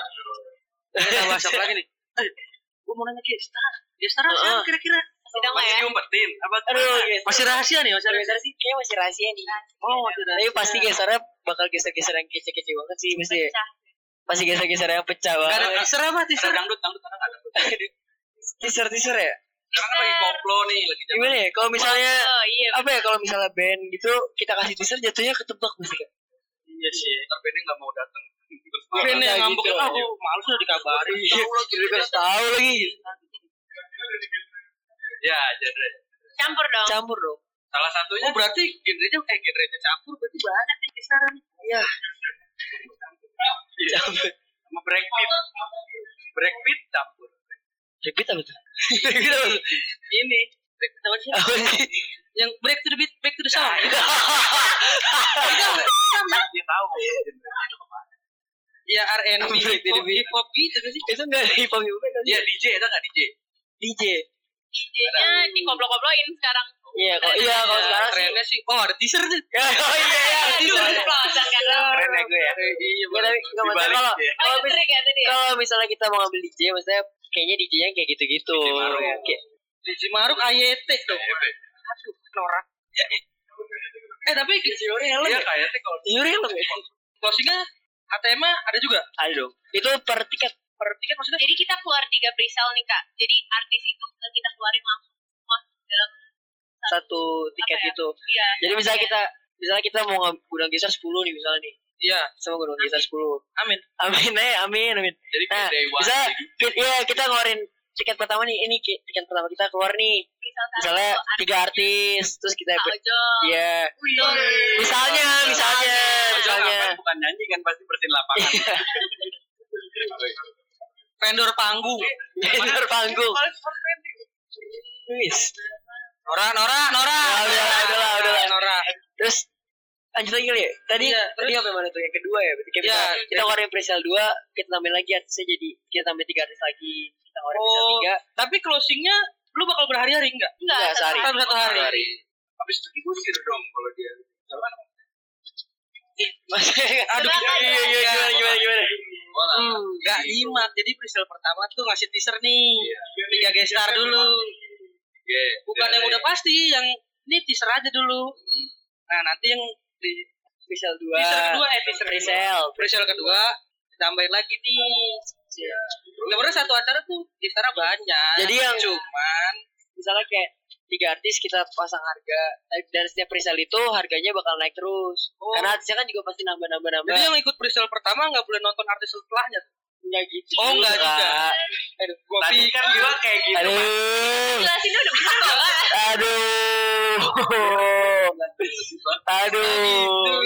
Speaker 2: Kita bahas apa lagi nih? Gue Eh, mau nanya ke Star. Ya Star
Speaker 4: Heeh.
Speaker 2: apa kira-kira?
Speaker 5: Sedang lah
Speaker 3: Masih
Speaker 5: ya.
Speaker 3: diumpetin. Apa
Speaker 4: Aduh, guys.
Speaker 2: Nah, Masih rahasia nih, masih rahasia.
Speaker 4: sih kayaknya masih rahasia nih.
Speaker 2: Oh, masih rahasia.
Speaker 4: Tapi pasti gesernya bakal geser-geser yang kece-kece banget sih mesti.
Speaker 5: Pecah.
Speaker 4: Pasti geser-geser yang pecah
Speaker 2: Gak ada
Speaker 4: banget.
Speaker 2: teaser apa
Speaker 3: Ada
Speaker 2: teaser?
Speaker 3: dangdut, dangdut, ada nggak dangdut.
Speaker 4: Teaser-teaser ya?
Speaker 3: Sekarang lagi koplo nih, lagi jalan.
Speaker 4: Gimana ya? Kalau misalnya
Speaker 5: Oh iya.
Speaker 4: apa ya kalau misalnya band gitu kita kasih teaser jatuhnya ketebak pasti kan.
Speaker 2: Iya sih.
Speaker 3: Ntar Benny nggak mau datang. Terus marah.
Speaker 2: Ini yang ngambek,
Speaker 4: gitu.
Speaker 2: aku malu sudah dikabarin. gitu. Tahu lagi,
Speaker 4: Jadi kasih tahu lagi
Speaker 3: Ya, genre.
Speaker 5: Campur dong.
Speaker 4: campur dong.
Speaker 3: Salah satunya.
Speaker 2: Oh berarti genrenya eh genrenya campur berarti banyak nih kisaran.
Speaker 4: Campur.
Speaker 3: sama Breakbeat. Breakbeat campur.
Speaker 4: Repeat apa tuh? Repeat apa tuh?
Speaker 2: Ini break apa sih?
Speaker 4: Apa sih? Iya,
Speaker 2: Yang break to the beat, break to the sound.
Speaker 3: Dia tahu.
Speaker 2: Iya R&B,
Speaker 4: Break to
Speaker 2: hip
Speaker 4: the
Speaker 2: hop, hip hop gitu kan sih.
Speaker 4: Itu enggak hip hop hip hop kan?
Speaker 3: Iya DJ, ada nggak DJ?
Speaker 4: DJ.
Speaker 5: DJ-nya dikoplo-koploin sekarang.
Speaker 4: Iya, kalau iya kalau
Speaker 2: Iya,
Speaker 4: sekarang sih.
Speaker 2: trennya sih. Oh ada teaser tuh.
Speaker 4: Ya, oh iya ya, teaser.
Speaker 5: Dikoplo-koploin kan.
Speaker 4: Keren ya gue ya.
Speaker 2: Iya,
Speaker 4: Iya, tapi enggak masalah
Speaker 3: Dibalik
Speaker 4: kalau
Speaker 3: dia.
Speaker 5: Oh
Speaker 4: kalau
Speaker 5: itu
Speaker 4: mis-
Speaker 5: trik ya tadi ya.
Speaker 4: Iya, kalau misalnya kita mau ngambil DJ maksudnya kayaknya DJ-nya kayak gitu-gitu.
Speaker 3: DJ baru ya.
Speaker 4: Kayak-
Speaker 2: Di Cimaruk AYT dong. Aduh, norak. Eh tapi
Speaker 3: Iya
Speaker 2: Cimaruk
Speaker 3: kayaknya sih kalau
Speaker 4: Iya, real ya.
Speaker 2: closingnya HTM ada juga.
Speaker 4: Ada dong. Itu per tiket.
Speaker 2: Per tiket maksudnya
Speaker 5: Jadi kita keluar tiga presale nih kak. Jadi artis itu juga kita keluarin langsung semua dalam
Speaker 4: satu tiket
Speaker 5: Apa ya?
Speaker 4: itu.
Speaker 5: iya
Speaker 4: Jadi misalnya
Speaker 5: iya.
Speaker 4: kita misalnya kita mau nge- gudang geser 10 nih misalnya nih.
Speaker 2: Iya,
Speaker 4: Sama gudang geser 10.
Speaker 2: amin.
Speaker 4: Amin eh amin amin.
Speaker 3: Jadi
Speaker 4: Nah,
Speaker 3: day one
Speaker 4: Bisa ki- iya kita ngeluarin tiket pertama nih ini ki- tiket pertama kita keluar nih.
Speaker 5: misal salah
Speaker 4: Misalnya
Speaker 5: satu
Speaker 4: tiga artis terus kita
Speaker 5: Pak Ojol
Speaker 4: Iya.
Speaker 5: Oh, Wih. iya.
Speaker 4: Misalnya misalnya
Speaker 3: Ojol
Speaker 4: misalnya.
Speaker 3: kapan bukan nyanyi kan pasti bersihin lapangan.
Speaker 2: Vendor panggung.
Speaker 4: Vendor panggung. Wis.
Speaker 2: Nora, Nora, Nora.
Speaker 4: Ah, udah lah, udah lah, udah lah.
Speaker 2: Nora.
Speaker 4: Terus lanjut lagi kali ya. Tadi
Speaker 2: Iya,
Speaker 4: tadi apa yang mana tuh yang kedua ya? Berarti kita
Speaker 2: Iya,
Speaker 4: kita ngeluarin presale 2, kita tambahin lagi artisnya jadi kita tambahin tiga artis lagi. Kita ngeluarin
Speaker 2: Oh.
Speaker 4: presale
Speaker 2: Tapi closingnya lu bakal berhari-hari enggak?
Speaker 5: enggak
Speaker 4: Enggak,
Speaker 5: satu
Speaker 4: sehari.
Speaker 5: hari.
Speaker 2: Kan satu hari.
Speaker 3: Hari. Habis itu diusir dong kalau dia. Jangan.
Speaker 4: 3. Maksudnya
Speaker 2: Aduh,
Speaker 5: Gimana,
Speaker 2: iya, iya, iya,
Speaker 4: gimana gimana gimana.
Speaker 3: Wah,
Speaker 4: Iya.
Speaker 2: Hmm, gak nyimak. Jadi presale pertama tuh ngasih teaser nih.
Speaker 4: Iya.
Speaker 2: Tiga gestar dulu.
Speaker 3: oke.
Speaker 2: Bukan yang udah pasti, yang ini teaser aja dulu. Nah, nanti yang di
Speaker 4: Presale 2.
Speaker 2: teaser kedua, eh teaser kedua.
Speaker 4: Presale.
Speaker 2: Presale kedua, tambahin lagi nih. Iya. Sebenarnya satu acara tuh teasernya banyak.
Speaker 4: Jadi yang-
Speaker 2: cuman
Speaker 4: Misalnya kayak tiga artis kita pasang harga eh, dan setiap presale itu harganya bakal naik terus.
Speaker 2: Oh.
Speaker 4: Karena artisnya kan juga pasti nambah nambah nambah.
Speaker 2: jadi yang ikut presale pertama nggak boleh nonton artis setelahnya.
Speaker 4: enggak gitu.
Speaker 2: Oh, enggak juga. Iya,
Speaker 4: Aduh,
Speaker 2: Gua
Speaker 3: Tadi
Speaker 2: pikir
Speaker 3: kan bilang kayak gitu.
Speaker 4: Aduh.
Speaker 5: jelasin udah bener Pak.
Speaker 4: Aduh.
Speaker 2: gitu.
Speaker 4: Aduh.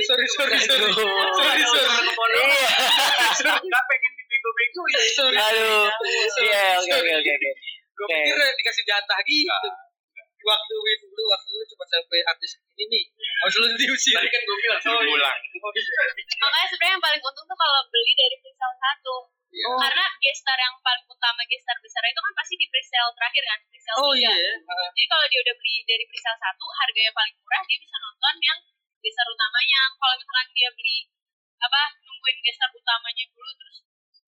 Speaker 2: Sorry, sorry, sorry. Sorry, sorry.
Speaker 4: Iya.
Speaker 3: Enggak pengen dibego-bego ya.
Speaker 2: Sorry.
Speaker 4: Aduh. Iya, oke oke oke oke.
Speaker 2: Gue
Speaker 4: Oke.
Speaker 2: pikir dikasih jatah gitu. Waktuin dulu, waktuin cuma sampai artis ini nih. Harus lu diusir. Oh, iya.
Speaker 3: Tadi kan gue bilang suruh pulang.
Speaker 5: makanya sebenarnya yang paling untung tuh kalau beli dari presale satu
Speaker 2: Oh,
Speaker 3: Iya.
Speaker 5: karena gestar yang paling utama gestar besar itu kan pasti di presale terakhir kan presale
Speaker 2: Oh
Speaker 5: tiga
Speaker 2: iya ya.
Speaker 5: jadi kalau dia udah beli dari presale satu harga yang paling murah dia bisa nonton yang gestar utamanya kalau misalkan dia beli apa nungguin gestar utamanya dulu terus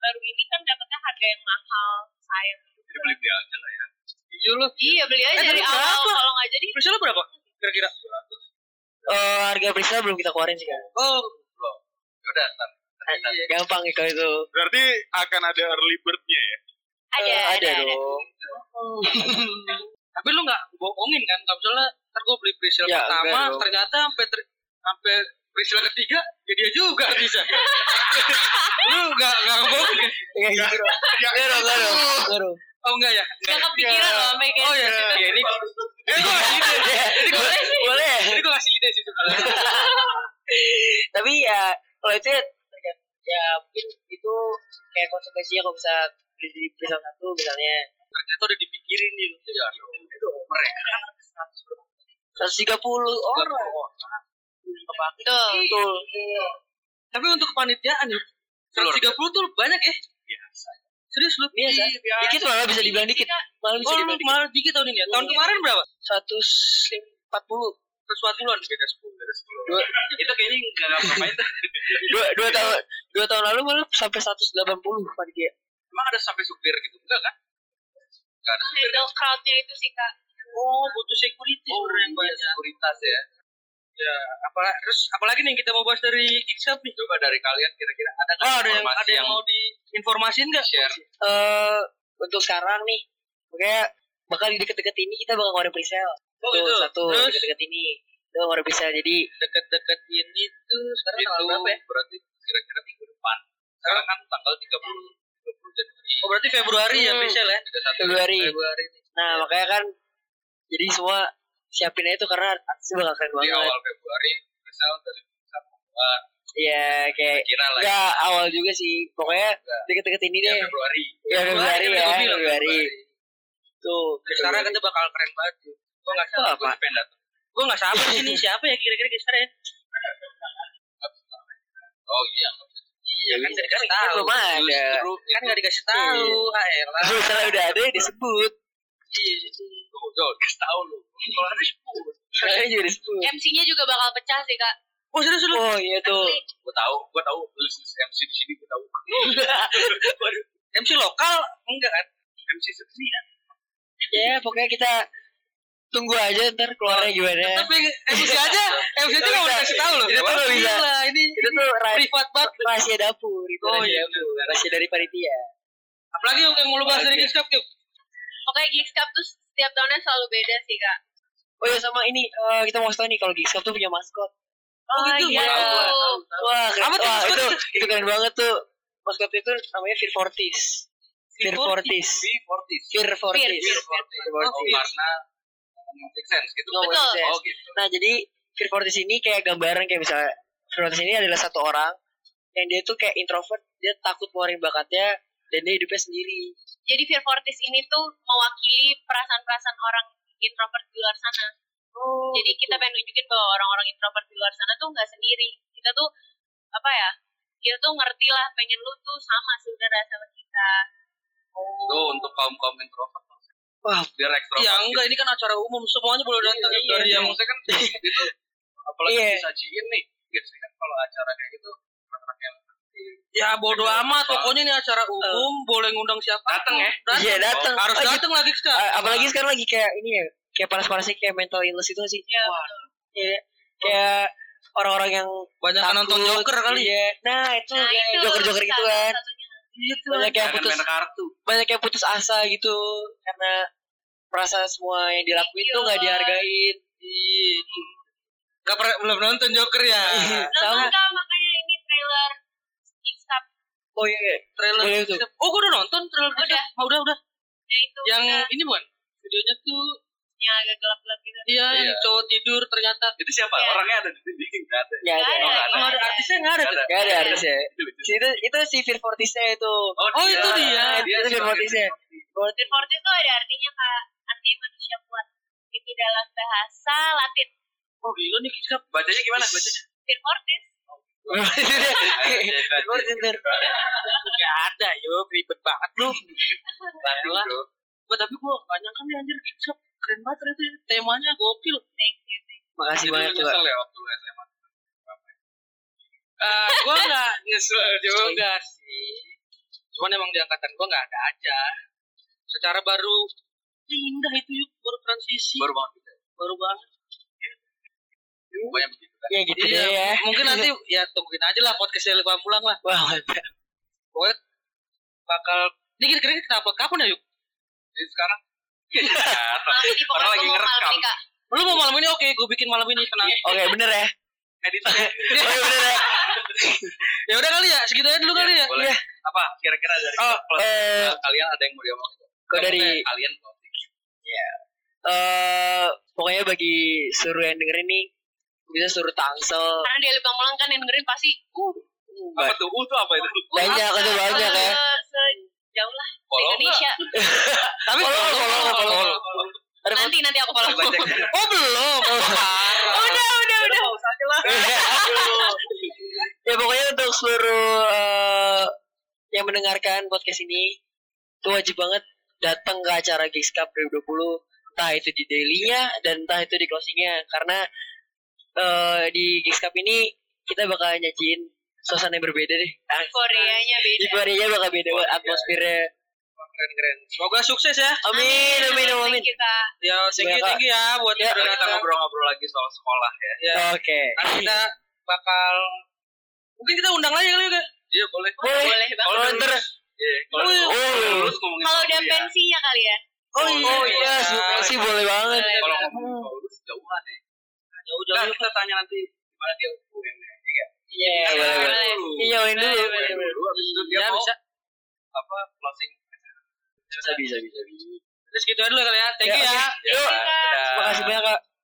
Speaker 5: baru ini kan dapetnya harga yang mahal sayang
Speaker 3: Jadi beli dia aja lah ya.
Speaker 2: Jujur lu.
Speaker 5: iya beli aja
Speaker 2: Eh,
Speaker 5: dari
Speaker 2: tapi
Speaker 5: awal
Speaker 2: berapa?
Speaker 5: kalau nggak jadi
Speaker 2: Presale berapa? Kira-kira.
Speaker 4: Eh, harga presale belum kita keluarin sih kan.
Speaker 2: Oh,
Speaker 3: Ya udah, ntar.
Speaker 2: iya.
Speaker 4: Gampang ya kalau itu.
Speaker 1: Berarti akan ada early bird-nya ya?
Speaker 2: Iya,
Speaker 5: ada
Speaker 4: Eh,
Speaker 5: ada, ada.
Speaker 4: dong.
Speaker 2: Tapi lu nggak bohongin kan? Kalau misalnya ntar gue beli presale
Speaker 4: Ya,
Speaker 2: pertama,
Speaker 4: enggak dong.
Speaker 2: ternyata sampai ter sampai presale ketiga, ya dia juga bisa. lu nggak nggak bohongin. kan?
Speaker 4: Enggak gitu dong.
Speaker 1: Ya,
Speaker 4: Enggak dong, enggak dong. Enggak dong.
Speaker 2: Oh enggak ya?
Speaker 5: nggak kepikiran loh sampai kayak gitu.
Speaker 2: Oh iya, iya ini. Eh gue ngasih ide. Ini gue
Speaker 4: Boleh, Boleh.
Speaker 2: ini gue ngasih ide sih sebenarnya.
Speaker 4: Tapi ya kalau itu ya, tergantung. ya mungkin itu kayak konsekuensinya kalau bisa beli di presale satu misalnya
Speaker 2: Ternyata udah dipikirin gitu. Iya, nih.
Speaker 3: Ya, itu over ya.
Speaker 4: 130
Speaker 2: oh,
Speaker 4: orang.
Speaker 5: betul
Speaker 4: Betul.
Speaker 2: Iya. Tapi untuk kepanitiaan ya,
Speaker 3: Iya. Telur.
Speaker 2: 130 tuh banyak eh.
Speaker 3: Biasa. Iya,
Speaker 2: Serius Iya, lu?
Speaker 4: Biasa. Dikit malah bisa dibilang dikit. Malah bisa
Speaker 2: Oh lu
Speaker 4: dibilang dikit.
Speaker 2: malah dikit tahun ini ya? Tahun kemarin berapa?
Speaker 4: 140
Speaker 2: Kesuatulan beda 10.
Speaker 3: Dari sepuluh.
Speaker 4: Dua-
Speaker 3: Itu kayaknya nggak ngapa-ngapain.
Speaker 4: dua, dua tahun dua tahun lalu malah sampai 180 panitia
Speaker 3: Emang ada sampai supir gitu enggak kan? Enggak ada supir.
Speaker 5: handle crowdnya itu sih kak
Speaker 2: Oh, butuh security
Speaker 3: Oh,
Speaker 2: sebenarnya yang
Speaker 3: iya,
Speaker 2: banyak.
Speaker 3: sekuritas ya.
Speaker 2: Ya, apalagi terus apalagi nih yang kita mau bahas dari Kickshop nih?
Speaker 3: Coba dari kalian kira-kira ada nggak
Speaker 2: Oh, ada yang
Speaker 3: informasi
Speaker 2: ada yang mau diinformasiin nggak? Oh, gitu.
Speaker 3: share?
Speaker 4: eh untuk sekarang nih makanya bakal di deket-deket ini kita bakal ngeluarin presale
Speaker 2: Oh, gitu.
Speaker 4: Tuh, satu
Speaker 2: Terus?
Speaker 4: deket-deket ini kita bakal ngeluarin presale jadi
Speaker 2: Deket-deket ini tuh sekarang
Speaker 3: Itu
Speaker 2: tanggal berapa ya?
Speaker 3: berarti kira-kira minggu depan. Sekarang kan tanggal 30 30 Januari.
Speaker 2: Oh, berarti Februari ya
Speaker 4: Hmm.
Speaker 2: Michelle ya?
Speaker 3: 31
Speaker 4: Februari
Speaker 2: Februari.
Speaker 4: nah makanya kan jadi semua siapin aja tuh karena artisnya bakal keren
Speaker 3: di
Speaker 4: banget
Speaker 3: awal Februari misal dari misal Februari
Speaker 4: iya kayak
Speaker 3: kira lah ya,
Speaker 4: enggak awal juga sih pokoknya
Speaker 3: Enggak.
Speaker 4: deket-deket ini
Speaker 3: ya
Speaker 4: deh
Speaker 3: Februari.
Speaker 4: ya Februari
Speaker 2: Februari,
Speaker 4: ya
Speaker 2: gua bilang,
Speaker 4: Februari tuh
Speaker 2: Sekarang kita bakal keren banget. tuh. Gua nggak
Speaker 4: Wah,
Speaker 2: sabar.
Speaker 4: apa?
Speaker 3: Pengen datang.
Speaker 2: Gua nggak sabar sih nih siapa ya kira-kira Kickstar ya?
Speaker 3: Oh iya. nggak bisa. Iya
Speaker 2: Kan
Speaker 3: kan
Speaker 2: nggak dikasih
Speaker 4: kan
Speaker 2: tahu.
Speaker 4: belum ada
Speaker 3: Justru
Speaker 2: Kan nggak dikasih
Speaker 3: Iya.
Speaker 2: tahu. Ah, elah.
Speaker 4: misalnya udah ada ya disebut
Speaker 3: itu udah kasih tahu lu. Kalau ada sepuluh,
Speaker 4: Misalnya juga disebut
Speaker 5: MC-nya juga bakal pecah sih kak
Speaker 2: Oh, serius lu?
Speaker 4: oh iya tuh
Speaker 3: gua tahu, gua tahu lu MC di sini gua tahu.
Speaker 2: MC lokal enggak kan?
Speaker 3: MC sendiri ya.
Speaker 4: ya pokoknya kita tunggu aja ntar keluarnya gimana
Speaker 2: Tapi MC aja, MC aja nggak boleh kasih tahu loh.
Speaker 4: Itu tuh nggak bisa.
Speaker 2: Gila, ini
Speaker 4: itu tuh ra-
Speaker 2: privat banget.
Speaker 4: rahasia dapur itu
Speaker 2: Oh,
Speaker 4: rahasia
Speaker 2: iya,
Speaker 4: dapur rahasia dari panitia
Speaker 2: Apalagi yang mau lu bahas dari Kickshop yuk.
Speaker 5: Pokoknya Geeks Cup tuh setiap tahunnya selalu beda sih kak.
Speaker 4: Oh ya sama ini eh, kita mau kasih tau nih kalau Geeks Cup tuh punya maskot. Ah,
Speaker 2: Oh, gitu,
Speaker 5: iya.
Speaker 2: gua tahu, gua tahu, tahu.
Speaker 4: Wah, keren,
Speaker 2: Apa tuh
Speaker 4: wah itu
Speaker 2: maskotnya?
Speaker 4: itu keren banget tuh. Maskot itu namanya Fear Fortis. Fear Fortis.
Speaker 3: Fortis.
Speaker 4: Fear Fortis.
Speaker 5: Fear, Fear
Speaker 3: Fortis.
Speaker 4: Fear
Speaker 3: Oh,
Speaker 4: Fortis.
Speaker 3: karena uh, make sense gitu.
Speaker 4: No,
Speaker 5: Betul.
Speaker 4: make sense.
Speaker 3: Oh, gitu.
Speaker 4: Nah jadi Fear Fortis ini kayak gambaran kayak misalnya Fear Fortis ini adalah satu orang yang dia tuh kayak introvert, dia takut ngeluarin bakatnya dan dia hidupnya sendiri.
Speaker 5: Jadi Fear Fortis ini tuh mewakili perasaan-perasaan orang introvert di luar sana.
Speaker 4: Oh.
Speaker 5: Jadi kita pengen nunjukin bahwa orang-orang introvert di luar sana tuh nggak sendiri. Kita tuh apa ya? Kita tuh ngerti lah, pengen lu tuh sama saudara sama kita. Oh, Nah,
Speaker 3: Itu untuk kaum-kaum introvert.
Speaker 4: Wah.
Speaker 3: biar ekstrovert.
Speaker 2: Ya enggak, ini kan acara umum, semuanya boleh datang
Speaker 4: Iya,
Speaker 2: dari
Speaker 3: Iya,
Speaker 2: yang
Speaker 3: maksudnya kan itu apalagi
Speaker 4: Iya.
Speaker 3: disajiin nih. Biasanya kan kalau acara kayak gitu anak-anak yang
Speaker 2: ya bodo amat, pokoknya ini acara umum, boleh ngundang siapa.
Speaker 3: Datang ya?
Speaker 2: Datang.
Speaker 4: Iya datang.
Speaker 2: Harus
Speaker 4: Oh,
Speaker 2: datang lagi kita.
Speaker 4: Eh, apalagi
Speaker 2: Nah,
Speaker 4: sekarang lagi kayak ini ya kayak panas-panasnya kayak mental illness itu gak sih
Speaker 5: Ya,
Speaker 4: Wah, iya. kayak orang-orang yang
Speaker 2: banyak
Speaker 4: takut,
Speaker 2: nonton Joker kali.
Speaker 4: ya nah itu
Speaker 5: Nah,
Speaker 4: kayak
Speaker 5: itu
Speaker 4: joker-joker gitu
Speaker 5: salah
Speaker 4: kan
Speaker 5: satunya.
Speaker 4: banyak yang
Speaker 3: Jangan
Speaker 4: putus
Speaker 3: main kartu.
Speaker 4: banyak yang putus asa gitu karena merasa semua yang dilakuin tuh nggak
Speaker 5: Iya.
Speaker 4: dihargain
Speaker 2: Iya. Gak pernah belum nonton Joker ya.
Speaker 3: Nah,
Speaker 4: sama
Speaker 5: Nonton kak, makanya ini trailer Geeks Cup
Speaker 4: oh iya iya.
Speaker 2: trailer.
Speaker 4: Boleh tuh.
Speaker 2: Oh, gua udah nonton trailer.
Speaker 5: Udah.
Speaker 2: Oh, udah, udah.
Speaker 5: ya itu
Speaker 2: Yang
Speaker 5: ya,
Speaker 2: ini bukan? Videonya tuh
Speaker 5: yang agak gelap-gelap gitu.
Speaker 2: iya, yang
Speaker 3: Iya.
Speaker 2: cowok tidur ternyata
Speaker 3: Itu siapa?
Speaker 5: Iya.
Speaker 3: Orangnya ada di sini enggak ada.
Speaker 4: nggak ada
Speaker 5: Nggak
Speaker 3: ada,
Speaker 2: Emang ada artisnya nggak ada. tuh?
Speaker 4: nggak ada harus ya
Speaker 3: Itu lucu.
Speaker 4: itu itu si Fear Fortisnya itu Iya,
Speaker 2: Oh, itu dia.
Speaker 4: Itu
Speaker 3: sebagai
Speaker 4: Fear Fortisnya
Speaker 5: Fear Fortis tuh ada artinya kak, artinya manusia kuat. Itu dalam bahasa Latin.
Speaker 2: Oh, gila nih kita
Speaker 3: Bacanya gimana? Bacanya.
Speaker 5: Fear Fortis.
Speaker 4: Itu dia.
Speaker 3: Ayo, ayo, ayo.
Speaker 4: Fortis ntar.
Speaker 2: nggak ada, yo ribet banget lu.
Speaker 3: Aduh,
Speaker 2: Lah.
Speaker 4: Gitu.
Speaker 3: bro.
Speaker 2: Gua tapi gua gak nyangka nih anjir kicap keren banget ternyata ya. temanya gokil.
Speaker 4: makasih
Speaker 3: Jadi
Speaker 4: banyak tuh
Speaker 3: lu
Speaker 4: Kak.
Speaker 3: nyesel ya waktu lu SMA.
Speaker 2: Eh, gua nggak nyesel juga sih. Cuman emang di angkatan gua nggak ada aja. Secara baru indah itu yuk baru transisi
Speaker 3: Baru banget gitu.
Speaker 2: baru banget Iya,
Speaker 3: Pokoknya begitu kan.
Speaker 4: ya gitu deh ya
Speaker 2: mungkin nanti ya tungguin aja lah podcastnya lupa pulang lah
Speaker 4: wah mantap
Speaker 2: pokoknya bakal ini kira-kira kenapa kapan ya yuk
Speaker 3: Jadi sekarang
Speaker 5: Malam ini pokoknya
Speaker 3: lagi
Speaker 5: gua mau malam
Speaker 3: ngerekam.
Speaker 5: ini kak.
Speaker 2: lu mau malam ini oke gue bikin malam ini tenang
Speaker 4: oke bener ya
Speaker 3: editornya
Speaker 4: oke bener ya
Speaker 2: ya udah kali ya segitu aja dulu kali ya
Speaker 3: Iya, boleh. Apa kira-kira dari
Speaker 2: Oh,
Speaker 3: plus,
Speaker 4: eh,
Speaker 3: eh, kalian ada yang mau diomongin?
Speaker 4: Kalau dari-
Speaker 3: kalian mau
Speaker 4: eh pokoknya bagi seluruh yang dengerin nih bisa suruh tangsel
Speaker 5: Karena dia lupa pulang kan yang dengerin pasti. Uh,
Speaker 3: apa tuh? Uh, tuh apa itu?
Speaker 4: banyak itu banyak ya
Speaker 5: se- Sejauh lah se
Speaker 3: Follow
Speaker 5: Indonesia.
Speaker 2: tapi
Speaker 4: Follow,
Speaker 2: kalau
Speaker 4: follow,
Speaker 2: kalau
Speaker 4: follow.
Speaker 2: kalau
Speaker 4: Ada
Speaker 5: Nanti nanti aku follow.
Speaker 3: Banyak.
Speaker 4: oh belum
Speaker 5: udah udah udah.
Speaker 4: ya pokoknya untuk seluruh eh, yang mendengarkan podcast ini itu wajib banget datang ke acara Geeks Cup 2020 entah itu di dailynya dan entah itu di closingnya karena eh, di Geeks Cup ini kita bakal nyajiin suasana yang berbeda deh
Speaker 5: Koreanya beda.
Speaker 4: Ibarinya bakal beda banget atmosfernya
Speaker 2: keren-keren semoga sukses ya
Speaker 4: amin amin amin
Speaker 5: Thank you, Kak.
Speaker 2: ya thank you
Speaker 4: Semoga-
Speaker 2: thank you ya buat yang
Speaker 4: Ya.
Speaker 2: udah
Speaker 3: Iya, Kita
Speaker 2: datang
Speaker 3: ngobrol-ngobrol lagi soal sekolah ya.
Speaker 2: ya
Speaker 4: oke
Speaker 2: nanti kita bakal mungkin kita undang lagi kali ya
Speaker 3: Iya boleh.
Speaker 4: Boleh.
Speaker 5: Boleh banget.
Speaker 4: kalau ntar
Speaker 3: Iya. Kalau
Speaker 2: Oh, iya.
Speaker 3: kalau lulus ngomongin
Speaker 5: Kalau udah
Speaker 3: kuliah.
Speaker 5: pensinya kali ya.
Speaker 4: oh iya oh iya
Speaker 2: Boleh.
Speaker 4: sih boleh banget
Speaker 5: Boleh.
Speaker 3: Kalau ngomongin soal lulus jauhan ya.
Speaker 2: jauh-jauh
Speaker 3: Nah, kita tanya nanti gimana dia hubungannya. Iya.
Speaker 4: iya boleh
Speaker 3: Kan
Speaker 5: boleh.
Speaker 4: boleh Iya, join
Speaker 3: dulu.
Speaker 4: dulu
Speaker 3: Join dulu, Habis itu dia
Speaker 2: Ya,
Speaker 3: mau
Speaker 2: bisa.
Speaker 3: apa closing.
Speaker 4: bisa bisa bisa bisa
Speaker 2: Terus gitu aja dulu kali ya. Thank you ya.
Speaker 4: Ya,
Speaker 3: Iya,
Speaker 4: oke. Yuk.
Speaker 3: Dadah. Iya.
Speaker 4: makasih banyak kak